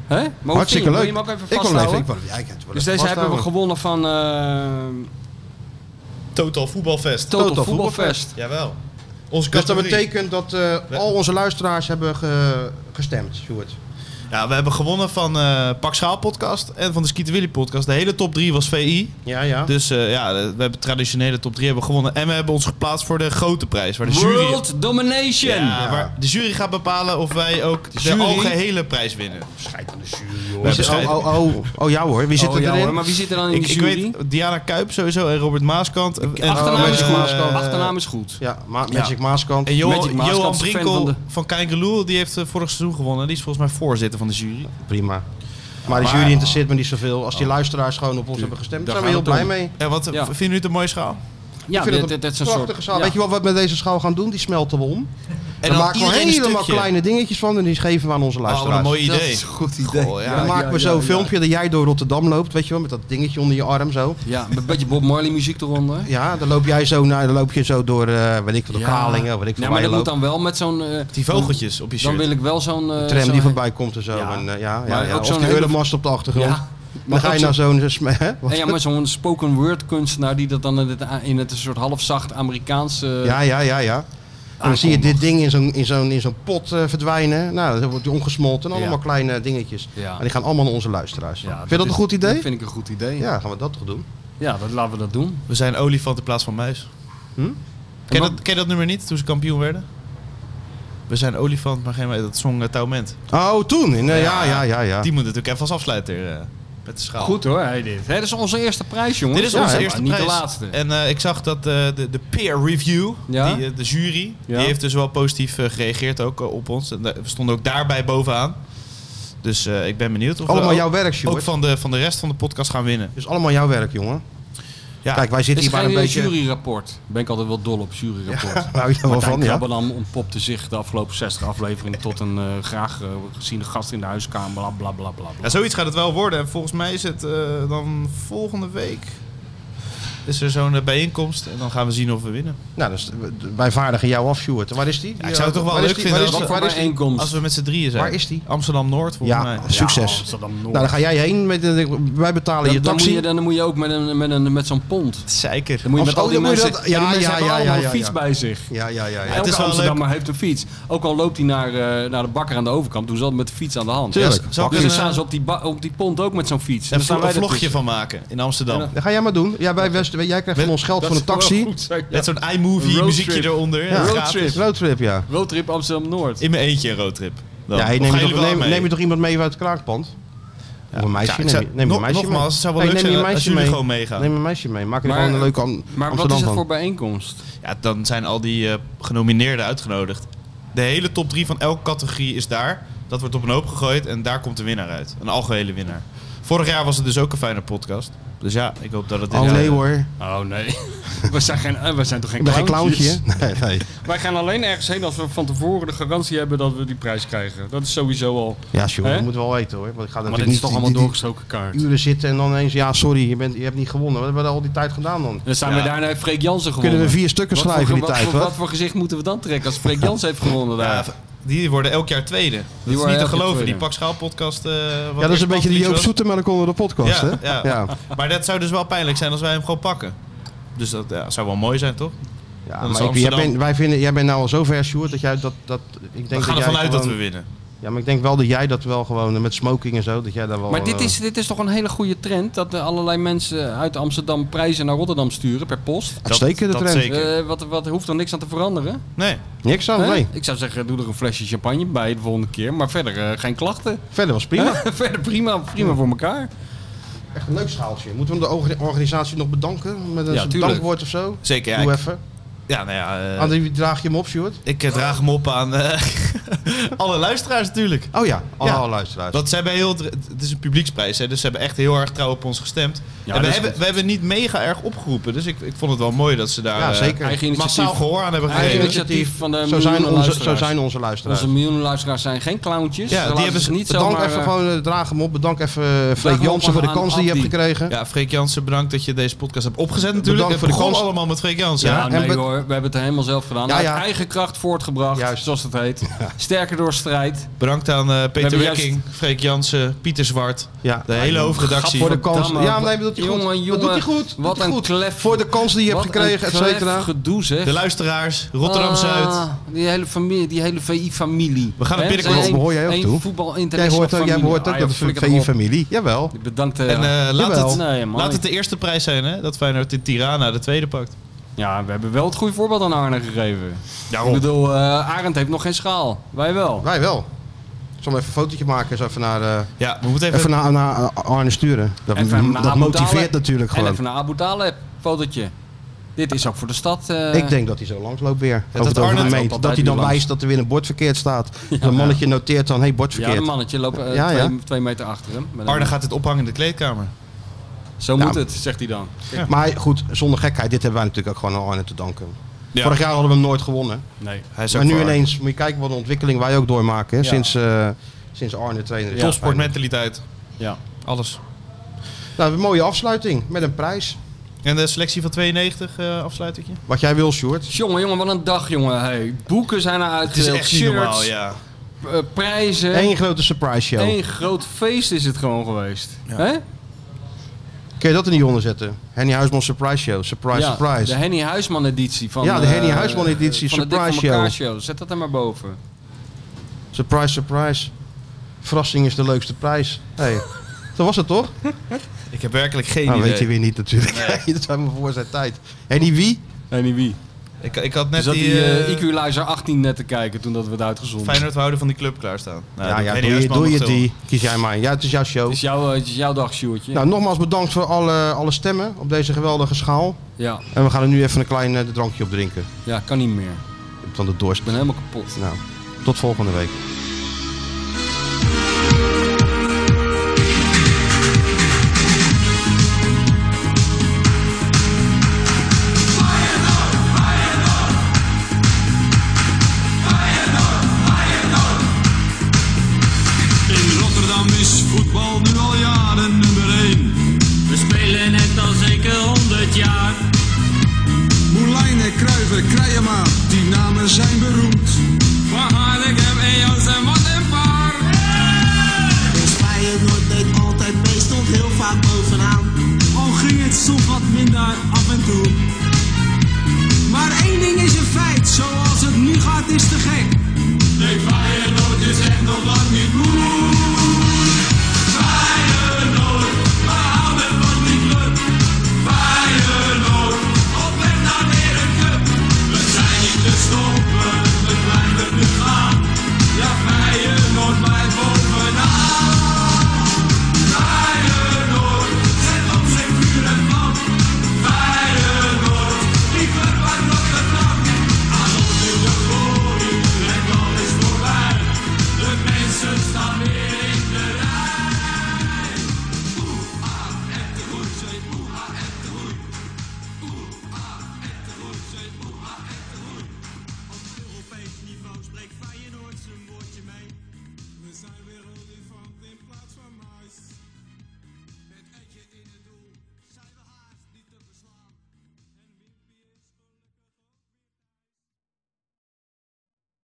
Maar hoe
Hartstikke leuk.
vind je hem? Wil je hem ook even
ik wil hem even.
vasthouden?
Ik wil, ja, ik wil hem
dus deze hebben we
vasthouden.
gewonnen van eh
Total Voetbalfest.
Total,
Total
Voetbalfest.
Jawel. Onze
Dus dat
categorie.
betekent dat eh, al onze luisteraars hebben ge- gestemd, Sjoerd.
Ja, we hebben gewonnen van eh Pak Schaal podcast en van de Skeeter Willy podcast. De hele top 3 was VI.
Ja, ja.
Dus eh, ja, de- we hebben traditionele top 3 hebben gewonnen. En we hebben ons geplaatst voor de grote prijs. Waar de jury,
World Domination.
Ja, waar de jury gaat bepalen of wij ook de,
jury?
algehele prijs winnen.
Wie zit-
bescheiden.
oh, oh, oh, oh, ja hoor. Wie zit
Oh,
er
ja,
erin?
hoor, maar wie zit er dan in
Ik,
de
ik
jury?
weet Diana Kuip sowieso en Robert Maaskant. En,
Oh,
Achternaam,
en,
is
eh,
goed.
Maaskant.
Achternaam is goed.
Ja, Ma Magic Maaskant.
en Johan,
Magic Maaskant
Johan
is fan
Brinkel
van
van,
de-
Kijkeloel, die heeft eh, vorig seizoen gewonnen. Die is volgens mij voorzitter van de jury.
Prima. Maar de jury interesseert me niet zoveel. Als die luisteraars gewoon op ons hebben gestemd,
Daar
daar zijn we heel
gaan we
blij
het
mee.
En wat
Ja.
vinden jullie het een mooie schaal?
Ja,
ik vind
dit-
het een
dit is een
prachtige
soort-
schaal.
ja.
Weet je wat we met deze schaal gaan doen? Die smelten we om. En
dan
dan maken we
iedereen een
helemaal
stukje.
kleine dingetjes van en die geven we aan onze
wat een
luisteraars.
Oh, mooi idee.
Dat is
een goed idee. Goh, ja.
dan
Ja,
maken we
ja,
zo'n
ja.
filmpje dat jij door Rotterdam loopt, weet je wel, met dat dingetje onder je arm zo.
Ja, een beetje Bob Marley muziek eronder.
Ja, dan loop jij zo, naar, dan loop je zo door, eh weet ik veel, de Kalingen, weet ik veel waar
Ja, maar
je
dat moet
loopt.
dan wel met zo'n... eh,
Die vogeltjes op je shirt.
Dan wil ik wel zo'n... eh,
tram
zo'n-
die voorbij komt en zo. En, eh, ja, ja,
Maar
ja.
ook
Of
zo'n
die
hele-
Euromast op de achtergrond.
Ja.
Dan ga
ook
je
zo-
naar zo'n... eh, sm- hè? Wat?
Ja, maar zo'n spoken word kunstenaar die dat dan in het, in het soort halfzacht eh, Amerikaanse...
Ja, ja, ja, ja. En
Ah,
dan zie je dit ding in zo'n in zo'n in zo'n pot eh, verdwijnen. Nou, dan wordt die omgesmolten. Allemaal
Ja.
kleine dingetjes.
Ja.
En die gaan allemaal naar onze luisteraars.
Ja,
Vind je dat
is-
een goed idee?
Dat vind ik een goed idee.
Ja, gaan we dat toch doen?
Ja, dat, laten we dat doen.
We zijn olifant in plaats van muis. Ken, je dat, ken je dat nummer niet, toen ze kampioen werden? We zijn olifant, maar geen muis. Dat zong uh, Touwment.
Oh, toen? In, eh, ja, ja, ja, ja.
Die moet natuurlijk even als afsluiter eh, met de schaal.
Goed hoor, hey, dit. Hè, dit is onze eerste prijs, jongens.
Dit is onze
Ja, hè,
eerste
maar
prijs.
Niet de laatste.
En eh, ik zag dat eh, de, de peer review,
Ja?
die, eh, de jury,
Ja.
die heeft dus wel positief eh, gereageerd ook eh, op ons. En, daar- we stonden ook daarbij bovenaan. Dus eh, ik ben benieuwd of we
Allemaal
ook-
jouw werk, Sjoerd.
ook van de, van de rest van de podcast gaan winnen.
Dus allemaal jouw werk, jongen. Kijk, wij zitten hier
Is
maar een
geen, eh,
beetje...
juryrapport. Ben ik altijd wel dol op juryrapport. *laughs*
Ja, hou je wel
Martijn
van, ja.
Krabbenam ontpopte zich de afgelopen 60 afleveringen tot een eh, graag eh, geziene gast in de huiskamer. Bla bla bla bla. bla.
Ja, zoiets gaat het wel worden. En volgens mij is het eh, dan volgende week. Is er zo'n eh, bijeenkomst en dan gaan we zien of we winnen.
Nou, dus eh, wij vaardigen jou af, Sjoerd. Waar is die?
Ja, ik zou het toch wel
Waar
leuk
is die?
vinden
Waar is
als-
die? Waar is die?
Als we met z'n drieën zijn.
Waar is die?
Amsterdam Noord volgens mij.
Ja, succes. nou, dan ga jij heen. Met, de- wij betalen
Dan,
je
dan, moet
taxi.
je, dan moet je ook met, een, met, een, met zo'n pond.
Zeker.
Dan moet je met
Oh,
al die
dan moet je
mensen...
dat- ja,
ja, die mensen
ja,
hebben
ja,
allemaal
ja,
een
ja,
fiets
ja.
bij zich.
Ja, ja, ja. ja.
Elke
is wel
Amsterdammer heeft een fiets. Ook al loopt hij naar, eh, naar de bakker aan de overkant, doen ze altijd met de fiets aan de hand.
Tuurlijk.
Dus
Zal ik
dan
een,
staan
eh,
ze op die, ba- op die pont ook met zo'n fiets.
Daar
En dan staan
gaan we
wij
een vlogje
ertussen.
van maken in Amsterdam.
En
Dat ga jij maar doen. Ja, wij West, jij krijgt van ons geld van een taxi.
Met zo'n iMovie
Roadtrip.
muziekje eronder.
Ja.
Gratis.
Roadtrip.
Roadtrip, ja.
Roadtrip Amsterdam-Noord.
In mijn eentje een roadtrip. Dan.
Ja, hey,
Of
neem,
gaan
je
jullie
toch,
wel
neem,
mee?
neem je toch iemand mee uit het kraakpand? Of een meisje?
Ja, ik
neem,
zou-
je- neem je
nog-
een meisje
nogmaals,
mee.
het zou wel leuk
neem je
zijn
een
als
meisje
jullie
mee.
gewoon meegaan.
Neem een meisje mee. Maak er
Maar-
gewoon een leuke Am-
Maar wat
Amsterdam
is het
van.
voor bijeenkomst? *laughs*
Ja, dan zijn al die eh, genomineerden uitgenodigd. De hele top 3 van elke categorie is daar. Dat wordt op een hoop gegooid en daar komt de winnaar uit. Een algehele winnaar. Vorig jaar was het dus ook een fijne podcast. Dus ja, ik hoop dat het dit
Oh
jaar-
nee hoor.
Oh nee, we zijn, geen, eh, we zijn toch
Ik
geen
ben geen
clowntjes?
clowntje. hè? *laughs* Nee, nee.
Wij gaan alleen ergens heen als we van tevoren de garantie hebben dat we die prijs krijgen. Dat is sowieso al.
Ja, sure,
Hè?
dat moet wel weten hoor. Want ik ga
Maar
natuurlijk
dit is
niet die-
toch allemaal
die- die
doorgestoken kaart.
uren zitten en dan eens, ja sorry, je, bent, je hebt niet gewonnen. Wat hebben we al die tijd gedaan dan?
Dan zijn we
Ja.
daarna heeft Freek Jansen gewonnen.
Kunnen we vier stukken
Wat voor
schrijven in
ge-
die tijd,
Wat, voor-
wat?
wat voor gezicht moeten we dan trekken als
*laughs*
Freek Jansen heeft gewonnen
Ja,
daar?
v- die worden elk jaar tweede. Dat is
worden
niet te
elk jaar
geloven.
tweede.
Die Pak Schaal podcast. eh, wat
Ja, dat is
eerst
een beetje de
was,
Joop
was.
Zoetemelk onder de podcast,
Ja,
hè?
ja. Maar dat zou dus wel pijnlijk zijn als wij hem gewoon pakken. Dus dat ja, zou wel mooi zijn, toch?
Ja,
Dan is
maar ik, jij,
Amsterdam-
bent, wij vinden, jij bent nou al zo ver, Sjoerd, dat jij dat... dat ik denk
We gaan
dat jij
ervan uit dat we
gewoon-
winnen.
Ja, maar ik denk wel dat jij dat wel gewoon eh, met smoking en zo, dat jij daar wel...
Maar dit
eh,
is, dit is toch een hele goede trend dat eh, allerlei mensen uit Amsterdam prijzen naar Rotterdam sturen per post.
Uitstekende
dat
trend.
zeker.
Eh, wat, wat hoeft er niks aan te veranderen?
Nee.
Niks aan,
Hè?
Oh, nee.
Ik zou zeggen, doe er een flesje champagne bij de volgende keer. Maar verder eh, geen klachten.
Verder was prima.
*laughs* verder prima, prima voor elkaar.
Echt een leuk schaaltje. Moeten we de orga- organisatie nog bedanken met een
Ja, tuurlijk.
dankwoord of zo?
Zeker, ja.
Doe
ik-
even.
Ja, nou ja. eh,
Aan wie draag je hem op, Sjoerd?
Ik eh, draag hem op aan eh, *laughs* alle luisteraars natuurlijk.
Oh ja, alle
Ja.
luisteraars.
Want ze hebben heel, het is een publieksprijs, hè, dus ze hebben echt heel erg trouw op ons gestemd.
Ja,
en we
dat is
hebben,
goed.
we hebben niet mega erg opgeroepen, dus ik, ik vond het wel mooi dat ze daar
Ja,
eh,
zeker.
Eigen initiatief.
massaal gehoor aan hebben
Eigen
gegeven.
initiatief van de
zo zijn,
miljoenen
onze, zo
luisteraars.
zijn onze luisteraars.
Onze miljoenen luisteraars zijn geen clowntjes.
Ja,
Ze
die
laten
hebben
zich
ze-
niet
Bedankt
zomaar,
even
eh,
gewoon, eh, draag hem op. Bedank even eh, Freek
hem op
Jansen voor de
aan
kans die je hebt
Abdi.
gekregen.
Ja, Freek Jansen, bedankt dat je deze podcast hebt opgezet natuurlijk.
Bedankt
Het
voor de
begon
kans.
allemaal met Freek Jansen.
Ja,
hè?
en
Nou, nee
be-
hoor, we hebben het helemaal zelf gedaan.
Ja, ja.
Uit eigen kracht voortgebracht,
Juist.
zoals het heet. Sterker door strijd.
Bedankt aan eh, Peter
hebben juist-
Wekking, Freek Jansen, Pieter Zwart,
Ja.
de hele hoofdredactie.
Voor de kans.
Gadverdamme.
Ja, nee, dat doet hij goed.
Jongen,
dat doet hij
jongen,
goed. Dat
wat
doet hij
een
goed.
klef.
Voor de kans die je
Wat
hebt gekregen, et
een
cetera.
klef gedoe zeg.
de luisteraars, Rotterdam-Zuid.
Ah, die hele familie, die hele VI-familie.
We gaan er
Hè?
binnenkort Ah,
Zijn
op. Behoor jij ook
één
toe?
voetbal
Jij hoort ook, jij hoort
Ah,
ook dat de VI-familie. Jawel.
Bedankt. eh,
en eh, laat,
Jawel.
het,
Nee, man.
laat het de eerste prijs zijn, hè? dat Feyenoord in Tirana de tweede pakt.
ja, we hebben wel het goede voorbeeld aan Arne gegeven. Ik bedoel, eh, Arend heeft nog geen schaal. Wij wel.
Wij wel. Ik zal hem even een fotootje maken. Zo even naar, eh,
Ja, we moeten even...
even naar, naar Arne sturen. Dat,
Even naar
dat
Abu
motiveert
Talib.
natuurlijk
En
gewoon.
even naar Abu Talib, fotootje. Dit is ook voor de stad. eh,
Ik denk dat hij zo langs loopt weer.
dat
over de
Arne
over de
loopt
meent.
altijd
Dat hij dan
hier langs.
wijst dat er weer een bord verkeerd staat. Een mannetje noteert dan, hé, hey, bord
Ja,
verkeerd.
een mannetje loopt eh,
Ja, ja.
Twee, twee meter achter hem. Met een-
Arne gaat dit ophangen in de kleedkamer.
Zo
Nou,
moet het, zegt hij dan.
Maar hij- goed, zonder gekheid, dit hebben wij natuurlijk ook gewoon al aan het te danken.
Ja.
Vorig jaar hadden we hem nooit gewonnen.
Nee,
hij is
maar
ook
nu
voor Arne.
ineens moet je kijken wat een ontwikkeling wij ook doormaken. hè,
Ja.
Sinds, eh, sinds Arne trainer is.
Topsportmentaliteit. Ja. Alles.
Nou, een mooie afsluiting met een prijs.
En de selectie van 92 eh afsluit ik je?
Wat jij wil, Sjoerd.
Jongen, jongen, wat een dag, jongen. Hey, boeken zijn eruit. eh,
Het is echt niet normaal, ja.
prijzen.
Eén grote surprise show.
Eén groot feest is het gewoon geweest. Hè?
Kun je dat er niet onder zetten? Henny Huisman Surprise Show. Surprise,
Ja,
surprise.
De Henny Huisman editie van
Ja, de Henny
eh,
Huisman editie,
van de Dik
surprise
voor elkaar
show.
show. Zet dat er maar boven.
Surprise, surprise. Verrassing is de leukste prijs. Hey. Dat was het toch?
Ik heb werkelijk geen
nou,
idee.
weet je weer niet natuurlijk. Nee. *laughs* dat zijn we voor zijn tijd. Henny wie?
Henny wie?
Ik, ik had net
Zat
die,
die
eh,
eh, IQ Luizer 18 net te kijken toen dat we het uitgezonden.
Feyenoord houden van die club klaarstaan. Nou,
ja,
dat-
ja,
Henny
doe je,
Huisman
doe je
mocht wel.
die. Kies jij maar. Ja, het is jouw show.
Het is, jouw, eh, het is jouw dag, Sjoerdje.
Nou, nogmaals bedankt voor alle, alle stemmen op deze geweldige schaal.
Ja.
En we gaan er nu even een klein eh, drankje op drinken.
ja, kan niet meer.
Van de dorst. Ik
ben helemaal kapot.
Nou, tot volgende week.
In Rotterdam is voetbal nu al jaren nummer 1. We spelen het al zeker 100 jaar.
Moulijn en Kruiven, Krijema, die namen zijn beroemd.
Van Haarlegem en Jansen, wat een paar.
Dus Feyenoord deed altijd mee, stond heel vaak bovenaan.
Al ging het soms wat minder af en toe. Maar één ding is een feit, zoals het nu gaat is te gek. Nee, Feyenoord is echt nog lang niet moe.